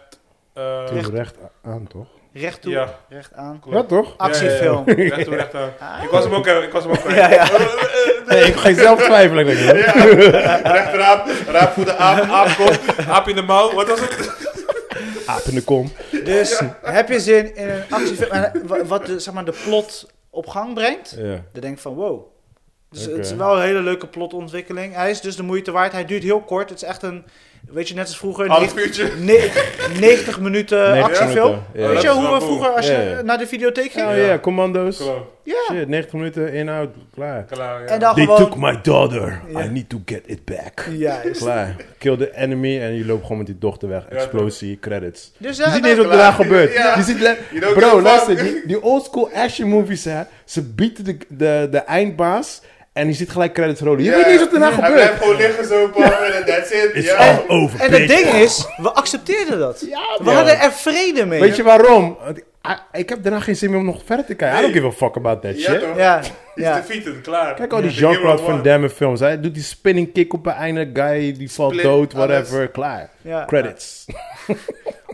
Speaker 2: eh,
Speaker 1: Toen recht. aan, toch?
Speaker 3: Recht toe,
Speaker 2: Ja,
Speaker 3: recht aan.
Speaker 1: Ja,
Speaker 2: klopt.
Speaker 3: Ah.
Speaker 1: toch?
Speaker 2: [laughs]
Speaker 3: Actiefilm.
Speaker 2: Ja, ja, ja. Recht toe, recht aan.
Speaker 3: Ah.
Speaker 2: Ik was hem ook, eh, ik was
Speaker 3: [laughs]
Speaker 2: hem ook kwijt.
Speaker 3: Ja, ja.
Speaker 2: [laughs]
Speaker 1: Nee, ik ga zelf twijfelen. Denk ik.
Speaker 2: Ja, recht raap, raap voor de aap, aap kop, aap in de mouw, wat was het?
Speaker 1: [laughs] Aap in de kom.
Speaker 3: Dus heb je zin in een actiefilm en wa- wat de, zeg maar, de plot op gang brengt?
Speaker 1: Ja.
Speaker 3: Dan denk ik van wow, Dus het is
Speaker 1: Oké.
Speaker 3: wel een hele leuke plotontwikkeling. Hij is dus de moeite waard. Hij duurt heel kort. Het is echt een, weet je, net als vroeger,
Speaker 1: Oh.
Speaker 2: Half uurtje.
Speaker 3: ne- 90 minuten
Speaker 1: 90
Speaker 3: actiefilm.
Speaker 1: minuten, ja.
Speaker 3: Weet
Speaker 2: Dat
Speaker 3: je
Speaker 2: is
Speaker 3: hoe
Speaker 2: wel
Speaker 3: we
Speaker 2: cool.
Speaker 3: vroeger, als je
Speaker 1: Ja, ja.
Speaker 3: naar de videotheek ging?
Speaker 1: Oh ja, commando's.
Speaker 2: Klopt.
Speaker 3: Ja.
Speaker 1: Shit, 90 minuten, inhoud, klaar.
Speaker 2: Klaar, ja.
Speaker 3: En dan
Speaker 1: They
Speaker 3: gewoon...
Speaker 1: took my daughter.
Speaker 3: Ja.
Speaker 1: I need to get it back.
Speaker 3: Juist.
Speaker 1: Klaar. Kill the enemy en je loopt gewoon met die dochter weg. Explosie, credits.
Speaker 3: Dus
Speaker 1: Je
Speaker 3: ja,
Speaker 1: ziet
Speaker 3: en
Speaker 1: niet
Speaker 3: dan-
Speaker 1: wat er daar gebeurt.
Speaker 2: Ja.
Speaker 1: Je ziet le-
Speaker 2: You don't give
Speaker 1: Bro,
Speaker 2: a
Speaker 1: luister,
Speaker 2: fuck.
Speaker 1: die, die oldschool action movies, hè, ze bieden de, de, de eindbaas en je ziet gelijk credits rollen. Je weet niet eens wat er nou
Speaker 2: Hij
Speaker 1: gebeurt.
Speaker 2: blijft gewoon liggen zo, papa, en that's it.
Speaker 1: It's
Speaker 2: ja.
Speaker 1: all over,
Speaker 3: En het
Speaker 1: bitch.
Speaker 3: ding is, we accepteerden dat.
Speaker 1: Ja,
Speaker 3: we
Speaker 1: man.
Speaker 3: hadden er vrede mee.
Speaker 1: Weet je waarom? Want ik- I- Ik heb daarna geen zin meer om nog verder te kijken. I don't give a fuck about that
Speaker 2: Ja,
Speaker 1: shit.
Speaker 2: toch?
Speaker 3: Ja,
Speaker 2: Is
Speaker 3: ja.
Speaker 2: defeated, klaar.
Speaker 1: Kijk al die
Speaker 2: The
Speaker 1: Jean-Claude
Speaker 2: hero
Speaker 1: Van
Speaker 2: won.
Speaker 1: Damme films. Hij doet die spinning kick op een einde. Guy die valt
Speaker 2: Split,
Speaker 1: dood, whatever. Klaar.
Speaker 3: Ja.
Speaker 1: Credits.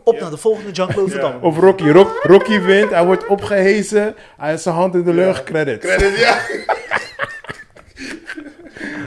Speaker 3: Op naar de volgende Jean-Claude Van Damme.
Speaker 1: Of Rocky. Rock- Rocky wint. Hij wordt opgehezen. Hij heeft zijn hand in de lucht. Credits.
Speaker 2: Credit, ja.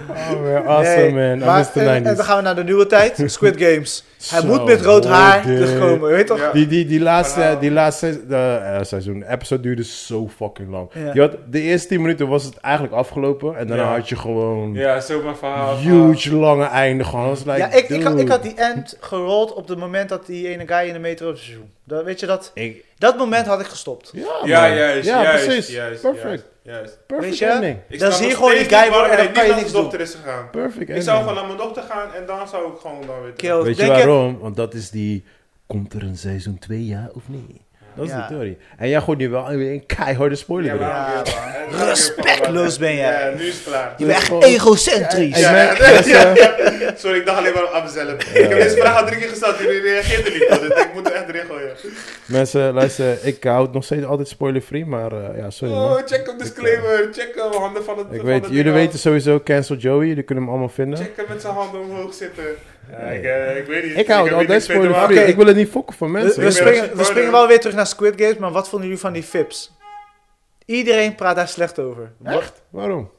Speaker 1: Oh man, awesome
Speaker 3: Nee,
Speaker 1: man. I
Speaker 3: maar-
Speaker 1: miss the
Speaker 3: en, en
Speaker 1: 90s.
Speaker 3: dan gaan we naar de nieuwe tijd.
Speaker 1: [laughs]
Speaker 3: Squid Games. Hij
Speaker 1: Zo,
Speaker 3: moet met rood haar
Speaker 1: dude.
Speaker 3: terugkomen. Weet toch?
Speaker 2: Ja.
Speaker 1: Die, die, die laatste,
Speaker 2: Verhaal.
Speaker 1: die laatste eh, eh, seizoen, episode duurde zo fucking lang.
Speaker 3: Ja.
Speaker 1: Je had, de eerste 10 minuten was het eigenlijk afgelopen. En daarna
Speaker 2: Ja.
Speaker 1: had je gewoon
Speaker 2: Ja, zo mijn verhaal.
Speaker 1: huge lange einde. Gewoon. I was like,
Speaker 3: Ja, ik, ik, had,
Speaker 1: dude.
Speaker 3: ik had die end gerold op het moment dat die ene guy in de metro zoen. Dat, weet je, dat,
Speaker 1: Ik-
Speaker 3: dat moment had ik gestopt.
Speaker 1: ja,
Speaker 2: Ja,
Speaker 1: man.
Speaker 2: juist,
Speaker 1: Ja,
Speaker 2: juist,
Speaker 1: precies.
Speaker 2: juist,
Speaker 1: Perfect.
Speaker 2: juist, juist.
Speaker 1: Perfect
Speaker 3: Weet je?
Speaker 1: ending.
Speaker 2: Ik snap
Speaker 3: Dan zie je
Speaker 2: nog
Speaker 3: gewoon die
Speaker 2: steeds
Speaker 3: guy
Speaker 2: niet
Speaker 3: worden
Speaker 2: waarom
Speaker 3: en dan
Speaker 2: ik
Speaker 3: kan je
Speaker 2: niet
Speaker 3: niks
Speaker 2: naar de dokter is gegaan.
Speaker 1: Perfect
Speaker 2: Ik
Speaker 1: ending.
Speaker 2: zou gewoon naar mijn dokter gaan en dan zou ik gewoon dan weer...
Speaker 3: Kill.
Speaker 1: Weet je
Speaker 3: Denk je-
Speaker 1: waarom? Want dat is die... Komt er een seizoen 2 ja of nee? Dat is
Speaker 3: Ja.
Speaker 1: de theorie. En jij gooit nu wel weer een keiharde spoiler
Speaker 2: Ja,
Speaker 1: erin.
Speaker 2: maar-
Speaker 3: Ja,
Speaker 2: ja,
Speaker 3: man. Respectloos ben jij.
Speaker 2: Ja, nu is het klaar.
Speaker 3: Je bent echt
Speaker 1: Gewoon-
Speaker 3: egocentrisch.
Speaker 1: Ja,
Speaker 2: Ja,
Speaker 1: merk-
Speaker 2: [laughs] ja,
Speaker 1: dat is, eh,
Speaker 2: Sorry, ik dacht alleen maar aan mezelf. Ik heb deze vraag al drie keer gesteld, jullie reageerden niet. op, Dus ik moet er echt erin gooien.
Speaker 1: Mensen, luister, ik houd nog steeds altijd spoiler-free, maar eh, ja, sorry man.
Speaker 2: Oh, check hem disclaimer. Check hem, handen van het
Speaker 1: Ik
Speaker 2: van
Speaker 1: weet,
Speaker 2: het
Speaker 1: jullie
Speaker 2: ding
Speaker 1: weten sowieso Cancel Joey, jullie kunnen hem allemaal
Speaker 2: af.
Speaker 1: vinden.
Speaker 2: Check hem met zijn handen omhoog zitten. Ja, ik, eh, ik weet niet.
Speaker 1: Ik hou
Speaker 2: heb
Speaker 1: altijd
Speaker 2: niks mee te maken.
Speaker 1: spoiler-free,
Speaker 3: Oké.
Speaker 1: ik wil het niet fokken van
Speaker 3: We,
Speaker 1: mensen.
Speaker 3: we
Speaker 2: Ik ben
Speaker 3: springen,
Speaker 2: een
Speaker 3: we springen wel weer terug naar Squid Games, maar wat vonden jullie van die fips? Iedereen praat daar slecht over.
Speaker 1: Echt? Waarom?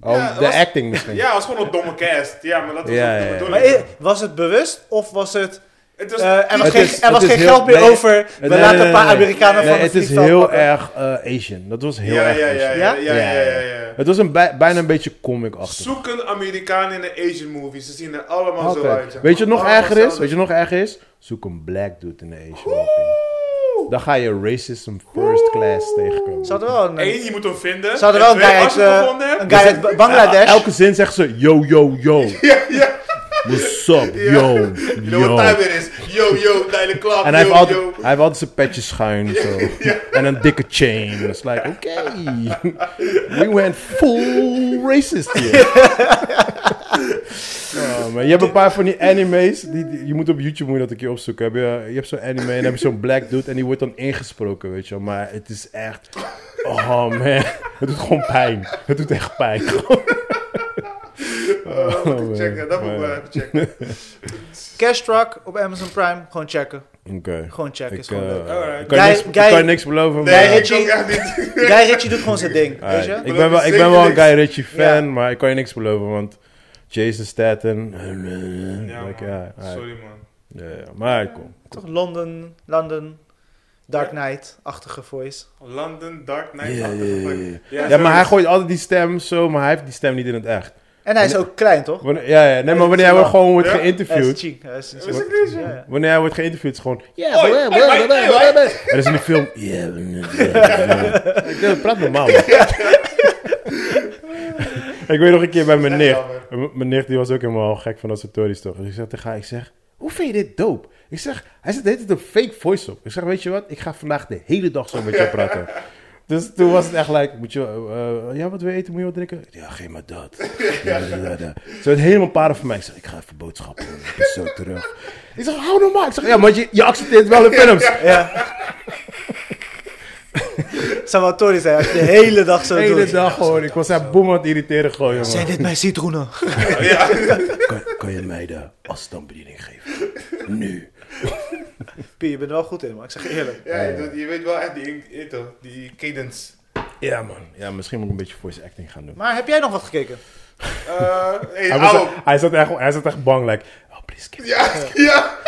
Speaker 2: Ja,
Speaker 1: Oh,
Speaker 2: dat
Speaker 1: de
Speaker 2: was-
Speaker 1: acting misschien.
Speaker 2: Ja, het was gewoon een domme cast. Ja, maar dat was
Speaker 1: Ja,
Speaker 2: ook
Speaker 1: ja, eh, ja.
Speaker 2: de
Speaker 3: Maar
Speaker 2: bedoeling.
Speaker 3: i- was het bewust of was het...
Speaker 2: het was,
Speaker 3: eh, er was
Speaker 1: Het
Speaker 3: geen,
Speaker 1: is-
Speaker 3: er was
Speaker 1: het is
Speaker 3: geen
Speaker 1: heel-
Speaker 3: geld meer
Speaker 1: nee.
Speaker 3: over. We
Speaker 1: Nee, nee,
Speaker 3: laten
Speaker 1: nee,
Speaker 3: een paar
Speaker 1: nee.
Speaker 3: Amerikanen
Speaker 1: Nee,
Speaker 3: van het
Speaker 1: het is
Speaker 3: vliegveld
Speaker 1: heel
Speaker 3: pakken.
Speaker 1: erg eh, Asian. Dat was heel
Speaker 2: ja,
Speaker 1: erg
Speaker 2: ja, ja,
Speaker 1: Asian.
Speaker 2: ja, ja,
Speaker 1: Ja,
Speaker 2: ja, ja,
Speaker 1: ja,
Speaker 2: ja,
Speaker 1: Het was een bij- bijna een beetje comic-achtig.
Speaker 2: Zoek een Amerikaan in een Asian movie. Ze zien er allemaal zo
Speaker 1: Altijd.
Speaker 2: uit. ja.
Speaker 1: Weet je
Speaker 3: Ah,
Speaker 1: wat nog
Speaker 2: Allemaal
Speaker 1: erger is?
Speaker 2: hetzelfde.
Speaker 1: Weet je wat nog erger is? Zoek een black dude in de Asian movie. Dan ga je racism first class tegenkomen.
Speaker 3: Ze hadden wel een,
Speaker 2: Eén, je moet hem vinden.
Speaker 3: ze hadden
Speaker 2: En
Speaker 3: wel een guy
Speaker 2: twee,
Speaker 3: uit,
Speaker 2: als je
Speaker 3: eh,
Speaker 2: hem gevonden hebt,
Speaker 3: een guy uit Ba- Bangladesh.
Speaker 1: Dus Elke zin zegt ze yo, yo, yo.
Speaker 3: [laughs]
Speaker 1: What's up, yo,
Speaker 2: Je weet
Speaker 1: yo.
Speaker 2: wat tijd weer is. Yo, yo,
Speaker 3: [laughs]
Speaker 2: Nijle Klap.
Speaker 1: En hij
Speaker 2: yo,
Speaker 1: heeft, altijd,
Speaker 2: yo.
Speaker 1: hij heeft altijd zijn petje schuin zo. En een dikke chain. Dat is
Speaker 2: [laughs]
Speaker 1: like, oké. We went full racist hier. Oh, man. Je hebt een paar van die anime's. Die, die- je moet op YouTube moet je dat een keer opzoeken. Heb je, je hebt zo'n anime en dan heb je zo'n black dude. En die wordt dan ingesproken, weet je wel. Maar het is echt... Oh man. Het doet gewoon pijn. Het doet echt pijn.
Speaker 2: [laughs]
Speaker 1: Oh,
Speaker 2: Eh, Oh, moet ik
Speaker 1: man.
Speaker 2: checken. [laughs] Dat moet ik wel
Speaker 1: Ja.
Speaker 2: even checken.
Speaker 3: Cash Truck op Amazon Prime. Gewoon checken.
Speaker 1: Oké.
Speaker 3: Gewoon checken. is
Speaker 1: Ik,
Speaker 3: gewoon
Speaker 1: eh,
Speaker 3: leuk.
Speaker 2: Alright.
Speaker 1: kan, je
Speaker 3: Guy-
Speaker 1: niks,
Speaker 3: Guy-
Speaker 1: kan je niks beloven.
Speaker 2: Nee,
Speaker 1: maar-
Speaker 2: ik
Speaker 3: Richie-
Speaker 2: ook echt niet.
Speaker 3: Guy Ritchie doet gewoon zijn ding, weet je?
Speaker 1: [laughs] Alright, Ik ben wel, ik
Speaker 2: Zeker
Speaker 1: ben wel een
Speaker 2: niks.
Speaker 1: Guy Ritchie fan,
Speaker 3: Ja.
Speaker 1: maar ik kan je niks beloven, want Jason Statham.
Speaker 2: Ja,
Speaker 1: Ja,
Speaker 2: man.
Speaker 1: ja, alright.
Speaker 2: Sorry, man.
Speaker 1: Ja, ja, maar kom.
Speaker 3: Toch London, London, Dark Knight-achtige voice.
Speaker 2: London, Dark
Speaker 1: Ja,
Speaker 2: Knight.
Speaker 1: ja,
Speaker 2: achtige
Speaker 1: ja,
Speaker 2: fuck.
Speaker 1: ja.
Speaker 2: Ja,
Speaker 1: Ja,
Speaker 2: sorry.
Speaker 1: maar hij gooit altijd die stem zo, maar hij heeft die stem niet in het echt.
Speaker 3: En hij is ook klein, toch?
Speaker 1: Wanneer, ja, ja, nee, maar wanneer hij
Speaker 3: Ja.
Speaker 1: gewoon wordt
Speaker 2: Ja.
Speaker 3: Hij is
Speaker 1: geïnterviewd,
Speaker 3: ching. Hij is
Speaker 2: Is het deze?
Speaker 3: Ja, ja.
Speaker 1: wanneer hij wordt geïnterviewd, is gewoon. Ja,
Speaker 2: Hoi,
Speaker 1: blablabla,
Speaker 2: hoi, hoi,
Speaker 1: blablabla,
Speaker 2: hoi.
Speaker 1: blablabla. En dat is in de film. Ja, blablabla. [laughs] Ik denk, praat normaal. man. Ik weet nog een keer bij mijn
Speaker 2: Echt
Speaker 1: nicht.
Speaker 2: jammer.
Speaker 1: En m- Mijn nicht die was ook helemaal gek van dat soort stories toch. Dus ik zeg tegen haar, ik zeg, hoe vind je dit dope? Ik zeg, hij zit de hele tijd een fake voice op. Ik zeg, weet je wat, ik ga vandaag de hele dag zo [laughs] met jou praten. Dus toen was het echt like, moet je, eh, ja wat wil je eten, moet je wat drinken? Ja, geef maar dat. [laughs] Ja, ja, ja, ja. Zo het helemaal paren voor mij. Ik zeg, ik ga even boodschappen doen, ik ben [laughs] zo terug. Ik zeg, hou normaal. Ik zeg, ja, maar je, je accepteert wel in [laughs] films.
Speaker 3: Ja. Zou wel Tory zijn als je de hele dag zo
Speaker 1: De hele
Speaker 3: doet.
Speaker 1: dag gewoon, ik was echt boem aan het irriteren gewoon, jongen.
Speaker 3: Zijn dit mijn
Speaker 1: [laughs]
Speaker 3: citroenen?
Speaker 2: [laughs] Ja.
Speaker 1: Kan, kan je mij de afstandsbediening geven? Nu.
Speaker 3: Pier, je bent er wel goed in, maar ik zeg je eerlijk.
Speaker 2: Ja, je doet- je weet wel echt die, in- in- toch, die cadence.
Speaker 1: Ja, man. Ja, misschien moet ik een beetje voice acting gaan doen.
Speaker 3: Maar heb jij nog wat gekeken?
Speaker 2: Eh, hey,
Speaker 1: Hij, was,
Speaker 2: ouwe.
Speaker 1: hij, zat echt, hij zat echt bang, like... Oh, please skip,
Speaker 2: Ja, [laughs] ja.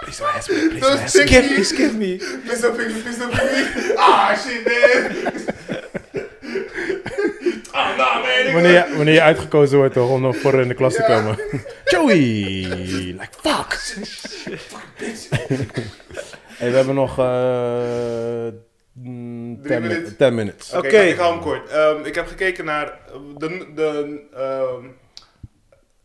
Speaker 1: please don't ask me, please
Speaker 2: Dat
Speaker 1: don't
Speaker 2: is
Speaker 1: ask me.
Speaker 2: sick.
Speaker 3: Skip me, [laughs] skip me.
Speaker 1: Oh,
Speaker 2: Please don't pick me, please don't pick me. Ah, shit, man. [laughs] Ah, nou, man.
Speaker 1: Wanneer je, wanneer je uitgekozen wordt toch, om dan voor in de klas te
Speaker 2: Ja. [laughs]
Speaker 1: komen. Joey! Like, fuck! Hey, we hebben nog... eh, 10
Speaker 2: Drie minuten. Oh,
Speaker 1: minutes.
Speaker 2: Oké,
Speaker 3: Oké.
Speaker 2: ik hou hem kort. Ehm, ik heb gekeken naar eh, de, de ehm,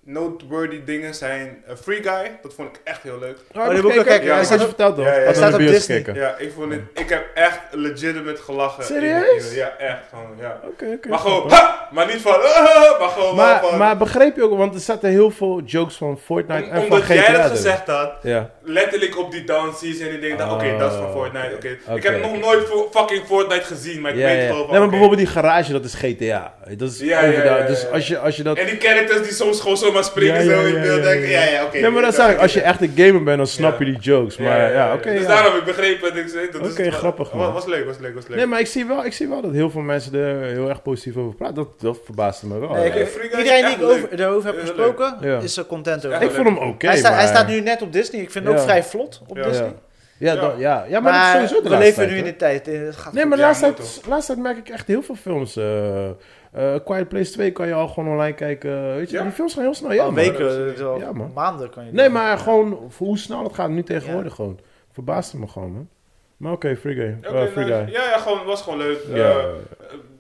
Speaker 2: noteworthy dingen zijn eh, Free Guy, dat vond ik echt heel leuk.
Speaker 3: Oh, die moet ik ook kijken.
Speaker 1: Ja,
Speaker 2: Hij
Speaker 1: ik
Speaker 2: staat
Speaker 1: had je
Speaker 3: op-
Speaker 1: verteld toch?
Speaker 2: Ja, ja, ja.
Speaker 1: Had
Speaker 2: Hij
Speaker 1: in de
Speaker 3: staat op
Speaker 1: bios
Speaker 3: Disney.
Speaker 1: gekeken.
Speaker 2: Ja, ik, vond het, ik heb echt legitimate gelachen. in de
Speaker 1: Serieus?
Speaker 2: video. Ja, echt. Gewoon, ja.
Speaker 1: Oké, oké.
Speaker 2: Maar gewoon, ha! maar niet van, "Ah!" maar gewoon wel
Speaker 1: Maar,
Speaker 2: van,
Speaker 1: maar begreep je ook, want er zaten heel veel jokes van Fortnite
Speaker 2: om-
Speaker 1: en van
Speaker 2: omdat
Speaker 1: GTA.
Speaker 2: jij dat
Speaker 1: erin.
Speaker 2: gezegd had,
Speaker 1: Ja.
Speaker 2: letterlijk op die dances en ik denk, dat,
Speaker 1: Oh,
Speaker 2: oké, dat is van Fortnite, oké. Ik
Speaker 1: oké,
Speaker 2: heb nog
Speaker 1: oké.
Speaker 2: nooit vo- fucking Fortnite gezien, maar ik
Speaker 1: Ja,
Speaker 2: weet
Speaker 1: ja.
Speaker 2: gewoon
Speaker 1: Nee,
Speaker 2: van,
Speaker 1: maar
Speaker 2: oké.
Speaker 1: bijvoorbeeld die garage, dat is GTA. Dat is
Speaker 2: Ja, ja,
Speaker 1: overduidelijk.
Speaker 2: ja, ja,
Speaker 1: Dus
Speaker 2: ja.
Speaker 1: als je, als je dat...
Speaker 2: En die characters die soms gewoon zomaar springen
Speaker 1: Ja, ja,
Speaker 2: zo in
Speaker 1: ja,
Speaker 2: beeld,
Speaker 1: ja,
Speaker 2: denk ik,
Speaker 1: ja.
Speaker 2: ja, ja, oké.
Speaker 1: nee, maar dat
Speaker 2: dat
Speaker 1: zeg ik, als je echt een gamer bent, dan snap
Speaker 2: Ja.
Speaker 1: je die jokes. Maar ja, oké.
Speaker 2: dus
Speaker 1: ja.
Speaker 2: daarom heb ik begrepen dat ik zei, dat is
Speaker 1: Oké,
Speaker 2: het wel-
Speaker 1: grappig,
Speaker 2: wa-
Speaker 1: man.
Speaker 2: Was leuk, was leuk, was leuk.
Speaker 1: Nee, maar ik zie, wel, ik zie wel dat heel veel mensen er heel erg positief over praten. Dat, dat verbaasde me wel.
Speaker 3: Nee,
Speaker 1: ja.
Speaker 3: ik-
Speaker 2: Free Guy is
Speaker 3: Iedereen die
Speaker 2: echt
Speaker 3: ik
Speaker 2: leuk.
Speaker 3: over, daarover heb
Speaker 2: Heel
Speaker 3: gesproken,
Speaker 1: leuk. Ja.
Speaker 3: is er content over.
Speaker 2: Ja,
Speaker 1: ik vond hem oké,
Speaker 3: hij, staat, hij
Speaker 1: maar-
Speaker 3: staat nu net op Disney. Ik vind hem
Speaker 1: Ja.
Speaker 3: ook vrij vlot op
Speaker 2: Ja.
Speaker 3: Disney.
Speaker 1: Ja, ja,
Speaker 2: Ja.
Speaker 1: dan- ja. ja maar,
Speaker 3: Maar,
Speaker 1: dat is sowieso de laatste
Speaker 3: we leven
Speaker 1: tijd,
Speaker 3: nu in
Speaker 1: hè.
Speaker 3: de tijd. eh, Het gaat
Speaker 1: Nee,
Speaker 3: goed.
Speaker 1: maar
Speaker 2: Ja,
Speaker 1: laatst
Speaker 2: moet
Speaker 1: tijd, laatst tijd merk ik echt heel veel films. eh eh Quiet Place 2 kan je al gewoon online kijken. Weet je,
Speaker 2: Ja?
Speaker 1: die films gaan heel snel. Ja,
Speaker 3: Al
Speaker 1: man.
Speaker 2: dat is
Speaker 3: weken,
Speaker 2: niet.
Speaker 3: het is al
Speaker 1: Ja, man.
Speaker 3: maanden kan je
Speaker 1: Nee,
Speaker 3: doen.
Speaker 1: maar gewoon voor hoe snel het gaat nu tegenwoordig gewoon. Verbaasde me gewoon, man. Maar oké, Free Guy.
Speaker 2: Ja,
Speaker 1: Eh,
Speaker 2: oké,
Speaker 1: free
Speaker 2: nou,
Speaker 1: Guy.
Speaker 2: Ja, ja, gewoon, was gewoon leuk. Eh
Speaker 1: Ja.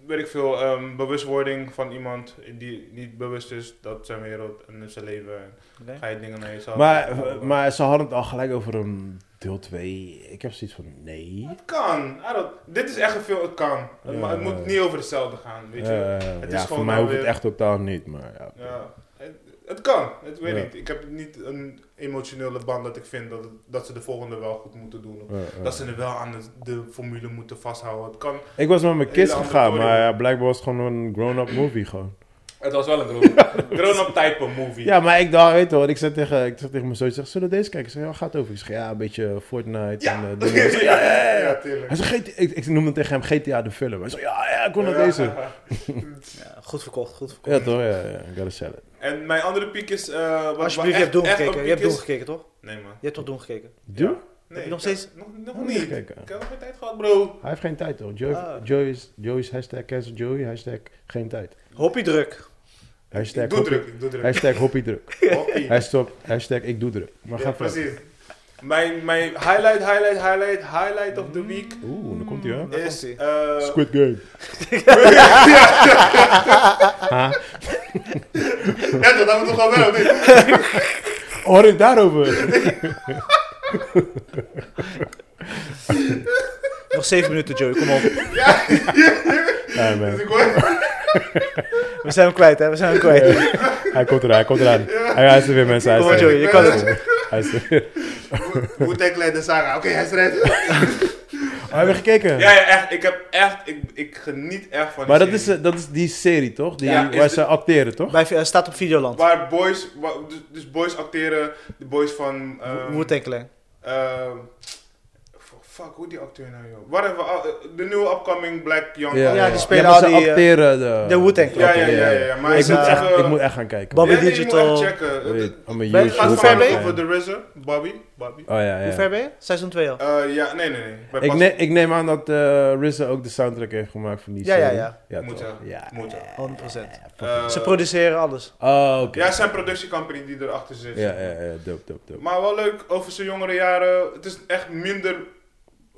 Speaker 2: weet ik veel, ehm, bewustwording van iemand die niet bewust is dat zijn wereld en zijn leven.
Speaker 3: Oké.
Speaker 2: Ga je dingen naar jezelf.
Speaker 1: Maar, maar ze hadden het al gelijk over een deel 2. Ik heb zoiets van, nee.
Speaker 2: Het kan. I don't- dit is echt een film, het kan.
Speaker 1: Ja,
Speaker 2: maar het moet
Speaker 1: ja.
Speaker 2: niet over hetzelfde gaan, weet je.
Speaker 1: Eh,
Speaker 2: is
Speaker 1: ja, voor
Speaker 2: gewoon
Speaker 1: mij
Speaker 2: wel
Speaker 1: hoeft het
Speaker 2: weer-
Speaker 1: echt totaal niet, maar ja.
Speaker 2: Ja, het, het kan. Het weet
Speaker 1: Ja.
Speaker 2: niet. Ik heb niet een emotionele band dat ik vind dat, het- dat ze de volgende wel goed moeten doen. Of
Speaker 1: Eh, eh.
Speaker 2: Dat ze er wel aan de, de formule moeten vasthouden. Het kan.
Speaker 1: Ik was met mijn kids
Speaker 2: Hele andere
Speaker 1: gegaan, maar
Speaker 2: oordeel.
Speaker 1: ja, blijkbaar was het gewoon een grown-up movie gewoon.
Speaker 2: Het was wel
Speaker 1: [laughs]
Speaker 2: een grown-up grown-up type movie.
Speaker 1: Ja, maar ik dacht, weet je wel, ik zei tegen, ik zeg tegen mijn zoon, ik zeg, zullen we deze kijken? Ik zeg, ja, waar gaat het over? Ik zeg, ja, een beetje Fortnite
Speaker 2: Ja.
Speaker 1: en
Speaker 2: [laughs]
Speaker 3: [laughs]
Speaker 1: eh, dingen. Ik zeg, ja, ja, ja, ja.
Speaker 2: Ja, tuurlijk.
Speaker 1: Hij zegt, "GT ik, ik noemde tegen hem GTA de film. Hij zei, ja, ja, ik wil naar deze.
Speaker 3: Ja, goed verkocht, goed verkocht.
Speaker 1: Ja, toch? Ja, ja, gotta sell it.
Speaker 2: En mijn andere piek is... eh wat- wat
Speaker 3: Alsjeblieft, je
Speaker 2: echt-
Speaker 3: hebt Doom
Speaker 2: echt een
Speaker 3: gekeken. Je
Speaker 2: piek
Speaker 3: hebt Doom
Speaker 2: is-
Speaker 3: gekeken, toch?
Speaker 2: Nee man.
Speaker 3: Je hebt toch Doom gekeken?
Speaker 1: Doe?
Speaker 2: Nee,
Speaker 3: je nog
Speaker 2: ik
Speaker 3: steeds-
Speaker 2: heb- Nog,
Speaker 1: Nog
Speaker 2: nog
Speaker 1: niet
Speaker 2: niet. Ik
Speaker 1: gekeken.
Speaker 2: heb nog geen tijd gehad bro.
Speaker 1: Hij heeft geen tijd, hoor. Joey,
Speaker 3: Ah.
Speaker 1: Joey's, Joey's hashtag cancel Joey, hashtag geen tijd.
Speaker 3: Hoppie druk.
Speaker 1: Hashtag
Speaker 2: ik doe
Speaker 1: hoppie-
Speaker 2: druk. Ik doe druk.
Speaker 1: Hashtag hoppie druk.
Speaker 2: Hoppie.
Speaker 1: hashtag, hashtag ik doe druk. Maar
Speaker 2: Ja,
Speaker 1: ga verder.
Speaker 2: precies. Mijn, mijn highlight, highlight, highlight, highlight of the week
Speaker 1: Oeh, dan komt hij, hè?
Speaker 3: Mm. Daar
Speaker 2: is...
Speaker 3: komt-ie.
Speaker 2: eh,
Speaker 1: Squid
Speaker 2: [laughs]
Speaker 1: Game.
Speaker 2: Ja, dat hadden we toch al wel, of niet?
Speaker 1: Hoor ik
Speaker 2: [laughs]
Speaker 1: daarover?
Speaker 3: Nog zeven minuten, Joey, kom op.
Speaker 1: Ja, man.
Speaker 2: Dus ik hoor...
Speaker 3: We zijn hem kwijt, hè? We zijn hem kwijt.
Speaker 1: Hij komt eraan, hij komt eraan. Hij, hij is er weer, mensen. Hij
Speaker 3: Kom op,
Speaker 1: is er
Speaker 3: Joey,
Speaker 1: weer.
Speaker 3: je kan het.
Speaker 1: Hij is er weer.
Speaker 2: Wu-Tang Clan en Sarah. Oké, hij is eruit.
Speaker 1: Oh, hebben we gekeken?
Speaker 2: Ja, ja, echt. Ik heb echt... Ik, ik geniet echt van die
Speaker 1: Maar dat
Speaker 2: serie.
Speaker 1: is, eh, dat is die serie, toch? Die,
Speaker 2: Ja, is
Speaker 1: waar
Speaker 2: de-
Speaker 1: ze acteren, toch?
Speaker 3: Bij, eh, staat op Videoland.
Speaker 2: Waar boys... waar- dus, dus boys acteren. De boys van... ehm,
Speaker 3: Wu-Tang Clan.
Speaker 2: ehm, fuck, hoe die acteur nou, joh? Waar hebben we... al- eh, De nieuwe upcoming black young...
Speaker 3: Ja, die spelen
Speaker 1: maar
Speaker 3: al
Speaker 1: ze
Speaker 3: die, eh,
Speaker 1: acteren de...
Speaker 3: de Wu-Tang Clan.
Speaker 2: Ja, ja, ja, ja, ja. Maar
Speaker 1: Ik,
Speaker 2: ik,
Speaker 3: Is,
Speaker 1: moet
Speaker 2: moet
Speaker 3: eh,
Speaker 1: echt,
Speaker 2: zeggen...
Speaker 1: ik moet echt gaan kijken.
Speaker 3: Bobby
Speaker 2: ja, die
Speaker 3: Digital.
Speaker 2: moet echt checken.
Speaker 1: Weet, oh, I'm a
Speaker 3: Ben-
Speaker 1: huge
Speaker 2: Gaat
Speaker 3: Hoe
Speaker 2: het
Speaker 3: ver
Speaker 1: Wu-Tang
Speaker 3: ben
Speaker 2: gaan
Speaker 3: je?
Speaker 1: fan.
Speaker 2: over de RZA? Bobby? Bobby?
Speaker 1: Oh ja,
Speaker 3: Hoe
Speaker 1: ja.
Speaker 3: ver ben je? Seizoen 2 al.
Speaker 2: Eh, ja, nee, nee, nee. Bij
Speaker 1: Ik,
Speaker 2: Bas-
Speaker 1: ne- ik neem aan dat eh RZA ook de soundtrack heeft gemaakt van die
Speaker 3: Ja,
Speaker 1: serie.
Speaker 3: ja, ja.
Speaker 2: Moet
Speaker 1: toch?
Speaker 2: wel.
Speaker 1: Ja.
Speaker 2: Moet wel.
Speaker 3: 100%.
Speaker 2: Eh,
Speaker 3: Ze produceren alles.
Speaker 1: Oh, oké.
Speaker 2: Ja, zijn productiecompany die erachter zit.
Speaker 1: Ja, ja, ja. Dope, dope, dope.
Speaker 2: Maar wel leuk over zijn jongere jaren. Het is echt minder.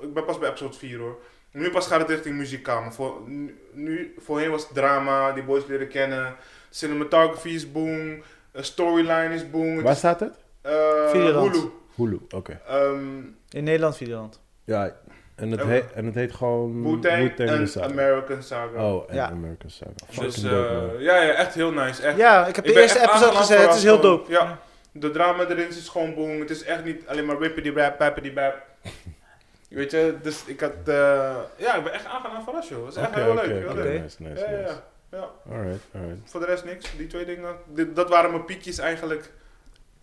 Speaker 2: Ik ben pas bij episode 4 hoor. Nu pas gaat het richting muziekkamer. Voor, nu- nu, voorheen was het drama, die boys leren kennen. Cinematography is boom. eh, Storyline is boom. Het
Speaker 1: Waar
Speaker 2: is,
Speaker 1: staat het?
Speaker 2: eh,
Speaker 3: Videoland.
Speaker 2: Hulu.
Speaker 1: Hulu, oké.
Speaker 2: Ehm
Speaker 3: In Nederland Videoland.
Speaker 1: Ja, en het,
Speaker 2: En-
Speaker 1: heet, en het heet gewoon...
Speaker 2: Wu-Tang
Speaker 1: Wu-Tang
Speaker 2: en
Speaker 1: Saga.
Speaker 2: American Saga.
Speaker 1: Oh, en
Speaker 3: Ja.
Speaker 1: American Saga. Fucking
Speaker 2: Dus,
Speaker 1: dope, man.
Speaker 2: eh, ja, ja, echt heel nice. Echt.
Speaker 3: Ja, ik heb
Speaker 2: Ik
Speaker 3: de
Speaker 2: ben
Speaker 3: eerste
Speaker 2: echt
Speaker 3: episode
Speaker 2: aangenaam
Speaker 3: gezet. Het is heel
Speaker 2: verrast
Speaker 3: dope.
Speaker 2: gewoon. Ja, de drama erin is gewoon boom. Het is echt niet alleen maar wippity rap,
Speaker 1: [laughs]
Speaker 2: pappity bap. Weet je, dus ik had. eh, ja, ik ben echt aangenaam verrast, joh. Het is echt
Speaker 1: Oké,
Speaker 2: heel
Speaker 1: oké,
Speaker 2: leuk. Heel
Speaker 1: oké,
Speaker 2: leuk.
Speaker 1: Nice, nice,
Speaker 2: Ja, ja,
Speaker 1: nice.
Speaker 2: ja, ja.
Speaker 1: Alright, alright.
Speaker 2: Voor de rest niks. Die twee dingen. Dit- dat waren mijn piekjes eigenlijk.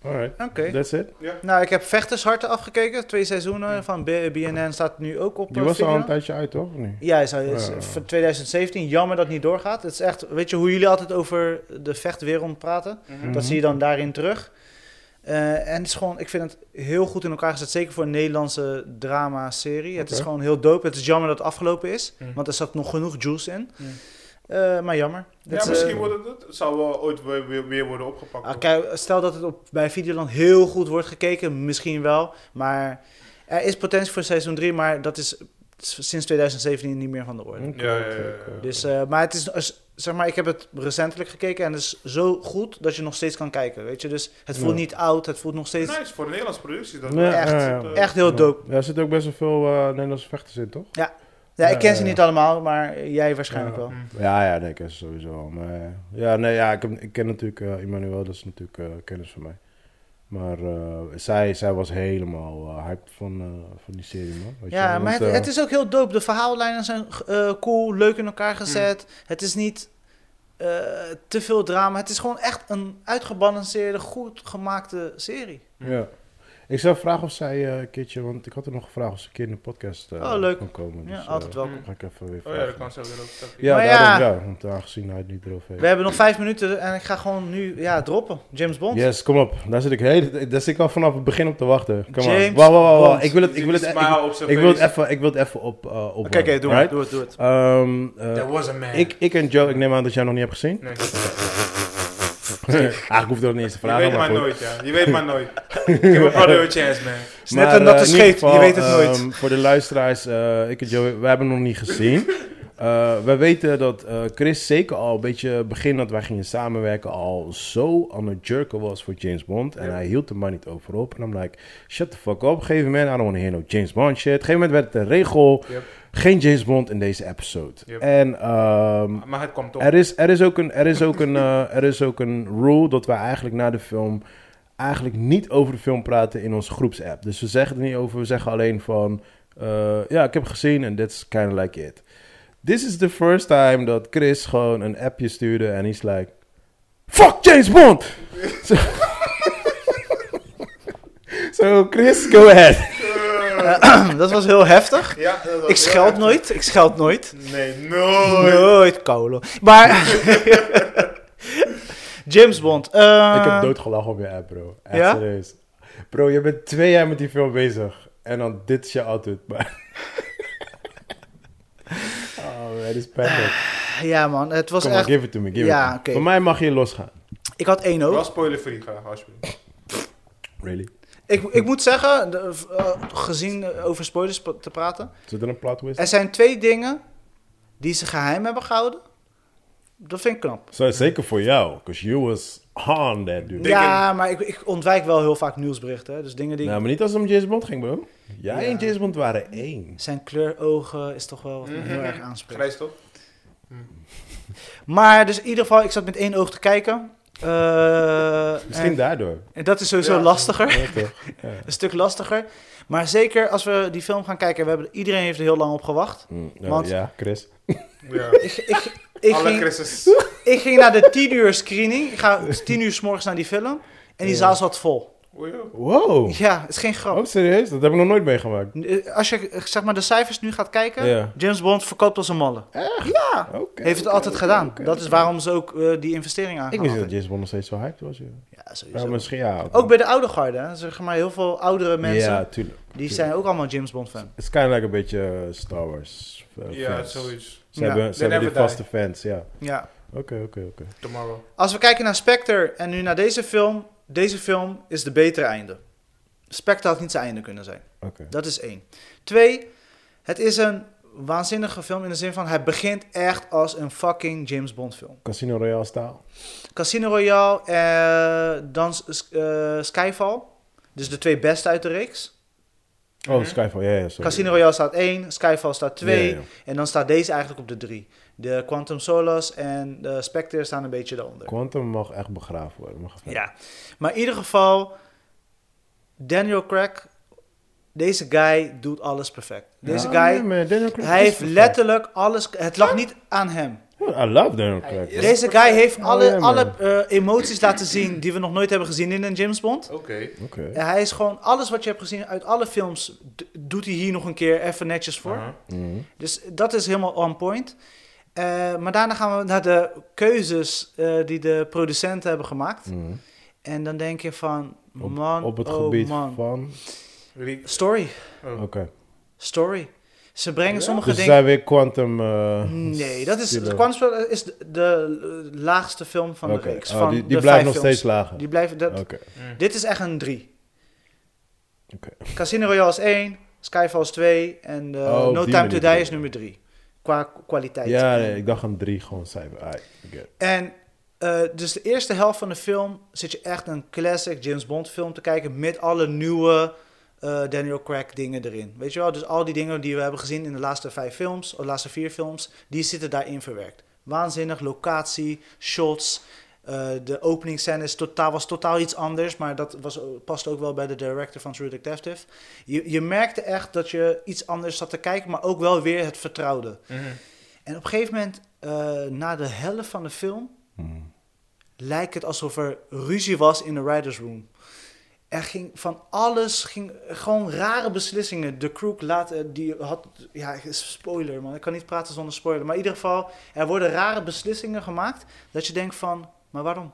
Speaker 1: Alright,
Speaker 3: Oké.
Speaker 1: that's it.
Speaker 3: Nou, ik heb Vechtersharte afgekeken. Twee seizoenen van B- BNN staat nu ook op
Speaker 1: Die
Speaker 3: eh,
Speaker 1: was al
Speaker 3: video.
Speaker 1: een tijdje uit, toch? Of niet?
Speaker 3: Ja, is, is
Speaker 1: Ja.
Speaker 3: van 2017. Jammer dat het niet doorgaat. Het is echt, weet je hoe jullie altijd over de vechtwereld praten?
Speaker 1: Mhm.
Speaker 3: Dat zie je dan daarin terug. Eh, en het is gewoon, ik vind het heel goed in elkaar gezet. Zeker voor een Nederlandse drama-serie. Het is
Speaker 1: Oké. Mhm.
Speaker 3: gewoon heel dope. Het is jammer dat het afgelopen is.
Speaker 2: Mm.
Speaker 3: Want er zat nog genoeg juice in.
Speaker 2: Mm.
Speaker 3: Eh, maar jammer. Dat,
Speaker 2: ja,
Speaker 3: eh,
Speaker 2: misschien wordt het, het zou wel ooit weer, weer, weer worden opgepakt.
Speaker 3: ah, kijk, stel dat het op, bij Videoland heel goed wordt gekeken, misschien wel. Maar er is potentie voor seizoen 3, maar dat is sinds 2017 niet meer van de orde.
Speaker 2: Ja, ja, ja, ja.
Speaker 3: Dus, eh, maar het is, als- zeg maar, ik heb het recentelijk gekeken en het is zo goed dat je nog steeds kan kijken, weet je. Dus het voelt
Speaker 1: Ja.
Speaker 3: niet oud, het voelt nog steeds...
Speaker 2: nice voor een Nederlandse productie. Dat
Speaker 1: Ja,
Speaker 3: echt-
Speaker 1: ja, ja.
Speaker 3: echt heel
Speaker 1: Ja.
Speaker 3: dope.
Speaker 1: Ja, er zitten ook best wel veel eh, Nederlandse vechters in, toch?
Speaker 3: Ja, ik ken
Speaker 1: Ja,
Speaker 3: ze
Speaker 1: ja,
Speaker 3: niet allemaal, maar jij waarschijnlijk
Speaker 1: Eh, Ja.
Speaker 3: wel.
Speaker 1: Ja, ja, nee, ik ken ze sowieso wel. Maar, eh, ja, nee, ja, ik, heb- ik ken natuurlijk eh Emmanuel, dat is natuurlijk eh, kennis van mij. Maar eh, zij, zij was helemaal eh, hyped van, eh, van die serie, man. Weet je
Speaker 3: Ja,
Speaker 1: wel,
Speaker 3: maar het,
Speaker 1: want, eh,
Speaker 3: het is ook heel dope. De verhaallijnen zijn eh, cool, leuk in elkaar gezet. Het is niet eh, te veel drama. Het is gewoon echt een uitgebalanceerde, goed gemaakte serie.
Speaker 1: Ja. Ik zou vragen of zij eh, een keertje, want ik had er nog gevraagd of ze een keer in de podcast eh,
Speaker 3: Oh, leuk.
Speaker 1: kon komen.
Speaker 3: Ja,
Speaker 1: dus,
Speaker 3: altijd
Speaker 1: eh,
Speaker 3: welkom.
Speaker 1: Ga ik even weer
Speaker 2: Oh ja,
Speaker 1: vragen.
Speaker 2: dat kan zo weer ook.
Speaker 1: Ja,
Speaker 3: Maar
Speaker 1: daarom,
Speaker 3: ja.
Speaker 1: ja. want aangezien hij het niet erover heeft.
Speaker 3: We hebben nog vijf minuten en ik ga gewoon nu ja, droppen. James Bond.
Speaker 1: Yes, kom op. Daar zit ik, heel, daar zit ik al vanaf het begin op te wachten. Kom maar.
Speaker 3: James
Speaker 1: Wow, wow, wow,
Speaker 3: Bond.
Speaker 1: wow. Ik wil het, ik wil het, ik,
Speaker 2: Smile op zijn
Speaker 1: ik wil het
Speaker 2: face.
Speaker 1: even, ik wil het even op, eh op.
Speaker 3: Oké, oké, doe, het, doe het, doe het.
Speaker 2: That was a man.
Speaker 1: eh, ik, ik en Joe, ik neem aan dat jij nog niet hebt
Speaker 3: [laughs]
Speaker 1: gezien.
Speaker 2: [laughs] Nee.
Speaker 1: Eigenlijk hoef ik dat niet eens te
Speaker 2: Je
Speaker 1: vragen.
Speaker 2: weet maar
Speaker 1: goed.
Speaker 2: nooit, ja. Je weet maar
Speaker 1: [laughs]
Speaker 2: nooit. Give a brother a chance, man.
Speaker 3: Snap hem dat
Speaker 1: eh,
Speaker 3: de
Speaker 1: in ieder
Speaker 3: scheet, je weet het
Speaker 1: [clears throat]
Speaker 3: nooit.
Speaker 1: ehm, voor de luisteraars, eh, ik en Joe, we hebben hem nog niet
Speaker 3: [laughs]
Speaker 1: gezien. Eh we weten dat eh, Chris zeker al een beetje begin dat wij gingen samenwerken al zo aan het jerken was voor James Bond. En
Speaker 2: Ja.
Speaker 1: hij hield er maar niet over op. En I'm like, shut the fuck up. Op een gegeven moment, I don't want to hear no James Bond shit. Op een gegeven moment werd het een regel,
Speaker 2: Yep.
Speaker 1: geen James Bond in deze episode.
Speaker 2: Yep.
Speaker 1: En ehm,
Speaker 2: Maar het komt toch.
Speaker 1: er is, er is ook een, er is ook een, eh, er is ook een rule dat wij eigenlijk na de film eigenlijk niet over de film praten in onze groepsapp. Dus we zeggen er niet over, we zeggen alleen van, eh, ja, ik heb het gezien en that's kind of like it. This is the first time dat Chris gewoon een appje stuurde en he's like, fuck James Bond. [laughs] so, so Chris, go ahead.
Speaker 3: Eh, [clears throat] dat was heel heftig.
Speaker 2: Eh. Ja, dat was
Speaker 3: Ik
Speaker 2: heel
Speaker 3: scheld
Speaker 2: erg.
Speaker 3: nooit, ik scheld nooit.
Speaker 2: Nee, nooit.
Speaker 3: Nooit kolen. Maar... [laughs] James Bond. eh,
Speaker 1: ik heb doodgelachen op je app, bro. Echt
Speaker 3: Ja?
Speaker 1: serieus. Bro, je bent twee jaar met die film bezig. En dan dit is je outfit.
Speaker 3: [laughs]
Speaker 1: Maar... oh man, dit is pijnlijk.
Speaker 3: Ja man, het was
Speaker 1: Kom maar,
Speaker 3: echt...
Speaker 1: give it to me, give
Speaker 3: Ja,
Speaker 1: it to me.
Speaker 3: oké.
Speaker 1: Voor mij mag je losgaan.
Speaker 3: Ik had één oog.
Speaker 2: Wel spoiler-free gaan, alsjeblieft.
Speaker 1: Really?
Speaker 3: Ik, ik moet zeggen, de- v- eh, gezien eh, over spoilers pa- te praten.
Speaker 1: Zit er een plot twist?
Speaker 3: Er zijn twee dingen die ze geheim hebben gehouden. Dat vind ik knap.
Speaker 1: Zo, zeker voor jou. Because you was on that, dude.
Speaker 3: Ja, maar ik, ik ontwijk wel heel vaak nieuwsberichten. hè. Dus dingen die...
Speaker 1: Nou, maar niet als het om James Bond ging, bro. Jij
Speaker 3: Ja.
Speaker 1: en James Bond waren één.
Speaker 3: Zijn kleurogen is toch wel wat me
Speaker 1: Mhm.
Speaker 3: heel erg aanspreekt.
Speaker 2: Grijs toch?
Speaker 3: Maar dus in ieder geval, ik zat met één oog te kijken. Eh,
Speaker 1: Misschien
Speaker 3: en,
Speaker 1: daardoor.
Speaker 3: en dat is sowieso
Speaker 2: Ja.
Speaker 3: lastiger.
Speaker 1: Ja,
Speaker 3: [laughs]
Speaker 1: toch?
Speaker 3: Een stuk lastiger. Maar zeker als we die film gaan kijken. We hebben, iedereen heeft er heel lang op gewacht.
Speaker 1: Mm, nou,
Speaker 3: Want-
Speaker 1: Ja, Chris.
Speaker 2: Ja.
Speaker 3: Ik, ik,
Speaker 1: [laughs]
Speaker 3: ik
Speaker 2: Alle
Speaker 3: ging-
Speaker 2: Christus.
Speaker 3: Ik ging naar de 10 uur screening. Ik ga 10 uur s morgens naar die film. En die
Speaker 1: Ja.
Speaker 3: zaal zat vol.
Speaker 2: Oei, joh.
Speaker 1: Wow.
Speaker 3: Ja, het is geen grap.
Speaker 1: Oh, serieus? Dat heb ik nog nooit meegemaakt.
Speaker 3: Eh, Als je eh, zeg maar, de cijfers nu gaat kijken.
Speaker 1: Ja.
Speaker 3: James Bond verkoopt als een malle.
Speaker 1: Oké.
Speaker 3: Heeft het
Speaker 1: oké,
Speaker 3: altijd
Speaker 1: oké,
Speaker 3: gedaan.
Speaker 1: oké,
Speaker 3: dat
Speaker 1: oké.
Speaker 3: is waarom ze ook eh, die investering
Speaker 1: Ik
Speaker 3: aangaan.
Speaker 1: wist niet dat James Bond nog steeds zo hyped was. Ja.
Speaker 3: Ja,
Speaker 1: Ja,
Speaker 3: sowieso.
Speaker 1: misschien ja.
Speaker 3: Ook bij de oude garde. hè. Zeg maar, heel veel oudere mensen.
Speaker 1: Ja, tuurlijk.
Speaker 3: die zijn ook allemaal James Bond fan.
Speaker 1: Het is kind of like een beetje eh, Star Wars eh,
Speaker 2: Ja,
Speaker 1: fans.
Speaker 2: zoiets.
Speaker 1: Ze
Speaker 3: Ja.
Speaker 1: hebben, ze
Speaker 2: They
Speaker 1: hebben die
Speaker 2: never die.
Speaker 1: vaste fans, ja.
Speaker 3: Ja.
Speaker 1: Oké, oké, oké.
Speaker 2: Tomorrow.
Speaker 3: Als we kijken naar Spectre en nu naar deze film. Deze film is de betere einde. Spectre had niet zijn einde kunnen zijn.
Speaker 1: Oké.
Speaker 3: Dat is één. Twee, het is een waanzinnige film in de zin van hij begint echt als een fucking James Bond film.
Speaker 1: Casino Royale staal.
Speaker 3: Casino Royale, eh, dan s- eh, Skyfall. Dus de twee beste uit de reeks.
Speaker 1: Oh,
Speaker 2: Mhm.
Speaker 1: Skyfall, ja, ja, sorry.
Speaker 3: Casino Royale staat één, Skyfall staat twee.
Speaker 1: Ja, ja.
Speaker 3: En dan staat deze eigenlijk op de drie. De Quantum Solace en de Spectre staan een beetje daaronder.
Speaker 1: Quantum mag echt begraven worden. Mag even-
Speaker 3: Ja, maar in ieder geval, Daniel Craig, deze guy doet alles perfect. Deze
Speaker 1: Ja,
Speaker 3: guy
Speaker 1: nee, man, Daniel Craig
Speaker 3: Hij
Speaker 1: is
Speaker 3: heeft
Speaker 1: perfect.
Speaker 3: letterlijk alles. Het lag niet aan hem.
Speaker 1: I love Daniel Craig.
Speaker 2: Hij is-
Speaker 3: Deze guy heeft alle,
Speaker 1: Oh, ja, man.
Speaker 3: alle eh, emoties laten zien die we nog nooit hebben gezien in een James Bond.
Speaker 2: Oké.
Speaker 1: man. Oké.
Speaker 3: En hij is gewoon alles wat je hebt gezien uit alle films. d- doet hij hier nog een keer even netjes voor.
Speaker 2: Uh-huh.
Speaker 1: Mhm.
Speaker 3: Dus dat is helemaal on point. Eh, maar daarna gaan we naar de keuzes eh, die de producenten hebben gemaakt.
Speaker 1: Mhm.
Speaker 3: En dan denk je van,
Speaker 1: Op,
Speaker 3: man,
Speaker 1: op het
Speaker 3: oh
Speaker 1: gebied
Speaker 3: man.
Speaker 1: van...
Speaker 2: Riek.
Speaker 3: Story,
Speaker 1: Oké.
Speaker 3: story. Ze brengen sommige
Speaker 1: Dus
Speaker 3: dingen...
Speaker 1: zijn weer Quantum... eh,
Speaker 3: Nee, dat is,
Speaker 1: Stiller.
Speaker 3: Quantum Solace is de, de laagste film van
Speaker 1: Oké.
Speaker 3: de reeks.
Speaker 1: Oh,
Speaker 3: van
Speaker 1: die die
Speaker 3: de
Speaker 1: blijft
Speaker 3: vijf
Speaker 1: nog
Speaker 3: films.
Speaker 1: steeds lager.
Speaker 3: Die blijven, dat,
Speaker 1: Oké.
Speaker 3: Dit is echt een 3.
Speaker 1: Oké.
Speaker 3: Casino Royale is 1, Skyfall is 2 en eh,
Speaker 1: Oh, op
Speaker 3: No
Speaker 1: die
Speaker 3: Time
Speaker 1: manier.
Speaker 3: to Die is nummer 3. Qua k- kwaliteit.
Speaker 1: Ja, nee, ik dacht aan drie gewoon cijfer. Ah, ik get it.
Speaker 3: En eh, dus de eerste helft van de film zit je echt een classic James Bond film te kijken met alle nieuwe eh, Daniel Craig dingen erin. Weet je wel, dus al die dingen die we hebben gezien in de laatste vijf films, of de laatste vier films, die zitten daarin verwerkt. Waanzinnig, locatie, shots. eh, de openingscène is totaal, was totaal iets anders, maar dat was, eh, past ook wel bij de director van True Detective. Je, je merkte echt dat je iets anders zat te kijken, maar ook wel weer het vertrouwde.
Speaker 2: Mhm.
Speaker 3: En op een gegeven moment, eh, na de helft van de film,
Speaker 1: Hmm.
Speaker 3: lijkt het alsof er ruzie was in de writers' room. Er ging van alles, ging gewoon rare beslissingen. De crew laat, eh, die had, ja, spoiler man, ik kan niet praten zonder spoiler. Maar in ieder geval, er worden rare beslissingen gemaakt dat je denkt van, maar waarom?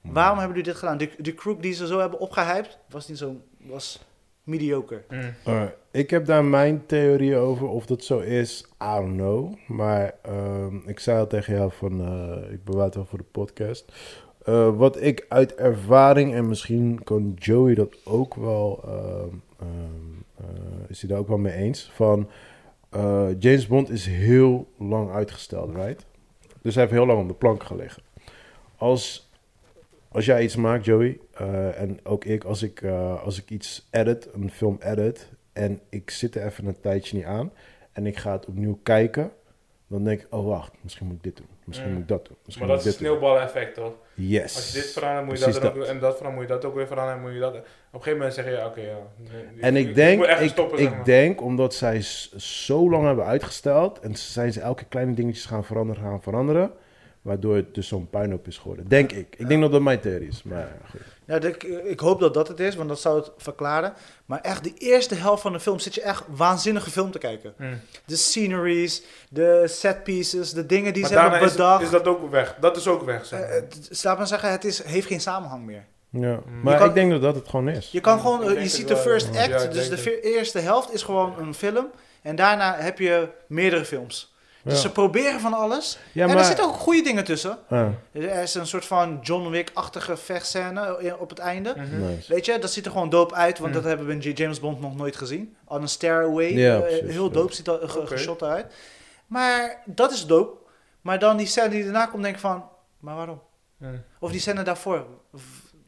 Speaker 3: Waarom hebben jullie dit gedaan? De, de crew die ze zo hebben opgehyped, was niet zo, was mediocre.
Speaker 2: Mm.
Speaker 1: Alright, Ik heb daar mijn theorie over. Of dat zo is, I don't know. Maar ehm, ik zei al tegen jou van... eh, ik bewaar het wel voor de podcast. Eh, wat ik uit ervaring... En misschien kan Joey dat ook wel... ehm, ehm, eh, is hij daar ook wel mee eens? Van... eh, James Bond is heel lang uitgesteld, right? Dus hij heeft heel lang op de plank gelegen. Als, als jij iets maakt, Joey, eh, en ook ik, als ik, eh, als ik iets edit, een film edit, en ik zit er even een tijdje niet aan, en ik ga het opnieuw kijken, dan denk ik, oh wacht, misschien moet ik dit doen, misschien
Speaker 2: Mm.
Speaker 1: moet ik dat doen, misschien
Speaker 2: Maar dat
Speaker 1: moet
Speaker 2: is het
Speaker 1: ik dit doen.
Speaker 2: sneeuwbaleffect, toch?
Speaker 1: Yes.
Speaker 2: Als je dit verandert, moet je
Speaker 1: Precies
Speaker 2: dat, en ook,
Speaker 1: dat.
Speaker 2: en dat verandert, moet je dat ook weer veranderen, moet je dat... Op een gegeven moment zeg je, ja, oké, ja.
Speaker 1: En ik denk,
Speaker 2: moet echt
Speaker 1: ik,
Speaker 2: stoppen,
Speaker 1: ik
Speaker 2: zeg maar.
Speaker 1: denk omdat zij s- zo lang hebben uitgesteld en ze zijn ze elke kleine dingetjes gaan veranderen, gaan veranderen, waardoor het dus zo'n puinhoop is geworden. Denk ik. Ik denk dat dat mijn theorie is. Maar goed.
Speaker 3: Nou, ik, ik hoop dat dat het is, want dat zou het verklaren. Maar echt, de eerste helft van de film zit je echt waanzinnige film te kijken.
Speaker 2: Mm.
Speaker 3: De sceneries, de set pieces, de dingen die
Speaker 2: Maar
Speaker 3: ze
Speaker 2: daarna
Speaker 3: hebben
Speaker 2: is,
Speaker 3: bedacht.
Speaker 2: is dat ook weg. Dat is ook weg, zeg
Speaker 3: Eh,
Speaker 2: maar.
Speaker 3: het- laat maar zeggen, het is, heeft geen samenhang meer.
Speaker 1: Ja.
Speaker 2: Mm.
Speaker 1: Maar
Speaker 3: Je kan-
Speaker 1: ik denk dat dat het gewoon is.
Speaker 3: Je kan
Speaker 2: Ja,
Speaker 3: gewoon,
Speaker 2: Mm, ik
Speaker 3: eh,
Speaker 2: denk
Speaker 3: je
Speaker 2: het
Speaker 3: ziet de
Speaker 2: wel.
Speaker 3: first
Speaker 2: Ja,
Speaker 3: act,
Speaker 2: ik
Speaker 3: dus
Speaker 2: denk
Speaker 3: de
Speaker 2: het.
Speaker 3: ve- eerste helft is gewoon een film. En daarna heb je meerdere films. Dus
Speaker 1: Ja.
Speaker 3: ze proberen van alles.
Speaker 1: Ja,
Speaker 3: En
Speaker 1: maar-
Speaker 3: er zitten ook goede dingen tussen.
Speaker 1: Ah,
Speaker 3: Er is een soort van John Wick-achtige vechtscène eh, op het einde.
Speaker 2: Mhm.
Speaker 1: nice.
Speaker 3: Weet je, dat ziet er gewoon doop uit, want
Speaker 2: Mm.
Speaker 3: dat hebben we in J- James Bond nog nooit gezien. On a Stairway,
Speaker 1: Ja,
Speaker 3: eh,
Speaker 1: precies,
Speaker 3: heel
Speaker 1: ja.
Speaker 3: doop ziet dat eh, ge-
Speaker 2: Oké.
Speaker 3: geshot eruit. Maar dat is doop. Maar dan die scène die daarna komt, denk ik van, maar waarom?
Speaker 2: Mm.
Speaker 3: Of die scène daarvoor, v-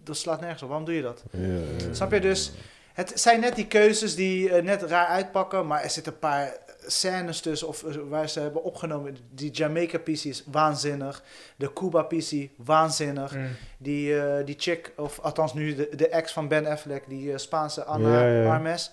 Speaker 3: dat slaat nergens op, waarom doe je dat?
Speaker 1: Ja, ja.
Speaker 3: Snap je dus? Het zijn net die keuzes die eh, net raar uitpakken, maar er zitten een paar scènes tussen of, eh, waar ze hebben opgenomen. Die Jamaica PC is waanzinnig, de Cuba PC waanzinnig.
Speaker 2: Mm.
Speaker 3: Die, eh, die chick, of althans nu de, de ex van Ben Affleck, die eh, Spaanse Anna
Speaker 1: Ja, ja, ja.
Speaker 3: Armes.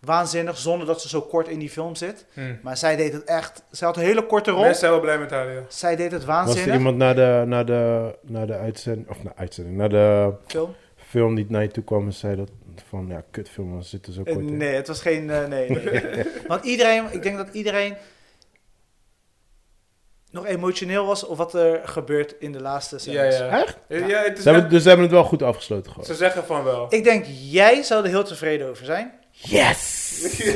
Speaker 3: Waanzinnig, zonder dat ze zo kort in die film zit.
Speaker 2: Mm.
Speaker 3: Maar zij deed het echt. Zij had een hele korte rol.
Speaker 2: Mensen zijn wel blij met haar, ja.
Speaker 3: Zij deed het
Speaker 1: Was er
Speaker 3: waanzinnig.
Speaker 1: iemand naar de, naar de, naar de uitzending, of naar uitzending, naar de
Speaker 3: Film?
Speaker 1: film die naar je toe kwam en zei dat van, ja, kutfilm, dan zitten zo
Speaker 3: Eh,
Speaker 1: kort in.
Speaker 3: nee, het was geen. eh, nee, nee.
Speaker 1: [laughs]
Speaker 3: Want iedereen, ik denk dat iedereen nog emotioneel was of wat er gebeurt in de laatste
Speaker 2: Ja,
Speaker 3: scènes.
Speaker 2: ja.
Speaker 1: Echt?
Speaker 2: Ja, ja, het is
Speaker 1: Ze hebben,
Speaker 2: echt-
Speaker 1: dus ze hebben het wel goed afgesloten gewoon.
Speaker 2: Ze zeggen van wel.
Speaker 3: Ik denk, jij zou er heel tevreden over zijn.
Speaker 1: Yes! [laughs]
Speaker 3: Eh,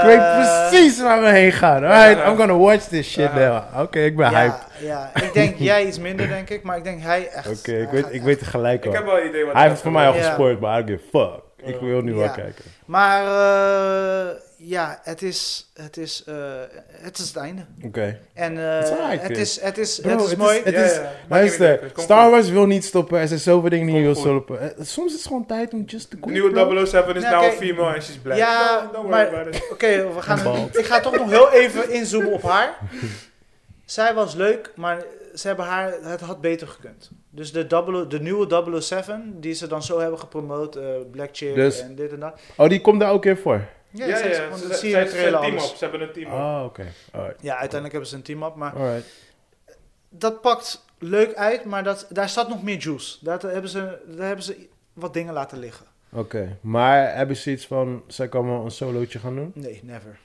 Speaker 1: Ik weet precies waar we heen gaan. Alright, I'm gonna watch this shit
Speaker 2: Ja.
Speaker 1: now. Oké, ik ben hyped.
Speaker 3: Ja, ja, ik
Speaker 1: [laughs]
Speaker 3: denk jij iets minder, denk ik. Maar ik denk hij echt.
Speaker 1: Oké,
Speaker 3: hij
Speaker 1: ik, weet,
Speaker 3: gaat
Speaker 1: ik
Speaker 3: echt-
Speaker 1: weet het gelijk
Speaker 2: [laughs] Ik
Speaker 1: al.
Speaker 2: heb wel een idee wat
Speaker 1: Hij heeft het voor mij al
Speaker 3: Ja.
Speaker 1: gespoord, maar I don't give a fuck. Ik wil nu wel
Speaker 3: Ja.
Speaker 1: kijken.
Speaker 3: Maar eh, ja, het is het, is, eh, het is het einde.
Speaker 1: Oké.
Speaker 3: En eh,
Speaker 1: Het is alright,
Speaker 3: het,
Speaker 1: Chris.
Speaker 3: is, het is,
Speaker 1: Bro,
Speaker 3: het is
Speaker 1: het
Speaker 3: mooi.
Speaker 1: is- het is- Luister, Star Wars wil niet stoppen. Er zijn zoveel dingen die
Speaker 2: Kom
Speaker 1: je wil
Speaker 2: goed.
Speaker 1: stoppen. Eh, Soms is het gewoon tijd om just te
Speaker 2: De
Speaker 1: quit, bro.
Speaker 2: nieuwe 007 is
Speaker 3: Nou,
Speaker 2: nou een
Speaker 3: kijk.
Speaker 2: female en she's black.
Speaker 3: Ja,
Speaker 2: Don't- don't
Speaker 3: maar-
Speaker 2: worry about it.
Speaker 3: Oké, we gaan,
Speaker 1: Bald.
Speaker 3: ik ga toch nog heel even inzoomen op
Speaker 1: [laughs]
Speaker 3: haar. Zij was leuk, maar ze hebben haar, het had beter gekund. Dus de, double, de nieuwe 007, die ze dan zo hebben gepromoot, eh, Black Chick
Speaker 1: Dus-
Speaker 3: en dit en dat.
Speaker 1: Oh, die komt daar ook in voor.
Speaker 2: Ja,
Speaker 3: Ja,
Speaker 2: ja,
Speaker 3: ze-
Speaker 2: ze-
Speaker 3: want
Speaker 2: ze- ze-
Speaker 3: dat zie je in de
Speaker 2: ze hebben
Speaker 3: trailer
Speaker 2: een team op.
Speaker 3: alles.
Speaker 2: Ze hebben een team op.
Speaker 1: Oh, oké. Alright.
Speaker 3: Ja, uiteindelijk hebben ze een team op, maar
Speaker 1: Alright.
Speaker 3: dat pakt leuk uit, maar dat, daar staat nog meer juice. Daar hebben, ze, daar hebben ze wat dingen laten liggen.
Speaker 1: Oké. Maar hebben ze iets van... Zij kan wel een solootje gaan doen?
Speaker 3: Nee, never.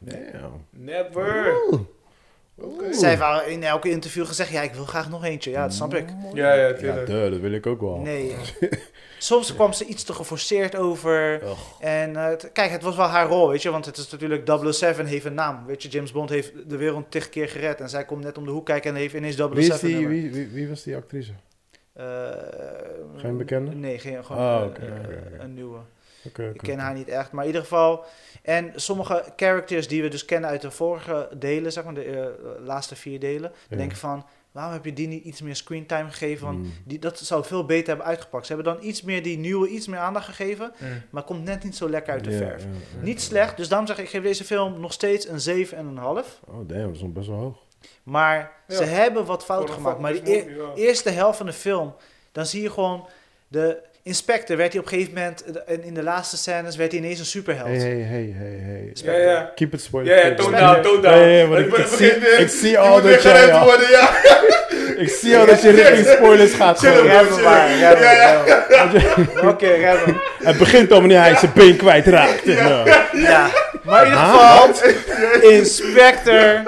Speaker 1: Damn.
Speaker 2: Never.
Speaker 1: Oké.
Speaker 3: Zij heeft al in elke
Speaker 1: Mm.
Speaker 3: interview gezegd, ja, ik wil graag nog eentje. Ja, dat snap ik.
Speaker 2: Ja, ja,
Speaker 1: Ja,
Speaker 2: tuurlijk.
Speaker 1: Oh. duh, dat wil ik ook wel.
Speaker 3: Nee. [laughs] soms kwam ze iets te geforceerd over.
Speaker 1: Och.
Speaker 3: En eh, het- kijk, het was wel haar rol, weet je. Want het is natuurlijk 007 heeft een naam. Weet je, James Bond heeft de wereld tig keer gered. En zij komt net om de hoek kijken en heeft ineens 007
Speaker 1: Wie, is die,
Speaker 3: nummer.
Speaker 1: wie, wie, wie was die actrice?
Speaker 3: Eh,
Speaker 1: Geen bekende?
Speaker 3: Nee, geen, gewoon
Speaker 1: Oh,
Speaker 3: eh,
Speaker 1: oké,
Speaker 3: eh,
Speaker 1: oké, oké.
Speaker 3: een nieuwe.
Speaker 1: Oké,
Speaker 3: Ik ken haar niet echt, maar in ieder geval. En sommige characters die we dus kennen uit de vorige delen, zeg maar de eh, laatste vier delen,
Speaker 1: Ja. Mm.
Speaker 3: denk ik van, waarom heb je die niet iets meer screentime gegeven? Want
Speaker 1: Hmm.
Speaker 3: die, dat zou veel beter hebben uitgepakt. Ze hebben dan iets meer die nieuwe, iets meer aandacht gegeven,
Speaker 2: Mm.
Speaker 3: maar komt net niet zo lekker uit de verf. Niet slecht, dus daarom zeg ik, ik geef deze film nog steeds een 7,5.
Speaker 1: Oh damn, dat is nog best wel hoog.
Speaker 3: Maar
Speaker 2: Ja.
Speaker 3: ze hebben wat fout gemaakt. Maar die, e- eerste helft van de film, dan zie je gewoon de inspector werd hij op een gegeven moment de- en in de laatste scènes werd hij ineens een superheld.
Speaker 1: Hey, hey, hey, hey, hey.
Speaker 2: Ja, ja.
Speaker 1: Keep it spoiler.
Speaker 2: Ja, ja, tone down, tone down.
Speaker 1: Nee, nee, want ik,
Speaker 2: Het
Speaker 1: ik
Speaker 2: begint
Speaker 1: zie,
Speaker 2: weer-
Speaker 1: ik zie
Speaker 2: je
Speaker 1: al
Speaker 2: moet weer
Speaker 1: dat jij...
Speaker 2: gered
Speaker 1: al-
Speaker 2: worden, ja.
Speaker 1: Ik zie al dat je richting spoilers gaat.
Speaker 2: Chill,
Speaker 1: gewoon.
Speaker 2: bro.
Speaker 3: Remmen maar,
Speaker 2: Ja,
Speaker 3: remmen,
Speaker 2: ja, ja.
Speaker 3: remmen. Oké, remmen.
Speaker 1: Het begint al wanneer hij zijn been kwijtraakt. Ah. En, eh,
Speaker 3: Ja. Maar in ieder geval,
Speaker 1: [laughs]
Speaker 3: Inspector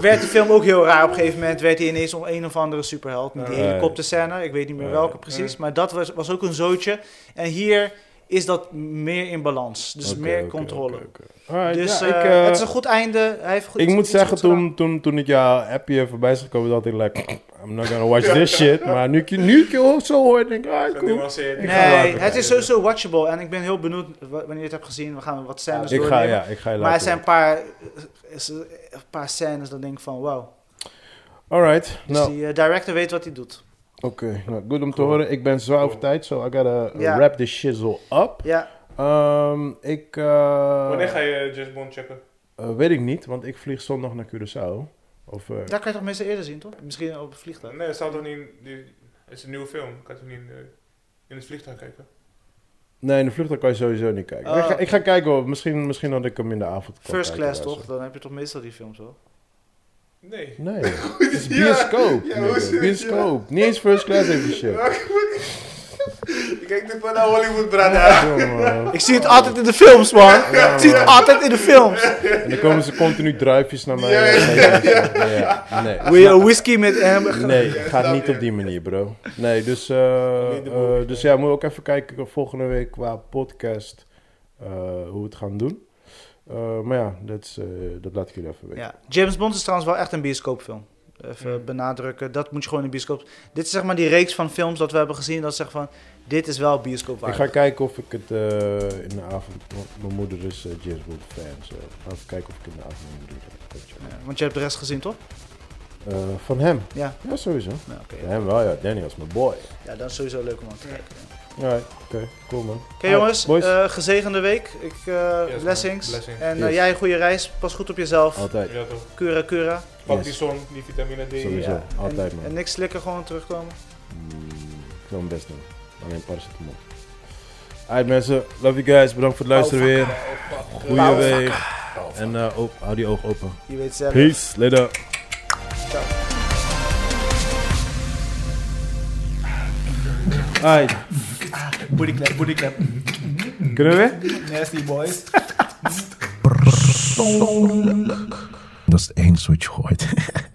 Speaker 3: werd de film ook heel raar. Op een gegeven moment werd hij ineens om een of andere superheld. Met die
Speaker 1: Nee.
Speaker 3: helikopterscène, ik weet niet meer
Speaker 1: Nee.
Speaker 3: welke precies. Maar dat was, was ook een zootje. En hier is dat meer in balans. Dus
Speaker 1: oké,
Speaker 3: meer
Speaker 1: oké,
Speaker 3: controle.
Speaker 1: oké, oké. Alright,
Speaker 3: Dus
Speaker 1: ja,
Speaker 3: eh,
Speaker 1: ik, eh,
Speaker 3: het is een goed einde. Hij heeft goed,
Speaker 1: ik moet
Speaker 3: iets
Speaker 1: zeggen,
Speaker 3: goed gedaan.
Speaker 1: toen, toen, toen ik jouw appje voorbij is gekomen, dacht ik, like, I'm not gonna watch this shit. Maar nu, ik je- nu ik je ook zo hoor, denk ik, ah, cool.
Speaker 2: Genuanceerd.
Speaker 1: Ik ga
Speaker 3: Nee,
Speaker 1: later
Speaker 3: het is
Speaker 2: kijken.
Speaker 3: sowieso watchable. En ik ben heel benieuwd w- wanneer je het hebt gezien. We gaan wat scènes
Speaker 1: Ik ga,
Speaker 3: doornemen.
Speaker 1: ja, ik ga je
Speaker 3: maar er
Speaker 1: laten
Speaker 3: zijn een paar, is- een paar scènes dat denk ik van wauw.
Speaker 1: weten. Alright,
Speaker 3: Dus
Speaker 1: nou,
Speaker 3: die eh, director weet wat hij doet.
Speaker 1: oké. nou, goed om te horen. Ik ben zwaar over
Speaker 2: Cool.
Speaker 1: tijd, so I gotta
Speaker 3: Ja.
Speaker 1: wrap this shizzle up.
Speaker 3: Ja,
Speaker 1: Ehm, ik, eh,
Speaker 2: Oh. Wanneer ga je James Bond checken?
Speaker 1: eh, weet ik niet, want ik vlieg zondag naar Curaçao. Of, eh,
Speaker 3: daar kan je toch meestal eerder zien, toch? Misschien op het vliegtuig.
Speaker 2: Nee, het staat toch niet in... die- Het is een nieuwe film. Kan je toch niet eh, in het vliegtuig kijken?
Speaker 1: Nee, in de vlucht kan je sowieso niet kijken.
Speaker 3: Oh.
Speaker 1: Ik,
Speaker 2: Eh.
Speaker 1: ga, ik ga kijken, hoor. Misschien, misschien dat ik hem in de avond kan
Speaker 3: First
Speaker 1: kijken,
Speaker 3: class,
Speaker 1: luister.
Speaker 3: toch? Dan heb je toch meestal die films wel.
Speaker 2: Nee. [laughs]
Speaker 1: Nee, het is bioscoop.
Speaker 2: Ja,
Speaker 1: nigga.
Speaker 2: hoe zit het?
Speaker 1: bioscoop. Niet eens first class even shit.
Speaker 2: [laughs] Ik kijk dit van naar Hollywood, brada.
Speaker 1: Ja, man.
Speaker 3: Ik zie het altijd in de films, man. Ik zie het altijd in de films.
Speaker 1: En dan komen ze continu druifjes naar mij.
Speaker 2: Ja,
Speaker 1: Ja, Nee,
Speaker 3: Wil je whisky met hem?
Speaker 1: nee
Speaker 2: Ja,
Speaker 1: gaat
Speaker 2: snap
Speaker 1: niet
Speaker 2: je.
Speaker 1: op die manier, bro. Nee, dus, eh,
Speaker 2: Niet de boel.
Speaker 1: eh, dus ja, moet ook even kijken of volgende week qua podcast eh, hoe we het gaan doen. Eh, maar ja, dat, is, eh, dat laat ik jullie even weten.
Speaker 3: Ja, James Bond is trouwens wel echt een bioscoopfilm. Even
Speaker 2: Mm.
Speaker 3: benadrukken, dat moet je gewoon in de bioscoop. Dit is zeg maar die reeks van films dat we hebben gezien. Dat zegt van, dit is wel
Speaker 1: Ik
Speaker 3: bioscoopwaardig.
Speaker 1: ga kijken of ik het eh, in de avond. want Mijn moeder is eh, James Bond fan. So. Even kijken of ik in de avond mijn moeder dat- dat je-
Speaker 3: Ja, want je hebt de rest gezien, toch?
Speaker 1: Eh, van hem?
Speaker 3: Ja.
Speaker 1: Ja, sowieso. Van
Speaker 3: Nou, oké.
Speaker 1: hem wel, ja. Danny was mijn boy.
Speaker 3: Ja, dat is sowieso leuk om aan te
Speaker 2: Ja.
Speaker 3: kijken. ja.
Speaker 1: Alright, oké, cool man.
Speaker 3: Oké jongens,
Speaker 1: Boys,
Speaker 3: eh, gezegende week. Ik, eh,
Speaker 2: Yes, man.
Speaker 3: blessings.
Speaker 2: Blessings.
Speaker 3: En eh,
Speaker 1: Yes.
Speaker 3: jij een goede reis. Pas goed op jezelf.
Speaker 1: altijd.
Speaker 2: Ja, toch.
Speaker 3: Cura, cura.
Speaker 2: Pak
Speaker 1: Yes.
Speaker 2: die zon, die vitamine D.
Speaker 1: Sowieso,
Speaker 3: Ja, en-
Speaker 1: altijd man.
Speaker 3: En niks slikken, gewoon terugkomen.
Speaker 1: Mm, ik zal mijn best doen. Alleen paracetamol. Alright mensen, love you guys. Bedankt voor het luisteren weer. Goeie
Speaker 3: Oh,
Speaker 1: week. En eh, op- hou die ogen open.
Speaker 3: Je weet het zelf.
Speaker 1: Peace, later. Alright,
Speaker 4: Booty clap, booty clap.
Speaker 1: kunnen we weer?
Speaker 4: Nasty boys.
Speaker 5: Dat is het enige wat je gooit.